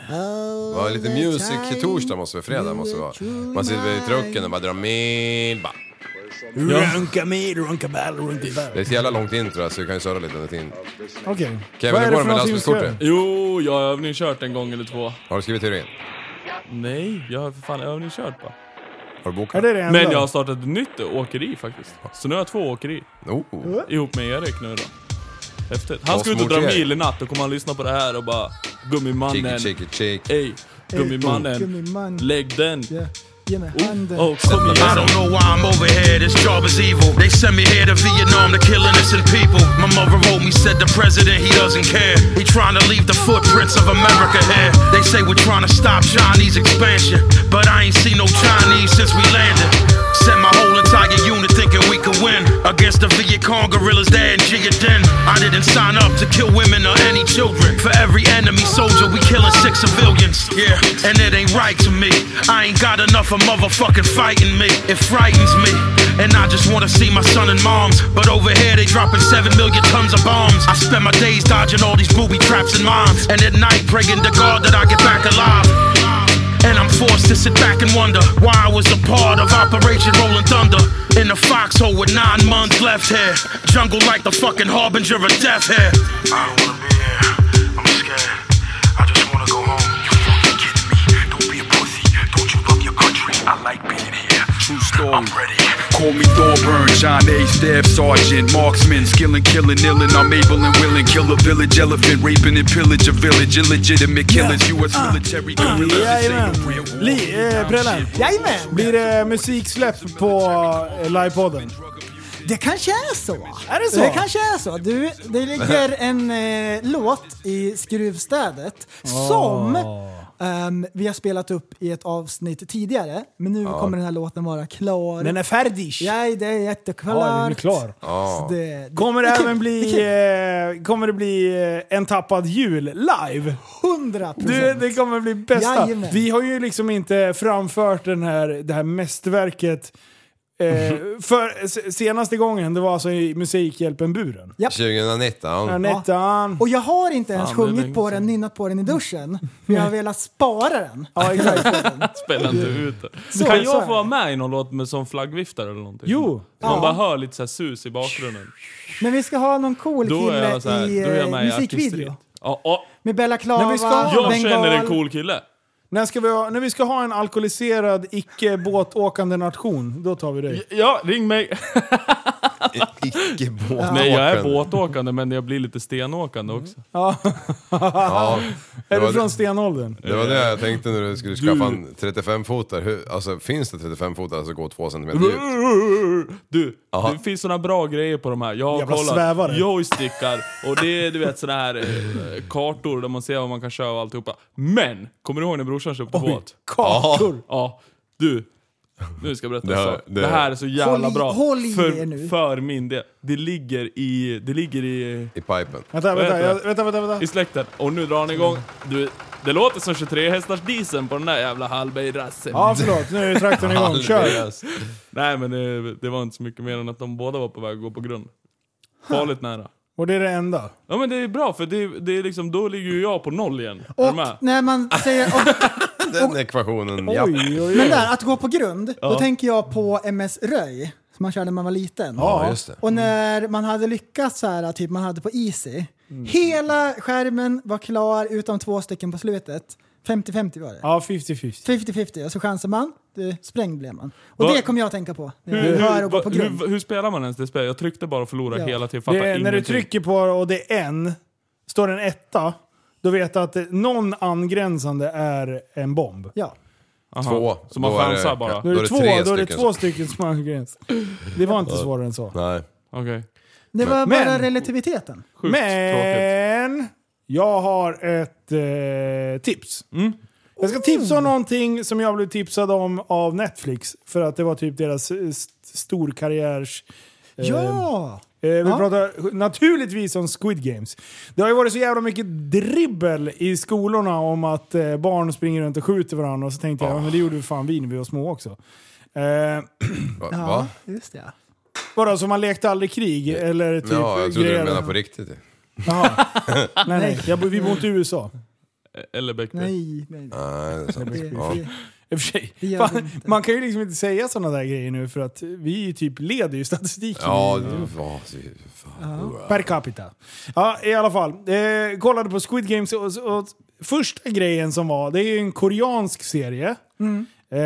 Speaker 7: Ja, lite music torsdag måste vi, fredag måste det vara. Man sitter i trucken och bara drar med. Ba.
Speaker 5: Runka me, runka ball, runka ball.
Speaker 7: Det är ett jävla långt intro så vi kan ju köra lite under tiden.
Speaker 5: Okej.
Speaker 7: Kevin, hur går det med lastbilskortet?
Speaker 8: Jo, jag har övningskört en gång eller två.
Speaker 7: Har du skrivit teorin?
Speaker 8: Nej, jag har för fan övningskört bara.
Speaker 7: Har du
Speaker 5: Är
Speaker 7: bokat?
Speaker 5: det det enda?
Speaker 8: Men jag har startat ett nytt åkeri faktiskt. Så nu har jag två åkeri.
Speaker 7: Oh.
Speaker 8: Ihop med Erik nu då. Häftigt. Han ska ut och dra
Speaker 7: Postmord-Erik.
Speaker 8: mil i natt, då kommer han lyssna på det här och bara
Speaker 7: Cheeky,
Speaker 8: Gummimannen.
Speaker 7: cheeky, cheeky.
Speaker 8: Ey, Gummimannen.
Speaker 6: Gummiman.
Speaker 8: Lägg den.
Speaker 6: Ja, Ge mig handen.
Speaker 8: Oh, kom
Speaker 11: I
Speaker 8: igen.
Speaker 11: don't know why I'm over here. This job is evil. They sent me here to Vietnam to kill innocent people. My mother wrote me, said the president he doesn't care. He trying to leave the footprints of America here. They say we're trying to stop Chinese expansion, but I ain't seen no Chinese since we landed. Sent my whole entire unit thinking we could win against the Viet Cong guerrillas there in Jigaden. I didn't sign up to kill women or any children. For every enemy soldier, we killing six civilians. Yeah, and it ain't right to me. I ain't got enough of motherfucking fighting me. It frightens me. And I just wanna see my son and moms. But over here, they dropping seven million tons of bombs. I spend my days dodging all these booby traps and mines. And at night, praying to God that I get back alive. And I'm forced to sit back and wonder why I was a part of Operation Rolling Thunder. In the foxhole with nine months left here. Jungle like the fucking harbinger of death here. I don't wanna be here. I'm scared. I just wanna go home. You fucking kidding me? Don't be a pussy. Don't you love your country? I like being here. True story. I'm ready.
Speaker 9: Call me Thorburn, John A. Staff Sergeant, marksman, skillin', killing, illin'. I'm able and willing, kill a village elephant, raping and pillage a village, illegitimate killers, U.S. military guerrillas. This
Speaker 5: Jajamän.
Speaker 9: ain't no real war.
Speaker 5: Li, eh, Prällen.
Speaker 6: Jajamän!
Speaker 5: Blir det eh, musiksläpp på eh, livepodden?
Speaker 6: Det kanske är så. Är
Speaker 5: det så?
Speaker 6: Det kanske är så. Du, det
Speaker 5: *laughs*
Speaker 6: ligger en eh, låt i Skruvstädet som
Speaker 5: Ah.
Speaker 6: ehm, vi har spelat upp i ett avsnitt tidigare. Men nu kommer den här låten vara klar.
Speaker 5: Den är färdig!
Speaker 6: Ja, det är jätteklart.
Speaker 5: Ja, den är klar.
Speaker 6: Så det, det, *laughs*
Speaker 5: Kommer det
Speaker 6: är kul.
Speaker 5: även bli,
Speaker 6: Det är
Speaker 5: eh, kommer det bli eh, en tappad jul live?
Speaker 6: kul. 100
Speaker 5: Du,
Speaker 6: procent.
Speaker 5: det kommer bli bästa.
Speaker 6: Jajamän.
Speaker 5: Vi har ju liksom inte framfört den här, det här mästerverket. Eh,
Speaker 6: Mm-hmm.
Speaker 5: för s- senaste gången, det var alltså i Musikhjälpen-buren.
Speaker 7: 2019.
Speaker 5: Anettan.
Speaker 6: Och jag har inte ens
Speaker 8: Fan, det är
Speaker 6: sjungit
Speaker 8: länge
Speaker 6: på den,
Speaker 8: sedan.
Speaker 6: nynnat på den i duschen. För jag har velat spara den.
Speaker 5: Ja, exakt.
Speaker 8: Spela inte ut det.
Speaker 6: Så-
Speaker 8: kan
Speaker 6: så är
Speaker 8: jag
Speaker 6: det.
Speaker 8: få vara med i någon låt med som flaggviftare eller någonting?
Speaker 5: Jo.
Speaker 8: Man
Speaker 6: Ja.
Speaker 8: bara hör lite så här sus i bakgrunden.
Speaker 6: *laughs* Men vi ska ha någon cool
Speaker 8: Då är
Speaker 6: kille
Speaker 8: jag så här,
Speaker 6: i
Speaker 8: då är jag
Speaker 6: eh,
Speaker 8: med i
Speaker 6: musikvideo.
Speaker 8: artisteriet. Ja, ja.
Speaker 6: Med Bella Klava,
Speaker 5: Men vi ska-
Speaker 8: Jag
Speaker 6: Bengal.
Speaker 8: känner en cool kille.
Speaker 5: När, ska vi ha, när vi ska ha en alkoholiserad, icke-båtåkande nation, då tar vi dig.
Speaker 8: Ja, ring mig!
Speaker 7: Icke båtåkande.
Speaker 8: Nej, jag är båtåkande men jag blir lite stenåkande också.
Speaker 5: Ja.
Speaker 7: Ja, det
Speaker 5: är
Speaker 7: var
Speaker 5: du
Speaker 7: det,
Speaker 5: från stenåldern?
Speaker 7: det var det jag tänkte när du skulle skaffa en 35-fotare. Alltså finns det 35-fotare som går två centimeter djupt?
Speaker 8: Du,
Speaker 7: Aha.
Speaker 8: det finns såna bra grejer på de här. Jag har
Speaker 5: Jävla
Speaker 8: kollat
Speaker 5: svävare.
Speaker 8: joystickar och det är du vet såna här eh, kartor där man ser vad man kan köra och alltihopa. Men! Kommer du ihåg när brorsan köpte båt?
Speaker 5: Kartor!
Speaker 8: Ja, du. Nu ska jag berätta
Speaker 7: Det
Speaker 8: det
Speaker 7: här-
Speaker 8: här, sak.
Speaker 7: det-
Speaker 8: Det här är så jävla
Speaker 6: Håll i-
Speaker 8: bra.
Speaker 6: håll i er
Speaker 8: för,
Speaker 6: nu.
Speaker 8: för min del. Det ligger i... Det ligger i...
Speaker 7: I pipen.
Speaker 5: Vänta,
Speaker 8: Vad
Speaker 5: vänta,
Speaker 8: heter
Speaker 5: jag,
Speaker 8: det?
Speaker 5: vänta, vänta,
Speaker 8: I
Speaker 5: vänta.
Speaker 8: släkten. Och nu drar han igång. Du, det låter som 23 hästars diesel på den där jävla Hallberg-rassen.
Speaker 5: Ja, förlåt. Nu är traktorn igång. Kör!
Speaker 7: Halvdeles.
Speaker 8: Nej men det, det var inte så mycket mer än att de båda var på väg att gå på grund. Farligt nära.
Speaker 5: Och det är det enda.
Speaker 8: Ja men det är bra för det, det är liksom, då ligger ju jag på noll igen. Är du
Speaker 6: Och
Speaker 8: med?
Speaker 6: när man säger... Och,
Speaker 7: Den ekvationen, ja.
Speaker 5: Oj, oj,
Speaker 6: men
Speaker 5: oj.
Speaker 6: där, att gå på grund, då tänker jag på MS Röj, som man körde när man var liten.
Speaker 7: Ja, just det.
Speaker 6: Och när man hade lyckats så här, typ man hade på Easy. Hela skärmen var klar utom två stycken på slutet. 50-50 var det.
Speaker 5: Ja, 50-50.
Speaker 6: 50-50 och så chansar man, du, sprängd blev man. Och
Speaker 8: Va?
Speaker 6: det kommer jag att tänka på. När
Speaker 8: Hur,
Speaker 6: jag hör och går
Speaker 8: va-
Speaker 6: på grund.
Speaker 8: hur, hur spelar man ens det spelet? Jag tryckte bara och förlorade
Speaker 6: Ja.
Speaker 8: hela tiden,
Speaker 5: Det
Speaker 8: fattade
Speaker 5: är,
Speaker 8: ingenting.
Speaker 5: när du trycker på och det är en, står det en etta, då vet du att det, någon angränsande är en bomb.
Speaker 6: Ja.
Speaker 8: Aha.
Speaker 7: Två.
Speaker 8: Så man
Speaker 7: Då är det-
Speaker 8: chansar bara?
Speaker 7: ja.
Speaker 5: Då är det, två,
Speaker 7: tre
Speaker 5: då är det
Speaker 7: stycken
Speaker 5: två stycken som har angräns. Det var inte svårare än så.
Speaker 7: Nej.
Speaker 8: Okej.
Speaker 6: Det var
Speaker 5: Men-
Speaker 6: bara relativiteten.
Speaker 8: Sjukt tråkigt.
Speaker 5: Men jag har ett eh, tips. Jag ska tipsa
Speaker 6: Oh.
Speaker 5: om någonting som jag blev tipsad om av Netflix. För att det var typ deras eh, st- storkarriärs... eh,
Speaker 6: Ja!
Speaker 5: Eh, vi
Speaker 6: Ja.
Speaker 5: pratar naturligtvis om Squid Games. Det har ju varit så jävla mycket dribbel i skolorna om att eh, barn springer runt och skjuter varandra. Och så tänkte jag, ja, men det gjorde vi fan vi när vi var små också. Eh,
Speaker 7: Va?
Speaker 6: Ja,
Speaker 7: Va?
Speaker 6: just det.
Speaker 5: vadå, så man lekte aldrig krig? Eller typ
Speaker 7: Ja, jag trodde du
Speaker 5: grejer-
Speaker 7: menade på riktigt. *laughs*
Speaker 5: Jaha. nej, nej. Jag, bo- vi bor inte i USA.
Speaker 8: E- Eller Beckberg.
Speaker 6: Nej, nej.
Speaker 7: Nej,
Speaker 6: nej.
Speaker 7: det är sant.
Speaker 6: Det,
Speaker 7: Ja.
Speaker 6: det,
Speaker 5: I och för sig.
Speaker 6: Det gör vi
Speaker 5: Fan,
Speaker 6: inte.
Speaker 5: man kan ju liksom inte säga sådana där grejer nu för att vi är ju typ leder ju statistiken.
Speaker 7: Ja, det var... Fan.
Speaker 5: Per capita. Ja, i alla fall. Eh, kollade på Squid Games och, och första grejen som var, det är ju en koreansk serie. Eh,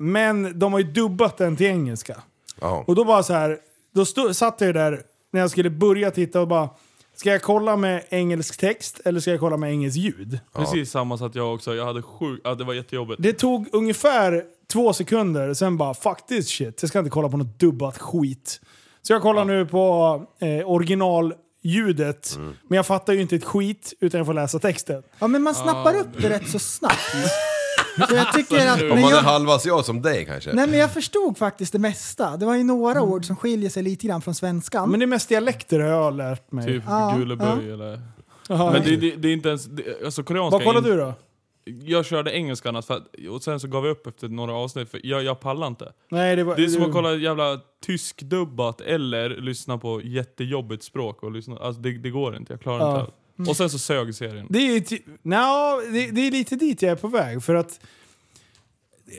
Speaker 5: men de har ju dubbat den till engelska.
Speaker 7: Jaha.
Speaker 5: Och då bara så här, då stod, satt jag ju där när jag skulle börja titta och bara, ska jag kolla med engelsk text eller ska jag kolla med engelskt ljud?
Speaker 8: Precis samma satt jag också. Jag hade sjukt... Ja, det var jättejobbigt.
Speaker 5: Det tog ungefär två sekunder, sen bara fuck this shit, jag ska inte kolla på något dubbat skit. Så jag kollar nu på eh, originalljudet,
Speaker 8: Mm.
Speaker 5: men jag fattar ju inte ett skit utan jag får läsa texten.
Speaker 6: ja, men man snappar upp det rätt så
Speaker 5: *laughs*
Speaker 6: snabbt. Så jag tycker att...
Speaker 7: Om
Speaker 6: Men
Speaker 7: man är
Speaker 6: jag,
Speaker 7: halva asiat som dig kanske?
Speaker 6: nej, men jag förstod faktiskt det mesta. Det var ju några ord som skiljer sig lite grann från svenskan.
Speaker 5: Mm. Men det är mest dialekter har jag lärt mig.
Speaker 8: Typ
Speaker 6: Ja,
Speaker 8: Guleböj eller...
Speaker 5: Jaha.
Speaker 8: Men det, det, det är inte ens... Det, alltså koreanska...
Speaker 5: Vad kollar
Speaker 8: är in-
Speaker 5: du då?
Speaker 8: Jag körde engelska annars, för att, och sen så gav jag upp efter några avsnitt för jag, jag pallar inte.
Speaker 5: Nej, det, var,
Speaker 8: Det är som att kolla jävla tyskdubbat eller lyssna på jättejobbigt språk. Och lyssna, alltså det, det går inte, jag klarar inte
Speaker 5: Ja.
Speaker 8: allt. Och sen så sög serien.
Speaker 5: Det är, ju ty- Nja, det, det är lite dit jag är på väg. För att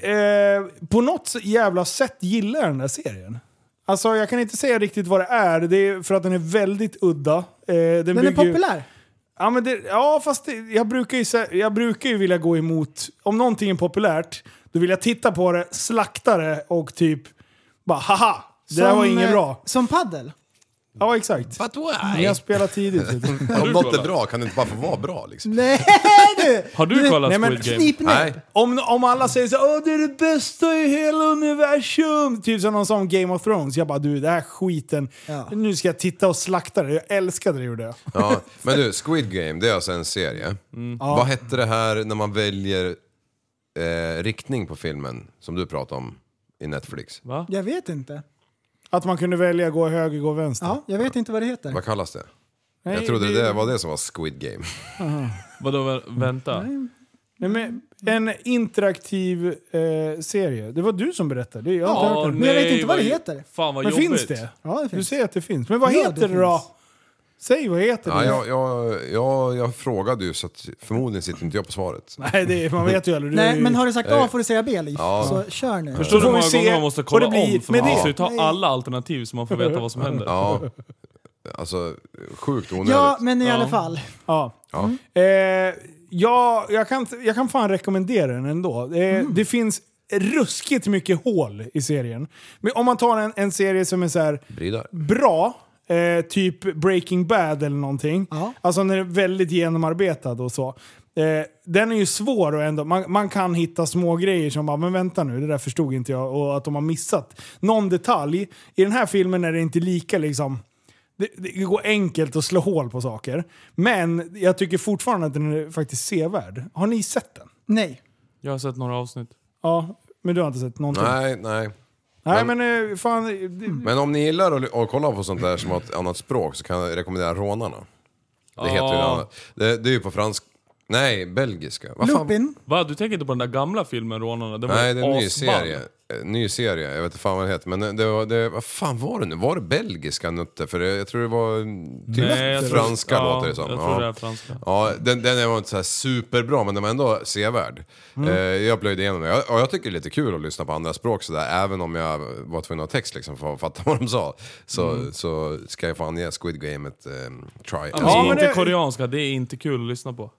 Speaker 5: eh, på något så jävla sätt gillar jag den där serien. Alltså jag kan inte säga riktigt vad det är, det är för att den är väldigt udda. Eh, den
Speaker 6: Den
Speaker 5: bygger-
Speaker 6: är populär.
Speaker 5: Ja, men det, ja fast det, jag, brukar ju, sä- jag brukar ju vilja gå emot, om någonting är populärt, då vill jag titta på det, slakta det och typ bara haha, det där var inget
Speaker 6: eh,
Speaker 5: bra.
Speaker 6: Som paddel.
Speaker 5: Ja exakt.
Speaker 7: But
Speaker 5: Jag spelar tidigt. vet du.
Speaker 7: Om något är bra kan det inte bara få vara bra liksom.
Speaker 6: Nej du!
Speaker 8: Har du kollat
Speaker 5: nej, men
Speaker 8: Squid Game?
Speaker 6: Knipnäpp.
Speaker 7: Nej.
Speaker 5: Om, om alla säger så åh det är det bästa i hela universum, typ som någon sån Game of Thrones. Jag bara du, den här skiten,
Speaker 6: Ja.
Speaker 5: nu ska jag titta och slakta det. Jag älskade det gjorde jag.
Speaker 7: Ja. Men du, Squid Game, det är alltså en serie. Vad hette det här när man väljer eh, riktning på filmen som du pratade om i Netflix?
Speaker 6: Jag vet inte.
Speaker 5: Att man kunde välja gå höger, gå vänster.
Speaker 6: Ja, jag vet inte vad det heter.
Speaker 7: Vad kallas det?
Speaker 5: Nej,
Speaker 7: Jag trodde det var det som var Squid Game.
Speaker 8: Vadå vä- vänta?
Speaker 5: Nej, men en interaktiv eh, serie. Det var du som berättade. Det, jag har inte hört
Speaker 8: Åh,
Speaker 5: det.
Speaker 6: Men jag vet inte vad det heter.
Speaker 8: Fan vad
Speaker 5: Men
Speaker 8: jobbigt.
Speaker 5: finns det?
Speaker 6: Ja, det
Speaker 5: Du
Speaker 6: finns.
Speaker 5: säger att det finns. Men vad
Speaker 6: Ja,
Speaker 5: heter det,
Speaker 6: det
Speaker 5: då?
Speaker 6: finns.
Speaker 5: Säg vad heter
Speaker 7: Ja,
Speaker 5: det?
Speaker 7: jag, jag, jag, jag frågade ju så att förmodligen sitter inte jag på svaret.
Speaker 5: *laughs* Nej, det är, man vet ju aldrig. Du är
Speaker 6: Nej,
Speaker 5: ju-
Speaker 6: men har du sagt A får du säga B, Liv.
Speaker 7: Ja.
Speaker 6: Så kör nu.
Speaker 8: Förstår du hur
Speaker 5: får vi
Speaker 8: många
Speaker 5: se
Speaker 8: gånger man måste
Speaker 5: vad det
Speaker 8: kolla
Speaker 5: blir
Speaker 8: om? För
Speaker 5: med
Speaker 8: man
Speaker 5: det.
Speaker 8: måste ju ta
Speaker 6: Nej.
Speaker 8: alla alternativ så man får veta vad som händer.
Speaker 7: Ja. Alltså, sjukt onödigt.
Speaker 6: Ja, men i alla fall.
Speaker 5: Ja.
Speaker 7: Ja.
Speaker 5: Eh, Ja, jag kan, jag kan fan rekommendera den ändå. Det, är- det finns ruskigt mycket hål i serien. Men om man tar en, en serie som är så här
Speaker 7: Brydar.
Speaker 5: bra, eh, typ Breaking Bad eller någonting. Alltså den är väldigt genomarbetad och så. Eh, den är ju svår och ändå, man, man kan hitta små grejer som bara, men vänta nu, det där förstod inte jag. Och att de har missat någon detalj. I den här filmen är det inte lika liksom... Det, det går enkelt att slå hål på saker. Men jag tycker fortfarande att den är faktiskt sevärd. Har ni sett den?
Speaker 6: Nej.
Speaker 8: Jag har sett några avsnitt.
Speaker 5: Ja, men du har inte sett någonting?
Speaker 7: Nej, nej.
Speaker 5: Nej, men, eh, fan... det-
Speaker 7: Men om ni gillar att, att kolla på sånt där som har ett annat språk så kan jag rekommendera Rånarna. Det heter ju
Speaker 8: Ja.
Speaker 7: annat. Det, det är ju på fransk... Nej, belgiska. Vad fan?
Speaker 6: Lupin.
Speaker 8: Va? Du tänker inte på den där gamla filmen Rånarna? Den
Speaker 7: Nej,
Speaker 8: var
Speaker 7: det
Speaker 8: ju
Speaker 7: är en ny
Speaker 8: asball.
Speaker 7: serie. Eh, Ny serie, jag vet inte fan vad det heter. Men det var, det, vad fan var det nu? Var det belgiska nutter? För det, jag tror det var mm, typ
Speaker 8: Nej, jag tror-
Speaker 7: franska
Speaker 8: ja,
Speaker 7: låter det som.
Speaker 8: jag tror det är franska.
Speaker 7: Ja, den, den var inte så här superbra men den var ändå sevärd.
Speaker 5: Mm.
Speaker 7: Eh, jag plöjde igenom den. Jag- Och jag tycker det är lite kul att lyssna på andra språk sådär. Även om jag var tvungen att ha text liksom för att fatta *laughs* vad de sa. Så,
Speaker 5: Mm.
Speaker 7: så ska jag fan ge Squid Game ett ehm, try.
Speaker 8: Ja,
Speaker 7: Alltså,
Speaker 8: men inte
Speaker 5: det-
Speaker 8: koreanska, det är inte kul att lyssna på.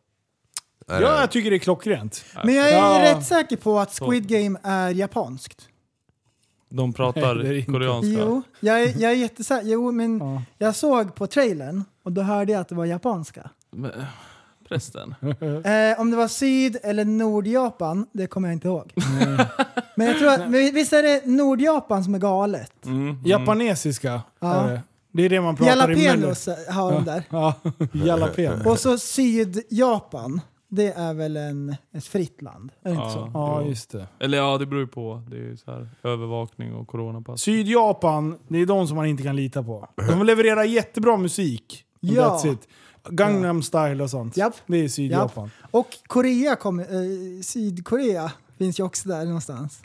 Speaker 7: är det-
Speaker 5: Ja, jag tycker det är klockrent.
Speaker 6: Men jag är
Speaker 5: Ja.
Speaker 6: rätt säker på att Squid Game är japanskt.
Speaker 8: De pratar
Speaker 5: Nej, det är inte.
Speaker 8: koreanska.
Speaker 6: Jo, jag är, jag är jättesäker. Jo, men jag såg på trailern och då hörde jag att det var japanska.
Speaker 8: Prästen.
Speaker 6: Eh, om det var Syd eller Nordjapan, det kommer jag inte ihåg. men jag tror att, men visst är det Nordjapan som är galet?
Speaker 5: Japanesiska
Speaker 6: Ja.
Speaker 5: är det. Det är det man pratar i Mello.
Speaker 6: Jalapenos har de där.
Speaker 5: Ja, *laughs* jalapeno.
Speaker 6: Och så Sydjapan, det är väl en, ett fritt land? Är det inte så?
Speaker 5: Ja, just det.
Speaker 8: Eller ja, det beror ju på. Det är ju så här, övervakning och coronapass.
Speaker 5: Sydjapan, det är de som man inte kan lita på. De levererar jättebra musik.
Speaker 6: Ja.
Speaker 5: Ja. That's it. Gangnam style och sånt.
Speaker 6: Japp.
Speaker 5: Det är Sydjapan.
Speaker 6: Och Korea kommer, eh, Sydkorea finns ju också där någonstans.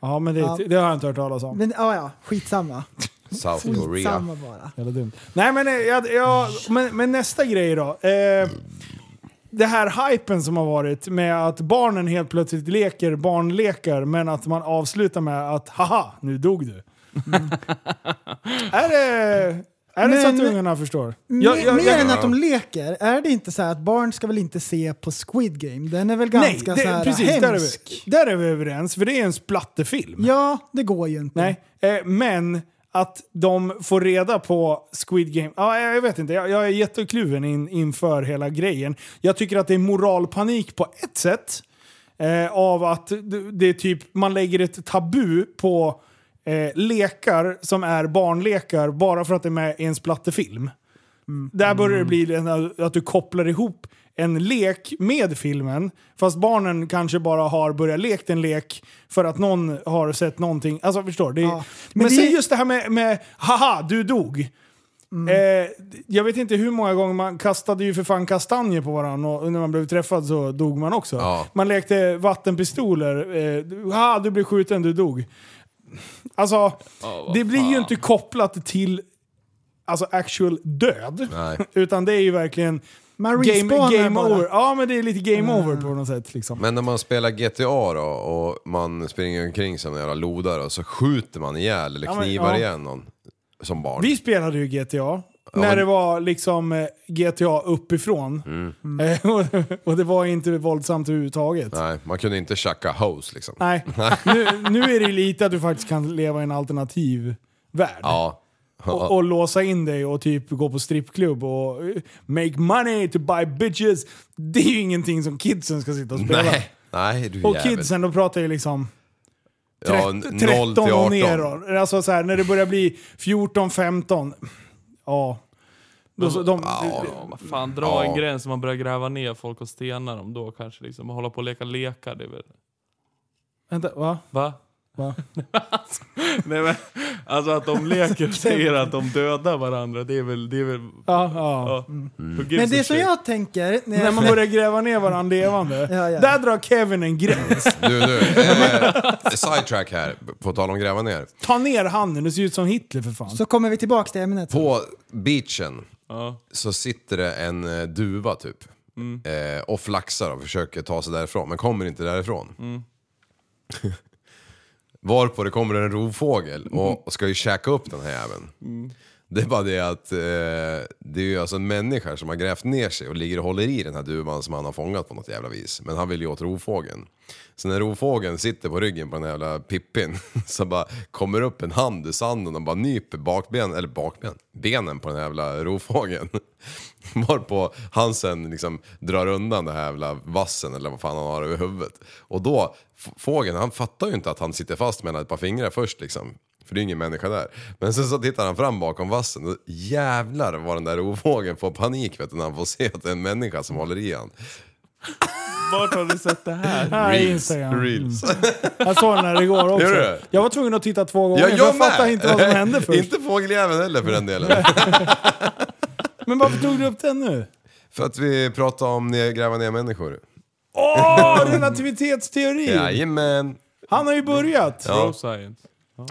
Speaker 5: Ja, men det,
Speaker 6: Ja.
Speaker 5: det har jag inte hört talas om.
Speaker 6: Men ja, ja, skitsamma.
Speaker 7: South Korea.
Speaker 6: Skitsamma bara.
Speaker 5: Jävla dumt. Nej, men, eh, jag, jag, men, men nästa grej då. Eh, det här hypen som har varit med att barnen helt plötsligt leker barnlekar men att man avslutar med att haha, nu dog du. är det, är det så att
Speaker 6: Men-
Speaker 5: ungarna förstår?
Speaker 6: Mer- Mer än att de leker, är det inte så här att barn ska väl inte se på Squid Game? Den är väl ganska
Speaker 5: det-
Speaker 6: så här
Speaker 5: precis, där, är vi,
Speaker 6: hemsk?
Speaker 5: där är vi överens, för det är en splatterfilm.
Speaker 6: Ja, det går ju inte.
Speaker 5: Nej, eh, men att de får reda på Squid Game. Ja, jag jag vet inte, jag, jag är jättekluven in, inför hela grejen. Jag tycker att det är moralpanik på ett sätt. Eh, av att det- det är typ, man lägger ett tabu på eh, lekar som är barnlekar bara för att det är med i en splatterfilm. Där börjar
Speaker 6: Mm.
Speaker 5: det bli den här- att du kopplar ihop en lek med filmen. Fast barnen kanske bara har börjat lekt en lek för att någon har sett någonting. Alltså förstår du?
Speaker 6: Ja.
Speaker 5: Men,
Speaker 6: Men det-
Speaker 5: säg just det här med, med haha, du dog.
Speaker 6: Mm.
Speaker 5: Eh, jag vet inte hur många gånger man kastade ju för fan kastanjer på varandra och när man blev träffad så dog man också.
Speaker 7: Ja.
Speaker 5: Man lekte vattenpistoler. Eh, du- ha, du blev skjuten, du dog. Alltså, det blir ju inte kopplat till alltså, actual död.
Speaker 7: Nej.
Speaker 5: *laughs* Utan det är ju verkligen
Speaker 6: Man
Speaker 5: game,
Speaker 6: respawnar
Speaker 5: game
Speaker 6: bara. Mm.
Speaker 5: over. Ja, men det är lite game over på något sätt. Liksom.
Speaker 7: Men när man spelar GTA då och man springer omkring som en jävla lodare och så skjuter man ihjäl eller
Speaker 5: Ja, men,
Speaker 7: knivar
Speaker 5: ja.
Speaker 7: ihjäl någon som barn.
Speaker 5: Vi spelade ju GTA. när
Speaker 7: men-
Speaker 5: det var liksom eh, GTA uppifrån. Eh, *laughs* och, och det var inte våldsamt överhuvudtaget.
Speaker 7: Mm. Nej, man kunde inte tjacka hoes liksom. *laughs*
Speaker 5: Nej, nu, nu är det ju lite att du faktiskt kan leva i en alternativ värld.
Speaker 7: Ja.
Speaker 5: Och, och låsa in dig och typ gå på strippklubb och eh, make money to buy bitches. Det är ju ingenting som kidsen ska sitta och spela.
Speaker 7: Nej, nej du
Speaker 5: och
Speaker 7: jävel.
Speaker 5: kidsen, då pratar jag liksom
Speaker 7: Ja,
Speaker 5: 13 och neråt. Alltså så här, när det börjar bli 14, 15. Ja. Då, så- de,
Speaker 8: Ja, vad fan, dra
Speaker 7: Ja.
Speaker 8: en gräns när man börjar gräva ner folk och stena dem då kanske. Liksom. Och hålla på och leka lekar. Det är väl...
Speaker 5: Vänta, va?
Speaker 8: Va?
Speaker 5: Va?
Speaker 8: alltså, *laughs* nej, men, alltså att de leker och säger att de dödar varandra, det är väl... Det är väl
Speaker 5: Ja, ja.
Speaker 8: ja. Who gives
Speaker 6: Men
Speaker 8: a
Speaker 6: det som
Speaker 8: shit?
Speaker 6: jag tänker när
Speaker 5: När
Speaker 6: jag
Speaker 5: man börjar gräva ner varandra levande.
Speaker 6: *laughs* Ja, ja.
Speaker 5: Där drar Kevin en gräns.
Speaker 7: Du, du. Eh, sidetrack här, på tal om gräva ner.
Speaker 5: Ta ner handen, du ser ut som Hitler för fan.
Speaker 6: Så kommer vi tillbaka till ämnet.
Speaker 7: På beachen
Speaker 8: Ja.
Speaker 7: så sitter det en eh, duva typ. Eh, och flaxar och försöker ta sig därifrån, men kommer inte därifrån. *laughs* Varpå det kommer en rovfågel och och ska ju käka upp den här jäveln. Det är bara det att eh, det är ju alltså en människa som har grävt ner sig och ligger och håller i den här duvan som han har fångat på något jävla vis. Men han vill ju åt rovfågeln. Så när rovfågeln sitter på ryggen på den här jävla pippin *laughs* så bara kommer upp en hand ur sanden och bara nyper bakben, eller bakben, benen på den här jävla rovfågeln. *laughs* Varpå han sen liksom drar undan den här jävla vassen eller vad fan han har över huvudet. Och då, f- fågeln han fattar ju inte att han sitter fast mellan ett par fingrar först liksom. För det är ingen människa där. Men sen så tittar han fram bakom vassen och jävlar vad den där rovfågeln får panik vet du, när han får se att det är en människa som håller i han.
Speaker 8: Vart har du sett det här?
Speaker 5: Här är Instagram.
Speaker 7: Reels.
Speaker 5: Jag såg den här igår också.
Speaker 7: Gör du?
Speaker 5: Jag var tvungen att titta två gånger
Speaker 7: Ja,
Speaker 5: för
Speaker 7: jag
Speaker 5: jag fattade
Speaker 7: med!
Speaker 5: inte vad som
Speaker 7: *laughs*
Speaker 5: hände *laughs* först.
Speaker 7: inte fågeljäveln heller för den delen.
Speaker 5: Men varför tog du upp den nu?
Speaker 7: *laughs* för att vi pratar om att gräva ner människor.
Speaker 5: Åh, relativitetsteori!
Speaker 7: Jajamän!
Speaker 5: Han har ju börjat.
Speaker 8: Bro science.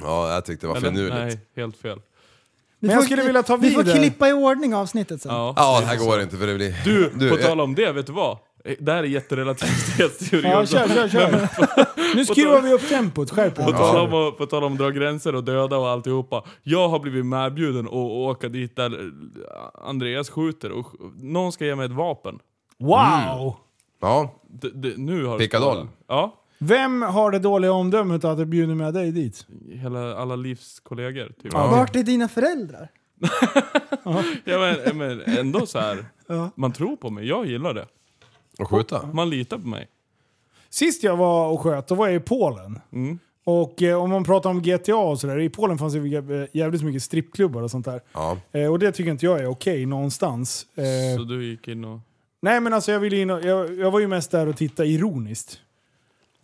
Speaker 7: Ja, jag tyckte det var
Speaker 8: Eller?
Speaker 7: finurligt.
Speaker 8: Nej, helt fel.
Speaker 6: Vi
Speaker 5: Men jag
Speaker 6: får-
Speaker 5: skulle vilja ta
Speaker 6: Vi får
Speaker 5: vidare.
Speaker 6: klippa i ordning avsnittet sen.
Speaker 8: Ja.
Speaker 7: Ja, det här går inte för det blir...
Speaker 8: Du, på
Speaker 7: jag-
Speaker 8: tal om det, vet du vad? Det här är *laughs* jätterelativitetsteori
Speaker 5: Ja,
Speaker 8: också.
Speaker 5: kör, kör, kör. *laughs* Nu skruvar vi upp tempot, skärp
Speaker 8: alltså. På
Speaker 5: er.
Speaker 8: tal, om, att- på tal om att dra gränser och döda och alltihopa. Jag har blivit medbjuden att åka dit där eh, Andreas skjuter och sk- någon ska ge mig ett vapen.
Speaker 5: Wow!
Speaker 7: Ja,
Speaker 8: D- d- nu har det
Speaker 7: Pickadoll.
Speaker 8: spårat. Ja.
Speaker 5: Vem har det dåliga omdömet att du bjuder med dig dit?
Speaker 8: Hela, alla livskollegor typ.
Speaker 6: Vart är dina föräldrar?
Speaker 8: Ja, men, men ändå så här. Man tror på mig, jag gillar det.
Speaker 7: och skjuta.
Speaker 8: Man litar på mig.
Speaker 5: Sist jag var och sköt, då var jag i Polen. Och eh, om man pratar om GTA och sådär, i Polen fanns det ju jä- jävligt mycket strippklubbar och sånt där.
Speaker 7: Ja.
Speaker 5: Eh, och det tycker inte jag är okej någonstans. Eh,
Speaker 8: Så du gick in och...
Speaker 5: Nej men alltså jag ville in och, jag, jag var ju mest där och tittade ironiskt.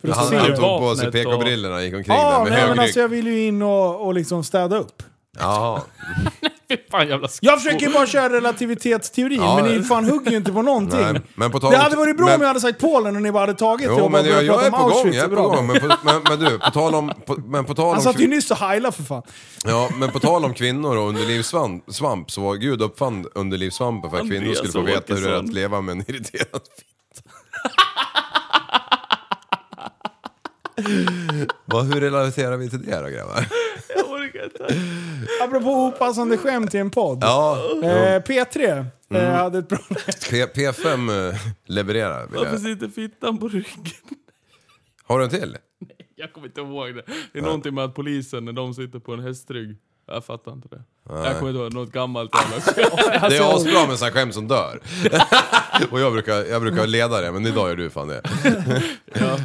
Speaker 5: För att
Speaker 7: Han,
Speaker 5: se.
Speaker 7: han
Speaker 5: Ja,
Speaker 7: tog på sig
Speaker 8: Vapnet
Speaker 7: PK-brillorna och gick omkring där med
Speaker 5: nej men alltså
Speaker 7: högryck.
Speaker 5: jag ville ju in och, och liksom städa upp.
Speaker 7: Jaha.
Speaker 8: Fan jävla sk-
Speaker 5: Jag försöker ju bara köra relativitetsteorin,
Speaker 7: Ja.
Speaker 5: men ni fan hugger ju inte på någonting.
Speaker 7: Nej, men på tal
Speaker 5: det
Speaker 7: om-
Speaker 5: hade varit bra om
Speaker 7: men-
Speaker 5: jag hade sagt Polen och ni bara hade tagit det och
Speaker 7: Jo
Speaker 5: bara
Speaker 7: men jag,
Speaker 5: börjat
Speaker 7: jag
Speaker 5: prata
Speaker 7: är på
Speaker 5: om
Speaker 7: gång,
Speaker 5: Auschwitz
Speaker 7: jag är
Speaker 5: och
Speaker 7: på
Speaker 5: bra.
Speaker 7: gång. Men, på, men, men du, på tal om... På, men på tal
Speaker 5: Han
Speaker 7: om
Speaker 5: satt ju
Speaker 7: kvin-
Speaker 5: nyss och heilade för fan.
Speaker 7: ja, men på tal om kvinnor och underlivssvamp svamp, så var Gud uppfann underlivssvampen för att kvinnor
Speaker 8: Andreas
Speaker 7: skulle få veta hur det är att
Speaker 8: Åkesson.
Speaker 7: leva med en irriterad fitta. Vad, hur relaterar vi till det då grabbar?
Speaker 8: Jag orkar inte.
Speaker 5: Apropå opassande skämt i en podd.
Speaker 7: Ja, Mm.
Speaker 5: Eh, P3 eh, hade ett bra...
Speaker 7: P, P5 eh, levererar. Vill
Speaker 8: Varför
Speaker 7: jag.
Speaker 8: sitter fittan på ryggen?
Speaker 7: Har du en till?
Speaker 8: Jag kommer inte ihåg det. Det är någonting med att polisen, när de sitter på en hästrygg. Jag fattar inte det. Jag kommer inte ihåg, något gammalt jävla skit.
Speaker 5: *laughs*
Speaker 7: Det är asbra med sådana skämt som dör. *laughs* Och jag brukar, jag brukar leda det, men idag gör du fan det.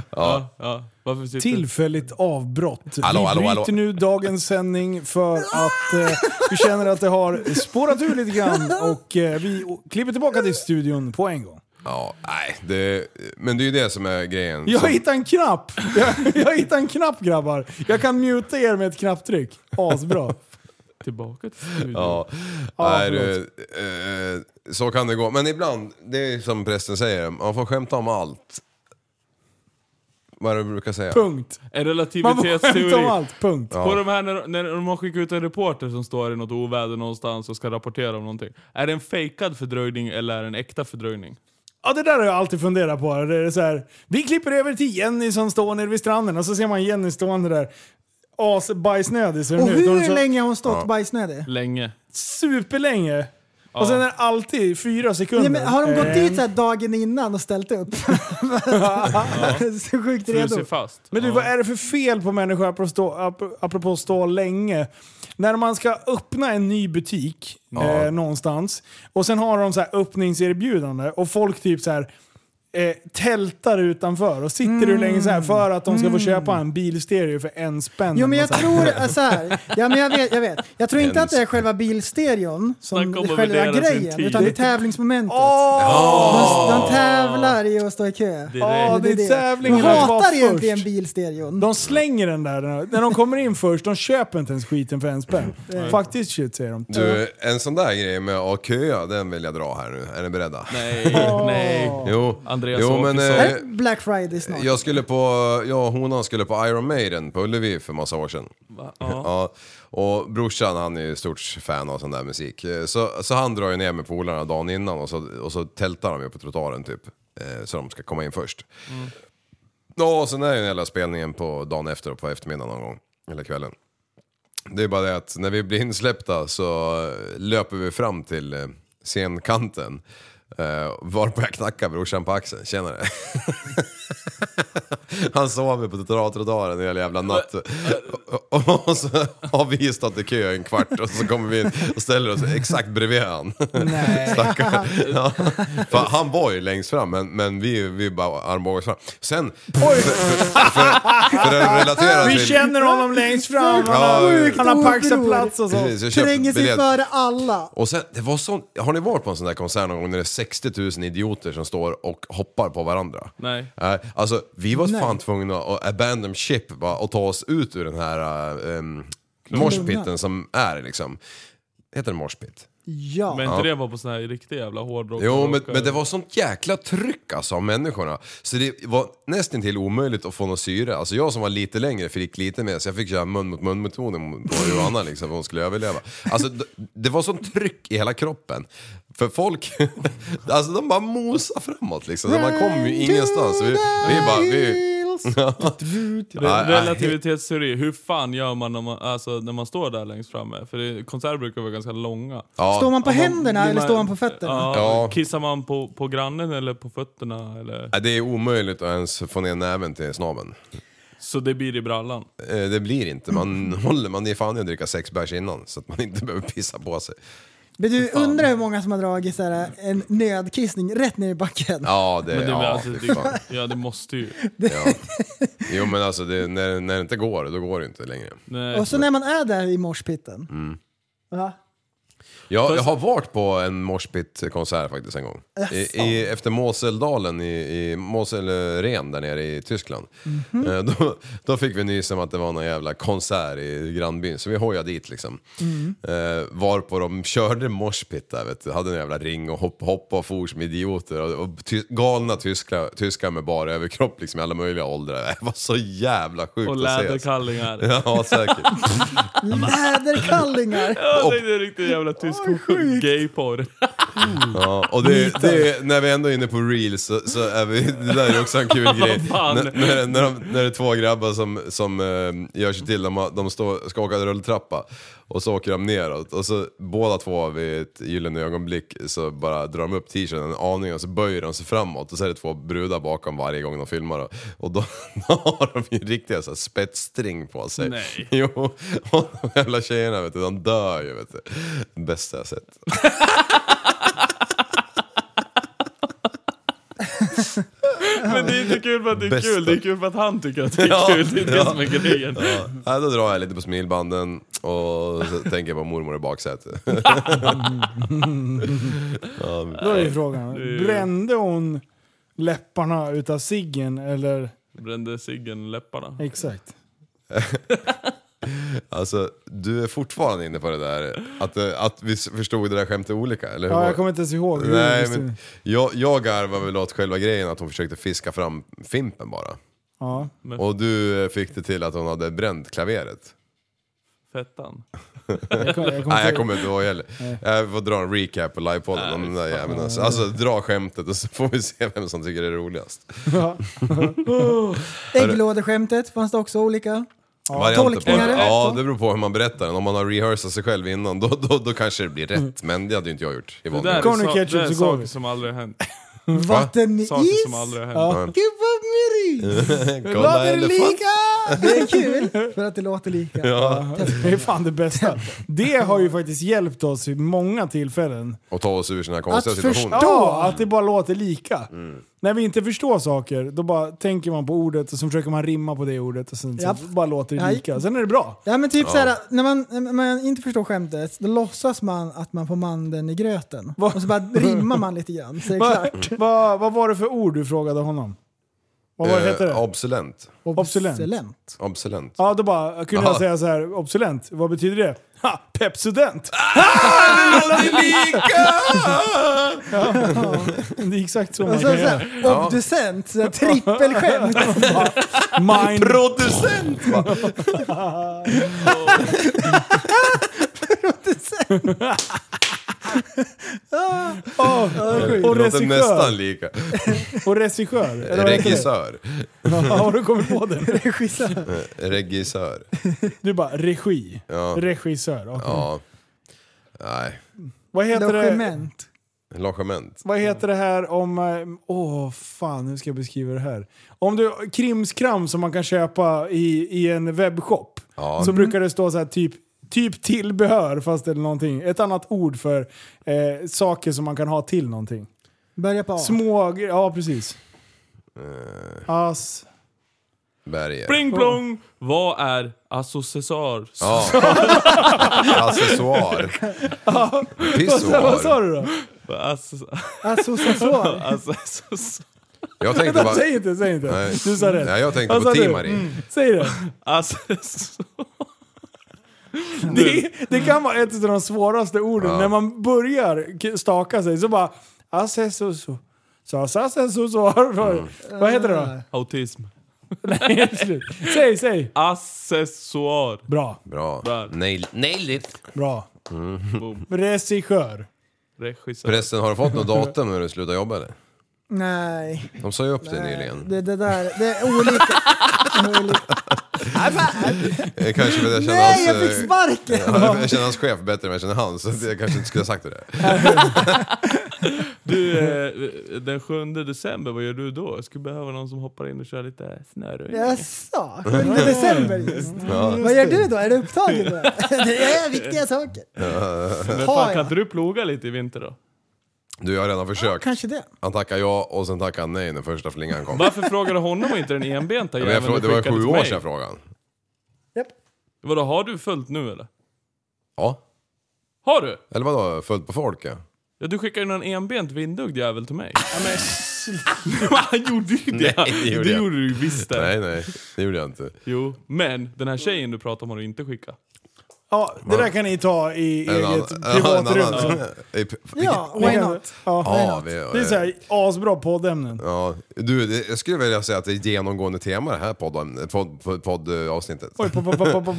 Speaker 8: ja, ja. Varför sitter...
Speaker 5: Tillfälligt avbrott.
Speaker 7: Hallå,
Speaker 5: vi
Speaker 7: hallå,
Speaker 5: bryter
Speaker 7: hallå.
Speaker 5: nu dagens sändning för att eh, vi känner att det har spårat ur lite grann och eh, vi o- klipper tillbaka till studion på en gång.
Speaker 7: Ja, nej, det, men det är ju det som är grejen.
Speaker 5: Jag
Speaker 7: som,
Speaker 5: hittade en knapp! Jag, jag hittade en knapp grabbar! Jag kan muta er med ett knapptryck. Asbra.
Speaker 8: Tillbaka till studion.
Speaker 7: ja,
Speaker 5: Ja,
Speaker 7: är,
Speaker 5: förlåt.
Speaker 7: Mm. eh, eh, så kan det gå. Men ibland, det är som prästen säger, man får skämta om allt. Vad är det du brukar säga?
Speaker 5: Punkt.
Speaker 8: En
Speaker 5: Man får *laughs* skämta om
Speaker 8: relativitetsteori.
Speaker 5: allt. Punkt.
Speaker 8: På de här när, när de har skickat ut en reporter som står i något oväder någonstans och ska rapportera om någonting. Är det en fejkad fördröjning eller är det en äkta fördröjning?
Speaker 5: Ja, det där har jag alltid funderat på. Det är så här, vi klipper över till Jenny som står nere vid stranden och så ser man Jenny stående där. Asbajsnödig ser hon
Speaker 6: Och
Speaker 5: ut. Hon är
Speaker 6: hur
Speaker 5: så-
Speaker 6: länge har hon stått bajsnödig?
Speaker 8: Länge.
Speaker 5: superlänge. Och sen är det alltid fyra sekunder.
Speaker 6: Ja, men har de gått
Speaker 5: Eh,
Speaker 6: dit så här dagen innan och ställt upp? *laughs* så sjukt redo.
Speaker 8: Frusit fast.
Speaker 5: Men du, vad är det för fel på människor apropå stå, ap- apropå stå länge? När man ska öppna en ny butik eh, någonstans och sen har de så här öppningserbjudande och folk typ så här eh, tältar utanför och sitter hur länge så här för att de ska
Speaker 8: Mm.
Speaker 5: få köpa en bilstereo för en spänn. alltså.
Speaker 6: Jo men jag
Speaker 5: Och så här,
Speaker 6: tror,
Speaker 5: *laughs*
Speaker 6: äh, så här. Ja, men jag, vet, jag vet. Jag tror inte att det är själva bilstereon som
Speaker 8: Snacka om att
Speaker 6: själva
Speaker 8: värdera sin
Speaker 6: grejen,
Speaker 8: tid.
Speaker 6: utan det är tävlingsmomentet. De, de tävlar i att stå i kö.
Speaker 5: Ja, det är
Speaker 6: De
Speaker 5: tävlingen att vara
Speaker 6: hatar
Speaker 5: först.
Speaker 6: egentligen bilstereon.
Speaker 5: De slänger den där när de kommer in först. De köper inte ens skiten för en spänn. Faktiskt shit säger de.
Speaker 7: Du, en sån där grej med att köa, den vill jag dra här nu. Är ni beredda?
Speaker 8: Nej, nej.
Speaker 7: Jo,
Speaker 8: Andreas
Speaker 7: jo men...
Speaker 8: Åkesson.
Speaker 7: eh,
Speaker 6: Är det Black Friday snart?
Speaker 7: Jag skulle på, jag och honan skulle på Iron Maiden på Ullevi för massa år sedan. *laughs* Ja. Och brorsan han är ju stort fan av sån där musik. Eh, Så, så han drar ju ner med polarna dagen innan och så, och så tältar de ju på trottoaren typ. eh, Så de ska komma in först. Ja, och sen är ju den hela spelningen på dagen efter och på eftermiddagen någon gång. Eller kvällen. Det är bara det att när vi blir insläppta så eh, löper vi fram till eh, scenkanten. Uh, varpå jag knackar brorsan på axeln, tjenare. *laughs* Han sover på trottoaren en hel jävla natt. Och, och så har vi stått i kö en kvart och så kommer vi in och ställer oss exakt bredvid han.
Speaker 6: Nej.
Speaker 7: *laughs* Stackare. Ja. För han var ju längst fram men, men vi, vi bara armbågades fram. Sen, för, för, för, för att relatera
Speaker 5: Vi
Speaker 7: till...
Speaker 5: känner honom längst fram. Han
Speaker 7: Ja,
Speaker 5: har,
Speaker 7: sjukt
Speaker 5: han har paxat
Speaker 6: otroligt.
Speaker 5: plats och så.
Speaker 7: Precis, jag köpte
Speaker 6: Tränger sig
Speaker 7: biljett.
Speaker 6: före alla.
Speaker 7: Och sen, det var sån, har ni varit på en sån där konsert någon gång när det är 60 000 idioter som står och hoppar på varandra?
Speaker 8: Nej.
Speaker 7: Nej, alltså vi var
Speaker 6: Nej.
Speaker 7: fan tvungna att abandon ship bara, och ta oss ut ur den här um, moshpiten som är liksom. Heter det moshpit?
Speaker 6: Ja.
Speaker 8: Men inte det var på sån här riktig jävla hårdrock?
Speaker 7: Jo, men, men det var sånt jäkla tryck alltså av människorna. Så det var nästan till omöjligt att få någon syre. Alltså jag som var lite längre fick lite mer, så jag fick köra mun mot mun metoden *laughs* på Johanna liksom, för hon skulle överleva. Alltså d- det var sånt tryck i hela kroppen. För folk, *laughs* alltså de bara mosade framåt liksom. Så man kom ju ingenstans. Vi, vi bara, vi...
Speaker 8: Re-
Speaker 7: Nej, nej.
Speaker 8: Relativitetsteori, hur fan gör man när man, alltså, när man står där längst framme? För det, konserter brukar vara ganska långa.
Speaker 6: Står man på
Speaker 8: Ja,
Speaker 6: händerna
Speaker 8: blir
Speaker 6: eller står man på fötterna?
Speaker 8: Ja,
Speaker 7: Ja.
Speaker 8: Kissar man på, på grannen eller på fötterna? Eller?
Speaker 7: Ja, Det är omöjligt att ens få ner näven till snabeln.
Speaker 8: Så det blir i brallan.
Speaker 7: Eh, Det blir inte, *laughs* man håller, man är fan i att dricka sex bärs innan så att man inte behöver pissa på sig.
Speaker 6: Men du undrar hur många som har dragit så här, en nödkissning rätt ner i backen.
Speaker 7: Ja, det,
Speaker 8: Men det,
Speaker 7: ja,
Speaker 8: alltså,
Speaker 7: fy
Speaker 8: det,
Speaker 7: fan.
Speaker 8: ja, det måste ju.
Speaker 7: Ja. Jo men alltså det, när, när det inte går, då går det inte längre.
Speaker 8: Nej.
Speaker 6: Och så när man är där i morspitten.
Speaker 7: Mm.
Speaker 6: Va?
Speaker 7: Jag, jag har varit på en moshpit-konsert faktiskt en gång. I, i, efter Moseldalen i, i Moselren där nere i Tyskland. Eh, Då, då fick vi nys om att det var någon jävla konsert i grannbyn, så vi hojade dit liksom. Eh, varpå de körde moshpit där vet du, hade en jävla ring och hopp, hoppa och for som idioter. Och, och ty, galna tyskar, tyskar med bara överkropp liksom i alla möjliga åldrar. *laughs* Det var så jävla sjukt
Speaker 8: Och
Speaker 7: att se. alltså.
Speaker 8: läderkallingar.
Speaker 7: Ja, säkert.
Speaker 6: Läderkallingar!
Speaker 8: Ja, det är en riktig jävla tysk gayporr.
Speaker 7: Ja, och det, det, när vi ändå är inne på reels så, så är vi, det där är också en kul grej.
Speaker 8: fan.
Speaker 7: N- när, när, de, när det är två grabbar som, som eh, gör sig till, de, har- de står, ska åka rulltrappa och så åker de neråt och så båda två vid ett gyllene ögonblick så bara drar de upp t-shirten en aning och så böjer de sig framåt och så är det två brudar bakom varje gång de filmar och, och då, *laughs* då har de ju riktiga så här spetsstring på sig.
Speaker 8: Nej.
Speaker 7: *laughs* Jo, och de jävla tjejerna vet du, de dör ju vet du. Bästa jag sett.
Speaker 8: Men det är inte kul för att det är
Speaker 7: Bästa.
Speaker 8: kul, det är kul för att han tycker att det är
Speaker 7: Ja,
Speaker 8: kul. Det är det
Speaker 7: ja.
Speaker 8: som är grejen.
Speaker 7: Ja, nej, då drar jag lite på smilbanden och så tänker jag på mormor i baksätet.
Speaker 5: Då är ju frågan, brände hon läpparna utav ciggen eller?
Speaker 8: Brände ciggen läpparna.
Speaker 5: Exakt.
Speaker 7: Alltså, du är fortfarande inne på det där att, eh, att vi s- förstod det där skämtet olika, eller hur?
Speaker 5: Ja,
Speaker 7: var
Speaker 5: jag
Speaker 7: det?
Speaker 5: kommer inte ens ihåg. hur
Speaker 7: Nej,
Speaker 5: just det-
Speaker 7: men jag, jag garvar väl åt själva grejen att hon försökte fiska fram Fimpen bara.
Speaker 5: Ja.
Speaker 7: Och du eh, fick det till att hon hade bränt klaveret.
Speaker 8: Fettan.
Speaker 7: *laughs*
Speaker 5: Jag kom, jag kom
Speaker 7: Nej, jag
Speaker 5: till-
Speaker 7: kommer inte ihåg heller. Jag får dra en recap på livepodden om den där jäveln. Alltså. alltså, dra skämtet och så får vi se vem som tycker det är roligast.
Speaker 5: Ja.
Speaker 6: Ägglådeskämtet fanns det också olika.
Speaker 7: Varianter på
Speaker 6: tolkningar
Speaker 7: det.
Speaker 6: är rätt,
Speaker 7: Ja,
Speaker 6: va?
Speaker 7: det beror på hur man berättar den. Om man har rehearsat sig själv innan, då, då, då kanske det blir rätt. Men det hade ju inte jag gjort i
Speaker 8: Det
Speaker 7: vanliga
Speaker 8: där är,
Speaker 5: Corner
Speaker 8: sa-
Speaker 5: ketchup
Speaker 8: det där är
Speaker 5: så går
Speaker 8: saker
Speaker 5: vi.
Speaker 8: som aldrig har hänt.
Speaker 6: Vatten i
Speaker 8: Saker
Speaker 6: is!
Speaker 8: som aldrig har hänt.
Speaker 5: Ja.
Speaker 6: Gud vad myris!
Speaker 7: *laughs* Kolla elefant! *laughs*
Speaker 6: Det är kul för att det låter lika.
Speaker 5: Det är fan
Speaker 6: *laughs*
Speaker 5: det bästa. Det har ju faktiskt hjälpt oss i många tillfällen.
Speaker 7: Och ta oss ur såna här
Speaker 6: Att
Speaker 7: konstiga situationer.
Speaker 6: förstå!
Speaker 5: Ja, att det bara låter lika. När vi inte förstår saker, då bara tänker man på ordet och så försöker man rimma på det ordet och sen så
Speaker 6: Japp.
Speaker 5: bara låter det
Speaker 6: Nej.
Speaker 5: lika. Sen är det bra.
Speaker 6: Ja men typ såhär, när man, när man inte förstår skämtet, då låtsas man att man får mandeln i gröten. Och så bara rimmar man lite grann, så är det
Speaker 5: Va,
Speaker 6: klart.
Speaker 5: va, vad var det för ord du frågade honom? Vad var det, hette det?
Speaker 7: Eh, obsolent.
Speaker 5: Obsolent.
Speaker 6: Obsolent.
Speaker 7: Obsolent.
Speaker 5: Ja, då bara, kunde jag
Speaker 7: Ja.
Speaker 5: säga så här, obsolent, vad betyder det? Ha, Pepsodent!
Speaker 7: Ah,
Speaker 5: *laughs* Det är exakt så man
Speaker 6: Och så, Alltså,
Speaker 5: kan
Speaker 6: så
Speaker 5: göra.
Speaker 6: här, obducent, så här,
Speaker 5: *laughs*
Speaker 6: trippelskämt.
Speaker 5: Mind Ah.
Speaker 7: Producent! va?
Speaker 5: *laughs* Åh, Ah, och
Speaker 7: Det låter nästan
Speaker 5: regissör.
Speaker 7: lika.
Speaker 5: Och regissör. eller vad heter det?
Speaker 7: Regissör.
Speaker 5: Ja, har du kommit på det? Regissör.
Speaker 7: Eh, Regissör.
Speaker 5: Du bara regi.
Speaker 7: Ja.
Speaker 5: Regissör. okej.
Speaker 7: Ja. Nej.
Speaker 5: Vad heter det?
Speaker 6: Logement.
Speaker 7: Logement.
Speaker 5: Vad heter det här om... eh, Åh fan, hur ska jag beskriva det här? Om du... Krimskram som man kan köpa i, i en webbshop.
Speaker 7: Ja.
Speaker 5: Så brukar det stå så här typ, typ tillbehör fast eller någonting. Ett annat ord för eh, saker som man kan ha till någonting.
Speaker 6: Börja på A.
Speaker 5: Små... gre- Ja, precis.
Speaker 7: Eh.
Speaker 5: As...
Speaker 7: Berger.
Speaker 8: Pling plong! Vad är accessoar?
Speaker 7: Ja. Accessoar.
Speaker 5: *laughs* Vad sa
Speaker 7: Pissoar.
Speaker 5: du då?
Speaker 8: Access-
Speaker 6: Associator.
Speaker 5: *laughs*
Speaker 8: access-
Speaker 7: Jag tänkte bara...
Speaker 5: Säg inte, säg inte.
Speaker 7: Nej.
Speaker 5: Du sa rätt.
Speaker 7: Nej, jag tänkte
Speaker 5: Vad
Speaker 7: på
Speaker 5: sa du?
Speaker 7: Timari.
Speaker 5: Säg det.
Speaker 8: Accessoar.
Speaker 5: Det, det kan vara ett av de svåraste orden. När man börjar k- staka sig så bara... Assessoso. Så, så, så, så, *laughs* så.
Speaker 7: Mm.
Speaker 5: Vad heter det då?
Speaker 6: *laughs*
Speaker 5: *laughs*
Speaker 8: Autism.
Speaker 5: Nej, helt slut. säg, säg.
Speaker 7: Ah.
Speaker 8: Accessoar.
Speaker 5: Bra,
Speaker 7: Bra.
Speaker 8: Där.
Speaker 7: Nail, nailed it.
Speaker 5: bra.
Speaker 7: Mm.
Speaker 8: Boom.
Speaker 5: Regissör.
Speaker 8: Regissör.
Speaker 7: Förresten, har du fått något datum när du slutar jobba eller?
Speaker 6: Nej.
Speaker 7: De sa ju upp det nyligen.
Speaker 6: Det, det där, det är olika. olika.
Speaker 7: Eh, Kanske för att jag känner
Speaker 6: Nej, jag
Speaker 7: hans,
Speaker 6: fick
Speaker 7: eh,
Speaker 6: sparken!
Speaker 7: ja, jag känner hans chef bättre än jag känner hans, så att jag kanske inte skulle ha sagt det där.
Speaker 8: Du, eh, den 7 december, vad gör du då? Jag skulle behöva någon som hoppar in och kör lite snöröjning.
Speaker 6: Jaså, 7 december just. Vad gör du då? Är du upptagen då? Det är viktiga saker.
Speaker 8: Men fan,
Speaker 6: Har jag?
Speaker 8: kan inte du ploga lite i vinter då?
Speaker 7: Du, jag har redan försökt.
Speaker 6: Kanske det.
Speaker 7: Han tackade ja och sen tackade han nej när första flingan kom.
Speaker 8: Varför frågar du honom och inte den enbenta
Speaker 7: Men jag
Speaker 8: jäveln
Speaker 7: frå- det
Speaker 8: du
Speaker 7: var ju
Speaker 8: skickade
Speaker 7: sju
Speaker 8: till
Speaker 7: år
Speaker 8: mig?
Speaker 7: sedan frågan.
Speaker 6: Japp.
Speaker 8: Vadå, har du följt nu eller?
Speaker 7: Ja.
Speaker 8: Har du?
Speaker 7: Eller vadå, fullt på folk ja.
Speaker 8: Ja, du skickade ju någon enbent vindögd jävel till mig. Ja, men... *laughs* Han gjorde ju det!
Speaker 7: Nej, det gjorde
Speaker 8: det
Speaker 7: jag.
Speaker 8: gjorde du ju visst det.
Speaker 7: Nej, nej, det gjorde jag inte.
Speaker 8: Jo, men den här tjejen du pratar om har du inte skickat.
Speaker 5: Ja, det där kan ni ta i
Speaker 7: En
Speaker 5: eget
Speaker 7: annan- *laughs* en
Speaker 5: privatrum.
Speaker 7: annan- I p-
Speaker 6: Ja,
Speaker 5: Ja.
Speaker 6: why not?
Speaker 7: Ja,
Speaker 5: Ja.
Speaker 7: vi,
Speaker 5: Det är såhär asbra poddämnen.
Speaker 7: ja. Du, det, jag skulle vilja säga att det är genomgående tema det här podden- podd- podd- poddavsnittet.
Speaker 5: Oj, pop, pop, pop, pop, pop.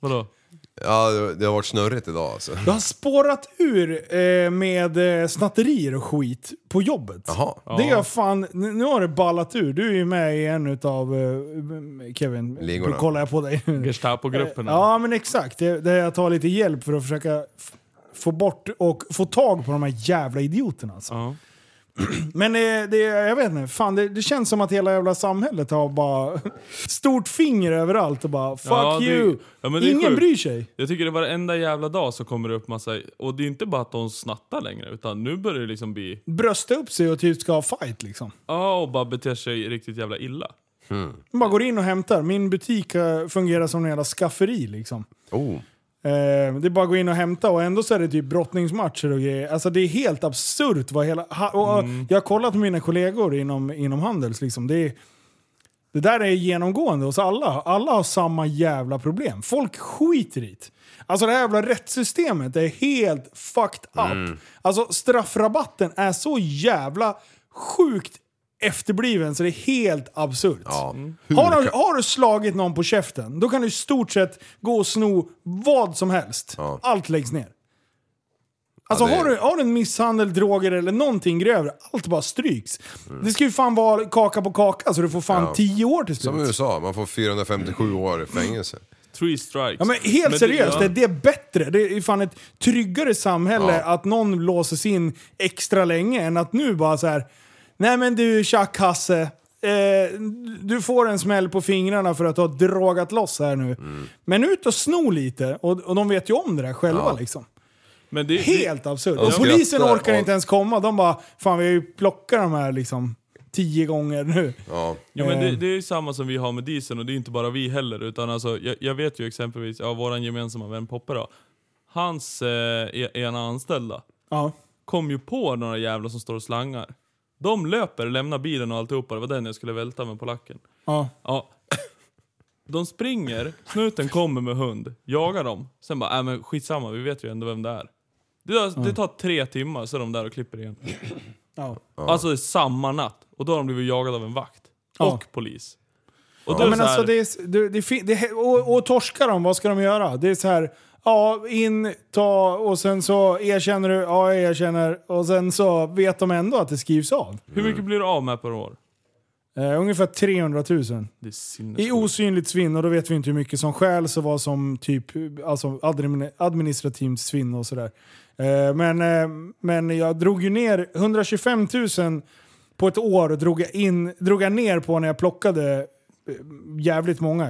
Speaker 8: Vadå?
Speaker 7: Ja, det det har varit snurrigt idag alltså.
Speaker 5: Jag har spårat ur eh, med eh, snatterier och skit på jobbet.
Speaker 7: Jaha.
Speaker 5: Det är fan, nu nu har det ballat ur. Du är ju med i en utav, eh, Kevin,
Speaker 7: Ligorna.
Speaker 5: då kollar jag på dig.
Speaker 8: Gestapo-gruppen?
Speaker 5: Eh, ja men exakt, Det- där jag tar lite hjälp för att försöka f- få bort och få tag på de här jävla idioterna. Alltså.
Speaker 8: Ja.
Speaker 5: *clears throat* Men det, det, jag vet inte, fan det, det känns som att hela jävla samhället har bara *laughs* stort finger överallt och bara fuck
Speaker 8: Ja, det-
Speaker 5: you.
Speaker 8: ja, men det är
Speaker 5: Ingen
Speaker 8: sjukt.
Speaker 5: bryr sig.
Speaker 8: Jag tycker det varenda jävla dag så kommer det upp massa... Och det är inte bara att de snattar längre, utan nu börjar det liksom bli...
Speaker 5: Brösta upp sig och typ ska ha fight liksom.
Speaker 8: Ja, och bara beter sig riktigt jävla illa.
Speaker 5: Man bara går in och hämtar. Min butik eh, fungerar som en jävla skafferi liksom.
Speaker 7: Oh.
Speaker 5: Eh, det är bara att gå in och hämta och ändå så är det typ brottningsmatcher och grejer. Alltså det är helt absurt vad hela... Ha, och, Jag har kollat med mina kollegor inom, inom Handels liksom. Det, är, det där är genomgående hos alla. Alla har samma jävla problem. Folk skiter i det. Alltså det här jävla rättssystemet är helt fucked up. Alltså straffrabatten är så jävla sjukt efterbliven så det är helt absurt.
Speaker 7: Ja.
Speaker 5: Har du, har du slagit någon på käften, då kan du i stort sett gå och sno vad som helst.
Speaker 7: Ja.
Speaker 5: Allt läggs ner. Alltså
Speaker 7: Ja, det-
Speaker 5: har, du, har du en misshandel, droger eller någonting grövre, allt bara stryks. Det ska ju fan vara kaka på kaka så du får fan
Speaker 7: Mm. Ja.
Speaker 5: 10 år till
Speaker 7: Som i
Speaker 5: slut.
Speaker 7: USA, man får 457 år i fängelse.
Speaker 8: Three strikes.
Speaker 5: Ja, men helt
Speaker 8: det-
Speaker 5: seriöst,
Speaker 8: ja.
Speaker 5: det, det är bättre. Det är fan ett tryggare samhälle
Speaker 7: Ja.
Speaker 5: att någon låses in extra länge än att nu bara så här. Nej men du tjack Hasse. Eh, du får en smäll på fingrarna för att du har dragat loss här nu.
Speaker 7: Mm.
Speaker 5: Men ut och sno lite. Och, och de vet ju om det där själva liksom.
Speaker 8: Men det,
Speaker 5: Helt absurt. Och
Speaker 7: de
Speaker 5: polisen
Speaker 7: skrattar
Speaker 5: orkar
Speaker 7: och-
Speaker 5: inte ens komma. De bara, fan vi har ju plockat de här liksom tio gånger nu.
Speaker 7: Ja.
Speaker 8: Ja, men
Speaker 5: Eh.
Speaker 8: det, det är ju samma som vi har med dieseln och det är inte bara vi heller. Utan alltså, jag, jag vet ju exempelvis, ja, vår gemensamma vän Poppe då. Hans eh, e- ena anställda
Speaker 5: Ja.
Speaker 8: kom ju på några jävlar som står och slangar. De löper, lämnar bilen och alltihopa. Det var den jag skulle välta med polacken.
Speaker 5: Ja.
Speaker 8: Ja. *laughs* De springer, snuten kommer med hund, jagar dem. Sen bara, äh, men skitsamma, vi vet ju ändå vem det är. Det, tar- det tar tre timmar så är de där och klipper igen.
Speaker 5: Ja.
Speaker 8: Alltså det är samma natt. Och då har de blivit jagade av en vakt.
Speaker 5: Ja.
Speaker 8: Och polis. Och då
Speaker 5: Ja,
Speaker 8: är det
Speaker 5: men
Speaker 8: så här,
Speaker 5: alltså det är, det, det, fin- det, och, och torskar de, vad ska de göra? Det är så här, ja Ja, in, ta och sen så erkänner du, ja jag erkänner. Och sen så vet de ändå att det skrivs av.
Speaker 8: Hur mycket blir du av med per år?
Speaker 5: Eh, ungefär 300 000.
Speaker 8: Det är
Speaker 5: I
Speaker 8: sinnessjukt.
Speaker 5: osynligt svinn, och då vet vi inte hur mycket som stjäls och vad som typ, alltså admin- administrativt svinn och sådär. Eh, men, eh, men jag drog ju ner 125 000 på ett år drog jag, in, drog jag ner på när jag plockade eh, jävligt många.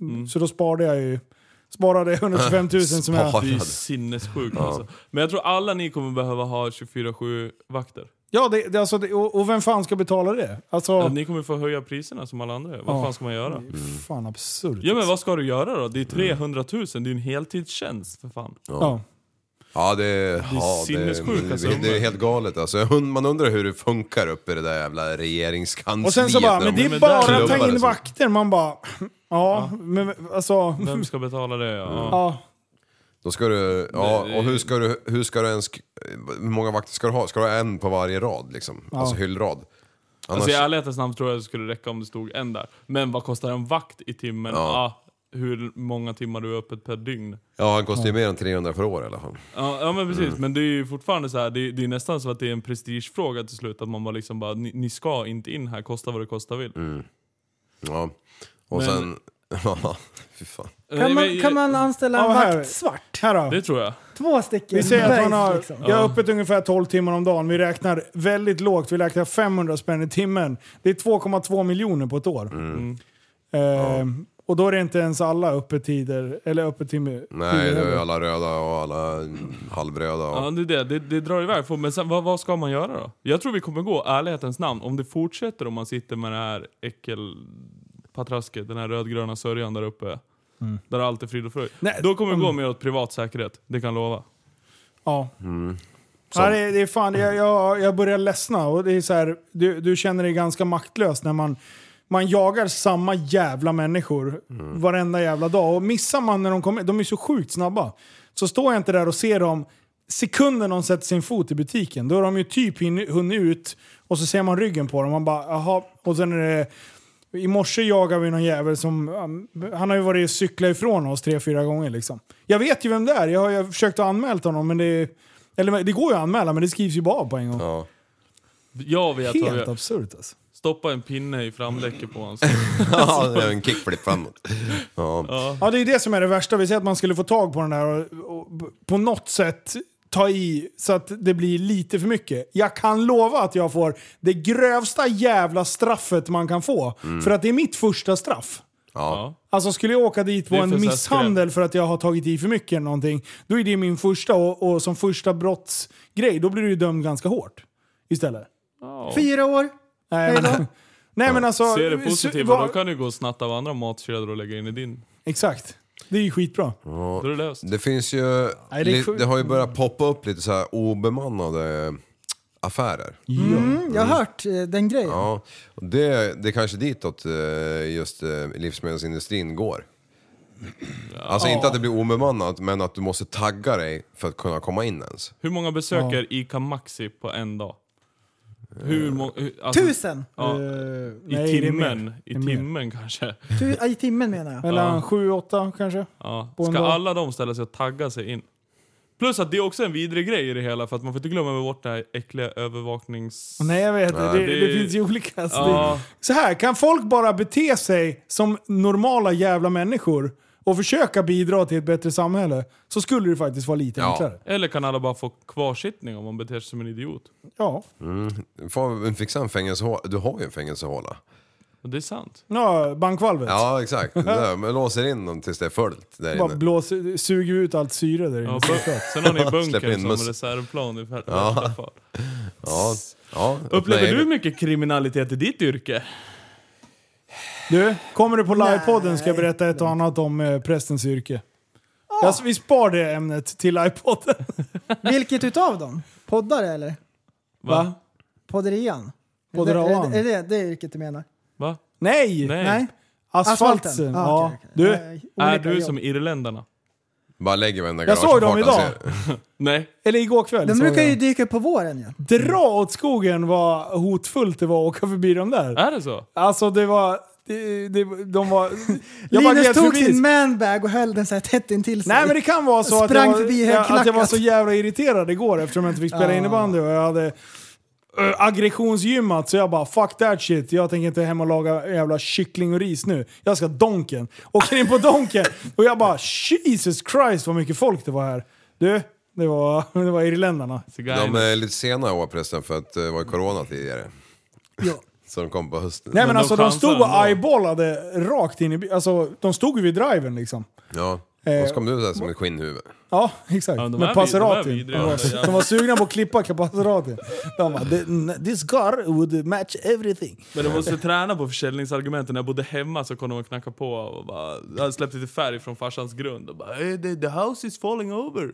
Speaker 5: Mm. Så då sparade jag ju sparade 125 000 som jag...
Speaker 8: Det är sinnessjukt alltså. Men jag tror alla ni kommer behöva ha 24-7 vakter.
Speaker 5: Ja, det, det, alltså, det, och, och vem fan ska betala det? Alltså,
Speaker 8: Ja, Ni kommer få höja priserna som alla andra gör. Vad
Speaker 5: Ja.
Speaker 8: fan ska man göra?
Speaker 5: fan absurt.
Speaker 8: Ja men vad ska du göra då? Det är 300 000, det är ju en heltidstjänst för fan.
Speaker 5: Ja.
Speaker 7: Ja, det, är ja, det,
Speaker 8: sinnessjuka
Speaker 7: det, det,
Speaker 8: summor.
Speaker 7: är helt galet alltså. Jag und- Man undrar hur det funkar uppe i det där jävla regeringskansliet.
Speaker 5: Och sen så bara,
Speaker 7: när
Speaker 5: men
Speaker 7: de
Speaker 5: det är
Speaker 7: klubbar
Speaker 5: bara att
Speaker 7: det
Speaker 5: ta in
Speaker 7: så.
Speaker 5: vakter. Man bara, ja, men alltså...
Speaker 8: Vem ska betala det? Ja.
Speaker 5: Ja.
Speaker 7: Då ska du, ja, och hur ska du, hur ska du ens, hur många vakter ska du ha? Ska du ha en på varje rad liksom? Alltså hyllrad. Annars,
Speaker 8: Alltså i ärlighetens namn tror jag det skulle räcka om det stod en där. Men vad kostar en vakt i timmen?
Speaker 7: Ja.
Speaker 8: Ah, hur många timmar du är öppet per dygn?
Speaker 7: ja, han kostar ju mer än 300 per år i alla fall.
Speaker 8: Ja, ja men
Speaker 7: Mm.
Speaker 8: precis, men det är ju fortfarande så här, det, är- det är nästan så att det är en prestigefråga till slut. Att man bara liksom bara, ni, ni ska inte in här, kosta vad det kosta vill.
Speaker 7: Ja. Mm. *laughs* Och
Speaker 8: Men-
Speaker 7: sen, ja, fy fan.
Speaker 8: Nej,
Speaker 6: Kan man,
Speaker 8: men-
Speaker 6: kan man anställa en
Speaker 5: Ja, här.
Speaker 6: vakt svart?
Speaker 5: Här då.
Speaker 8: Det tror jag.
Speaker 6: Två stycken.
Speaker 5: Vi säger att man har,
Speaker 6: bergs, liksom.
Speaker 5: jag är öppet ungefär 12 timmar om dagen. Vi räknar väldigt lågt. Vi räknar 500 spänn i timmen. Det är 2,2 miljoner på ett år.
Speaker 6: Mm.
Speaker 5: Ehm, Och då är det inte ens alla öppettider, eller öppettimme.
Speaker 7: Nej, det är ju alla röda och alla halvröda. Och,
Speaker 8: Ja, det, är det. Det, det drar iväg. Får- Men sen, vad, vad ska man göra då? Jag tror vi kommer gå, ärlighetens namn, om det fortsätter om man sitter med det här äckelpatrasket, den här rödgröna sörjan där uppe. Där allt är frid och fröjd.
Speaker 5: Mm. Nej,
Speaker 8: Då kommer vi gå mer åt privat säkerhet, det kan jag lova.
Speaker 5: Ja. Ja, det, är- det är fan, jag, jag, jag börjar ledsna. Och det är så här, du, du känner dig ganska maktlös när man, man jagar samma jävla människor varenda jävla dag. Och missar man när de kommer, de är så sjukt snabba. Så står jag inte där och ser dem sekunden de sätter sin fot i butiken. Då är de ju typ hin- hunnit ut och så ser man ryggen på dem. Man bara, jaha. Och sen är det... I morse jagade vi någon jävel som... um, Han har ju varit och cyklat ifrån oss tre, fyra gånger liksom. Jag vet ju vem det är. Jag har, jag har försökt att anmäla honom men det... Eller det går ju att anmäla men det skrivs ju bara av på en gång.
Speaker 7: ja.
Speaker 8: Jag vet vad vi
Speaker 5: Helt
Speaker 8: gör.
Speaker 5: absurt alltså.
Speaker 8: Stoppa en pinne i framdäcket på
Speaker 5: *laughs*
Speaker 8: hans.
Speaker 7: ja, det är *laughs* en kickflip framåt. Ja.
Speaker 5: Ja det är det som är det värsta. Vi säger att man skulle få tag på den där och, och på något sätt ta i så att det blir lite för mycket. Jag kan lova att jag får det grövsta jävla straffet man kan få. För att det är mitt första straff.
Speaker 7: Ja.
Speaker 5: Alltså skulle jag åka dit på
Speaker 8: Det är för
Speaker 5: en
Speaker 8: så här
Speaker 5: misshandel för att jag har tagit i för mycket eller någonting, då är det min första och, och som första brottsgrej, då blir du ju dömd ganska hårt istället.
Speaker 6: Fyra år.
Speaker 5: Nej, men, nej, men alltså...
Speaker 8: Se det
Speaker 5: s-
Speaker 8: positiva,
Speaker 5: vad-
Speaker 8: då kan du gå och snatta av andra matkedjor och lägga in i din.
Speaker 5: Exakt. Det är ju skitbra.
Speaker 8: Då är det löst.
Speaker 7: Det finns ju,
Speaker 5: Nej, det är
Speaker 7: li,
Speaker 5: sjukt.
Speaker 7: det har ju börjat poppa upp lite så här obemannade affärer.
Speaker 6: Mm, jag har hört eh, den grejen.
Speaker 7: Ja, och det, det är kanske ditåt eh, just eh, livsmedelsindustrin går. Alltså inte att det blir obemannat, men att du måste tagga dig för att kunna komma in ens.
Speaker 8: Hur många besöker ICA Maxi på en dag? Hur många... Alltså,
Speaker 6: Tusen!
Speaker 8: Ja,
Speaker 5: Eh,
Speaker 8: I
Speaker 5: nej, det är mer.
Speaker 8: timmen, i
Speaker 5: är mer.
Speaker 8: timmen kanske.
Speaker 6: Tu- I timmen menar jag.
Speaker 5: Mellan sju och åtta kanske.
Speaker 8: Ja.
Speaker 5: På en
Speaker 8: Ska
Speaker 5: dag.
Speaker 8: alla de ställa sig och tagga sig in? Plus att det är också en vidrig grej i det hela, för att man får inte glömma bort det här äckliga övervaknings...
Speaker 5: Nej jag vet det, det,
Speaker 8: det-
Speaker 5: det finns ju olika. Så,
Speaker 8: Ja.
Speaker 5: det, så här, kan folk bara bete sig som normala jävla människor och försöka bidra till ett bättre samhälle så skulle det faktiskt vara lite
Speaker 7: Ja.
Speaker 5: enklare.
Speaker 8: Eller kan alla bara få kvarsittning om man beter sig som en idiot?
Speaker 5: Ja.
Speaker 7: Fan, Fixa en fängelsehåla. Du har ju en fängelsehåla.
Speaker 8: Och det är sant.
Speaker 5: Ja,
Speaker 7: *laughs*
Speaker 5: bankvalvet.
Speaker 7: Ja, exakt. Det Där, men låser in dem tills det är fullt där
Speaker 5: Bara
Speaker 7: inne.
Speaker 5: blås, suger ut allt syre där
Speaker 8: Ja,
Speaker 5: inne.
Speaker 8: bu- sen har ni
Speaker 7: Släpp
Speaker 8: bunker
Speaker 7: in
Speaker 8: som
Speaker 7: möss.
Speaker 8: reservplan i vär- värsta fall.
Speaker 7: Ja, ja,
Speaker 8: Upplever
Speaker 7: öppna
Speaker 8: du
Speaker 7: egen-
Speaker 8: mycket kriminalitet i ditt yrke?
Speaker 5: Du, kommer du på livepodden ska jag berätta ett och annat om eh, prästens yrke. Jag, vi spar det ämnet till livepodden.
Speaker 6: Vilket utav dem? Poddare eller?
Speaker 8: Va?
Speaker 6: Podderian?
Speaker 5: Podderian.
Speaker 6: Är det, är det det yrket du menar?
Speaker 8: Va?
Speaker 5: Nej!
Speaker 8: Nej.
Speaker 6: Nej?
Speaker 5: Asfalten.
Speaker 6: Ah,
Speaker 5: Ja.
Speaker 6: okej, okej.
Speaker 5: Du,
Speaker 6: Nej,
Speaker 8: Är
Speaker 6: olika
Speaker 8: du
Speaker 6: jobb.
Speaker 8: som irländarna?
Speaker 7: Bara lägger varenda
Speaker 5: Jag såg dem
Speaker 7: garagepart han
Speaker 5: idag.
Speaker 7: ser.
Speaker 8: Nej.
Speaker 5: eller igår kväll
Speaker 6: De
Speaker 5: såg
Speaker 6: brukar
Speaker 5: jag.
Speaker 6: ju dyka upp på våren ju.
Speaker 5: Dra åt skogen vad hotfullt det var att åka förbi dem där.
Speaker 8: Är det så?
Speaker 5: Alltså det var Det, det, de
Speaker 6: *laughs*
Speaker 5: var... Jag bara
Speaker 6: Linus
Speaker 5: gled
Speaker 6: tog
Speaker 5: förbi.
Speaker 6: sin manbag och höll den så här tätt intill sig.
Speaker 5: Nej men det kan vara så att jag,
Speaker 6: Sprang
Speaker 5: var,
Speaker 6: förbi
Speaker 5: jag, att jag var
Speaker 6: högklackat.
Speaker 5: så jävla irriterad igår eftersom jag inte fick spela
Speaker 6: Ja.
Speaker 5: innebandy och jag hade ö, aggressionsgymmat så jag bara fuck that shit, jag tänker inte hem och laga jävla kyckling och ris nu. Jag ska donken. Åker in på donken och jag bara Jesus Christ vad mycket folk det var här. Du, det var, det var irländarna.
Speaker 7: De är lite sena i år förresten för att eh, det var ju corona tidigare.
Speaker 5: Ja.
Speaker 7: *laughs* Så de kom på hösten.
Speaker 5: Nej men, alltså de stod och eyeballade rakt in i bi- Alltså de stod ju vid driven liksom.
Speaker 7: Ja, och så kom du där som ett skinnhuvud.
Speaker 5: Ja, exakt.
Speaker 7: de är
Speaker 5: med
Speaker 7: vid- de är
Speaker 5: Passerati.
Speaker 7: vidriga,
Speaker 5: De,
Speaker 7: de där
Speaker 5: var- de var sugna på att klippa Passerati. De bara, "The- this car would match everything.
Speaker 8: Men de måste träna på försäljningsargumenten. När jag bodde hemma så kom de och knackade på och bara... Jag hade släppt lite färg från farsans grund och bara "Eh, the, the house is falling
Speaker 7: *laughs*
Speaker 8: over.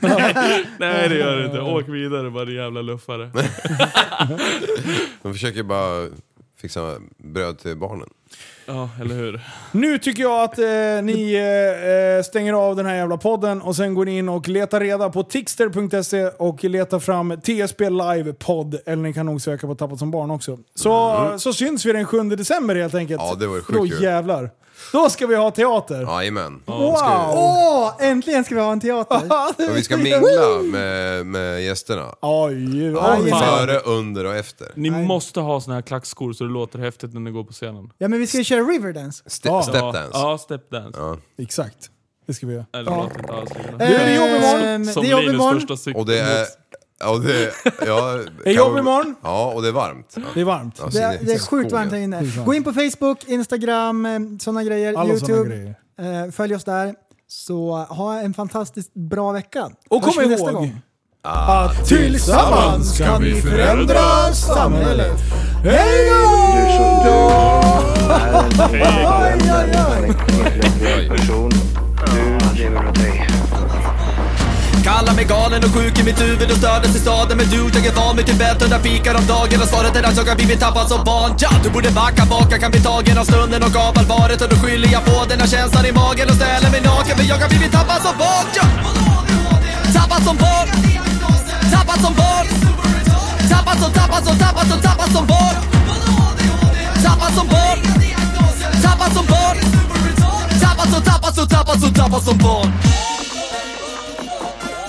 Speaker 8: Nej det gör det inte. Åk vidare bara din jävla
Speaker 7: *laughs*
Speaker 8: luffare.
Speaker 7: De försöker ju bara fixa bröd till barnen.
Speaker 8: Ja, eller hur.
Speaker 5: Nu tycker jag att eh, ni eh, eh, stänger av den här jävla podden och sen går ni in och letar reda på tixter.se och letar fram TSB Live podd. Eller ni kan nog söka på Tappat som barn också. Så,
Speaker 7: Mm.
Speaker 5: så syns vi den 7 december helt enkelt.
Speaker 7: Ja, det var sjukt
Speaker 5: Då
Speaker 7: kul.
Speaker 5: jävlar. Då ska vi ha teater.
Speaker 7: Jajamän.
Speaker 5: Wow! Åh, äntligen ska vi ha en *laughs* teater.
Speaker 7: Och vi ska mingla med, med gästerna.
Speaker 5: Oj,
Speaker 7: Ja, före, under och efter.
Speaker 8: Ni måste ha såna här klackskor så det låter häftigt när ni går på scenen.
Speaker 6: Ja men vi ska ju köra Riverdance.
Speaker 7: Ste- Stepdance.
Speaker 8: Ja, stepdance.
Speaker 5: Exakt. Det ska vi göra. Eh,
Speaker 8: Eller
Speaker 6: Ja.
Speaker 8: låter inte alls lika.
Speaker 6: Det är jobb imorgon.
Speaker 8: Som
Speaker 6: Det är jobb
Speaker 8: Linus
Speaker 6: imorgon.
Speaker 8: första cykel.
Speaker 7: Och det är... Ja, det är... Ja,
Speaker 5: *laughs* Är
Speaker 7: kan-
Speaker 5: jobb imorgon?
Speaker 7: Ja, och det är varmt.
Speaker 5: Det är varmt.
Speaker 7: Ja,
Speaker 6: Det
Speaker 7: så
Speaker 6: är,
Speaker 7: ni-
Speaker 6: det är sjukt varmt här
Speaker 5: Sjukt
Speaker 6: inne.
Speaker 5: varmt.
Speaker 6: Gå in på Facebook, Instagram, sådana grejer,
Speaker 5: Alla såna
Speaker 6: Youtube.
Speaker 5: grejer.
Speaker 6: Eh, följ oss där. Så ha en fantastiskt bra vecka.
Speaker 5: Och kom
Speaker 6: Hörs vi
Speaker 5: ihåg-
Speaker 6: nästa gång.
Speaker 5: Att tillsammans kan vi förändra samhället. Hej då!
Speaker 3: person. Du lever åt dig.
Speaker 1: Kallar mig galen och sjuk i mitt huvud och stördes i staden Men du, jag är van vid Tibet och där fikar om dagen Och svaret är att jag har blivit tappad som barn ja, Du borde backa bak, jag kan bli tagen av stunden och av allvaret Och då skyller jag på den här känslan i magen och ställer mig naken För jag har blivit tappad som barn ja. Tappad som barn Tappad som barn Tappad som, tappad som, tappad som, tappad som barn Tappad som barn Tappad som barn Tappad som, tappad som, tappad som, tappad som barn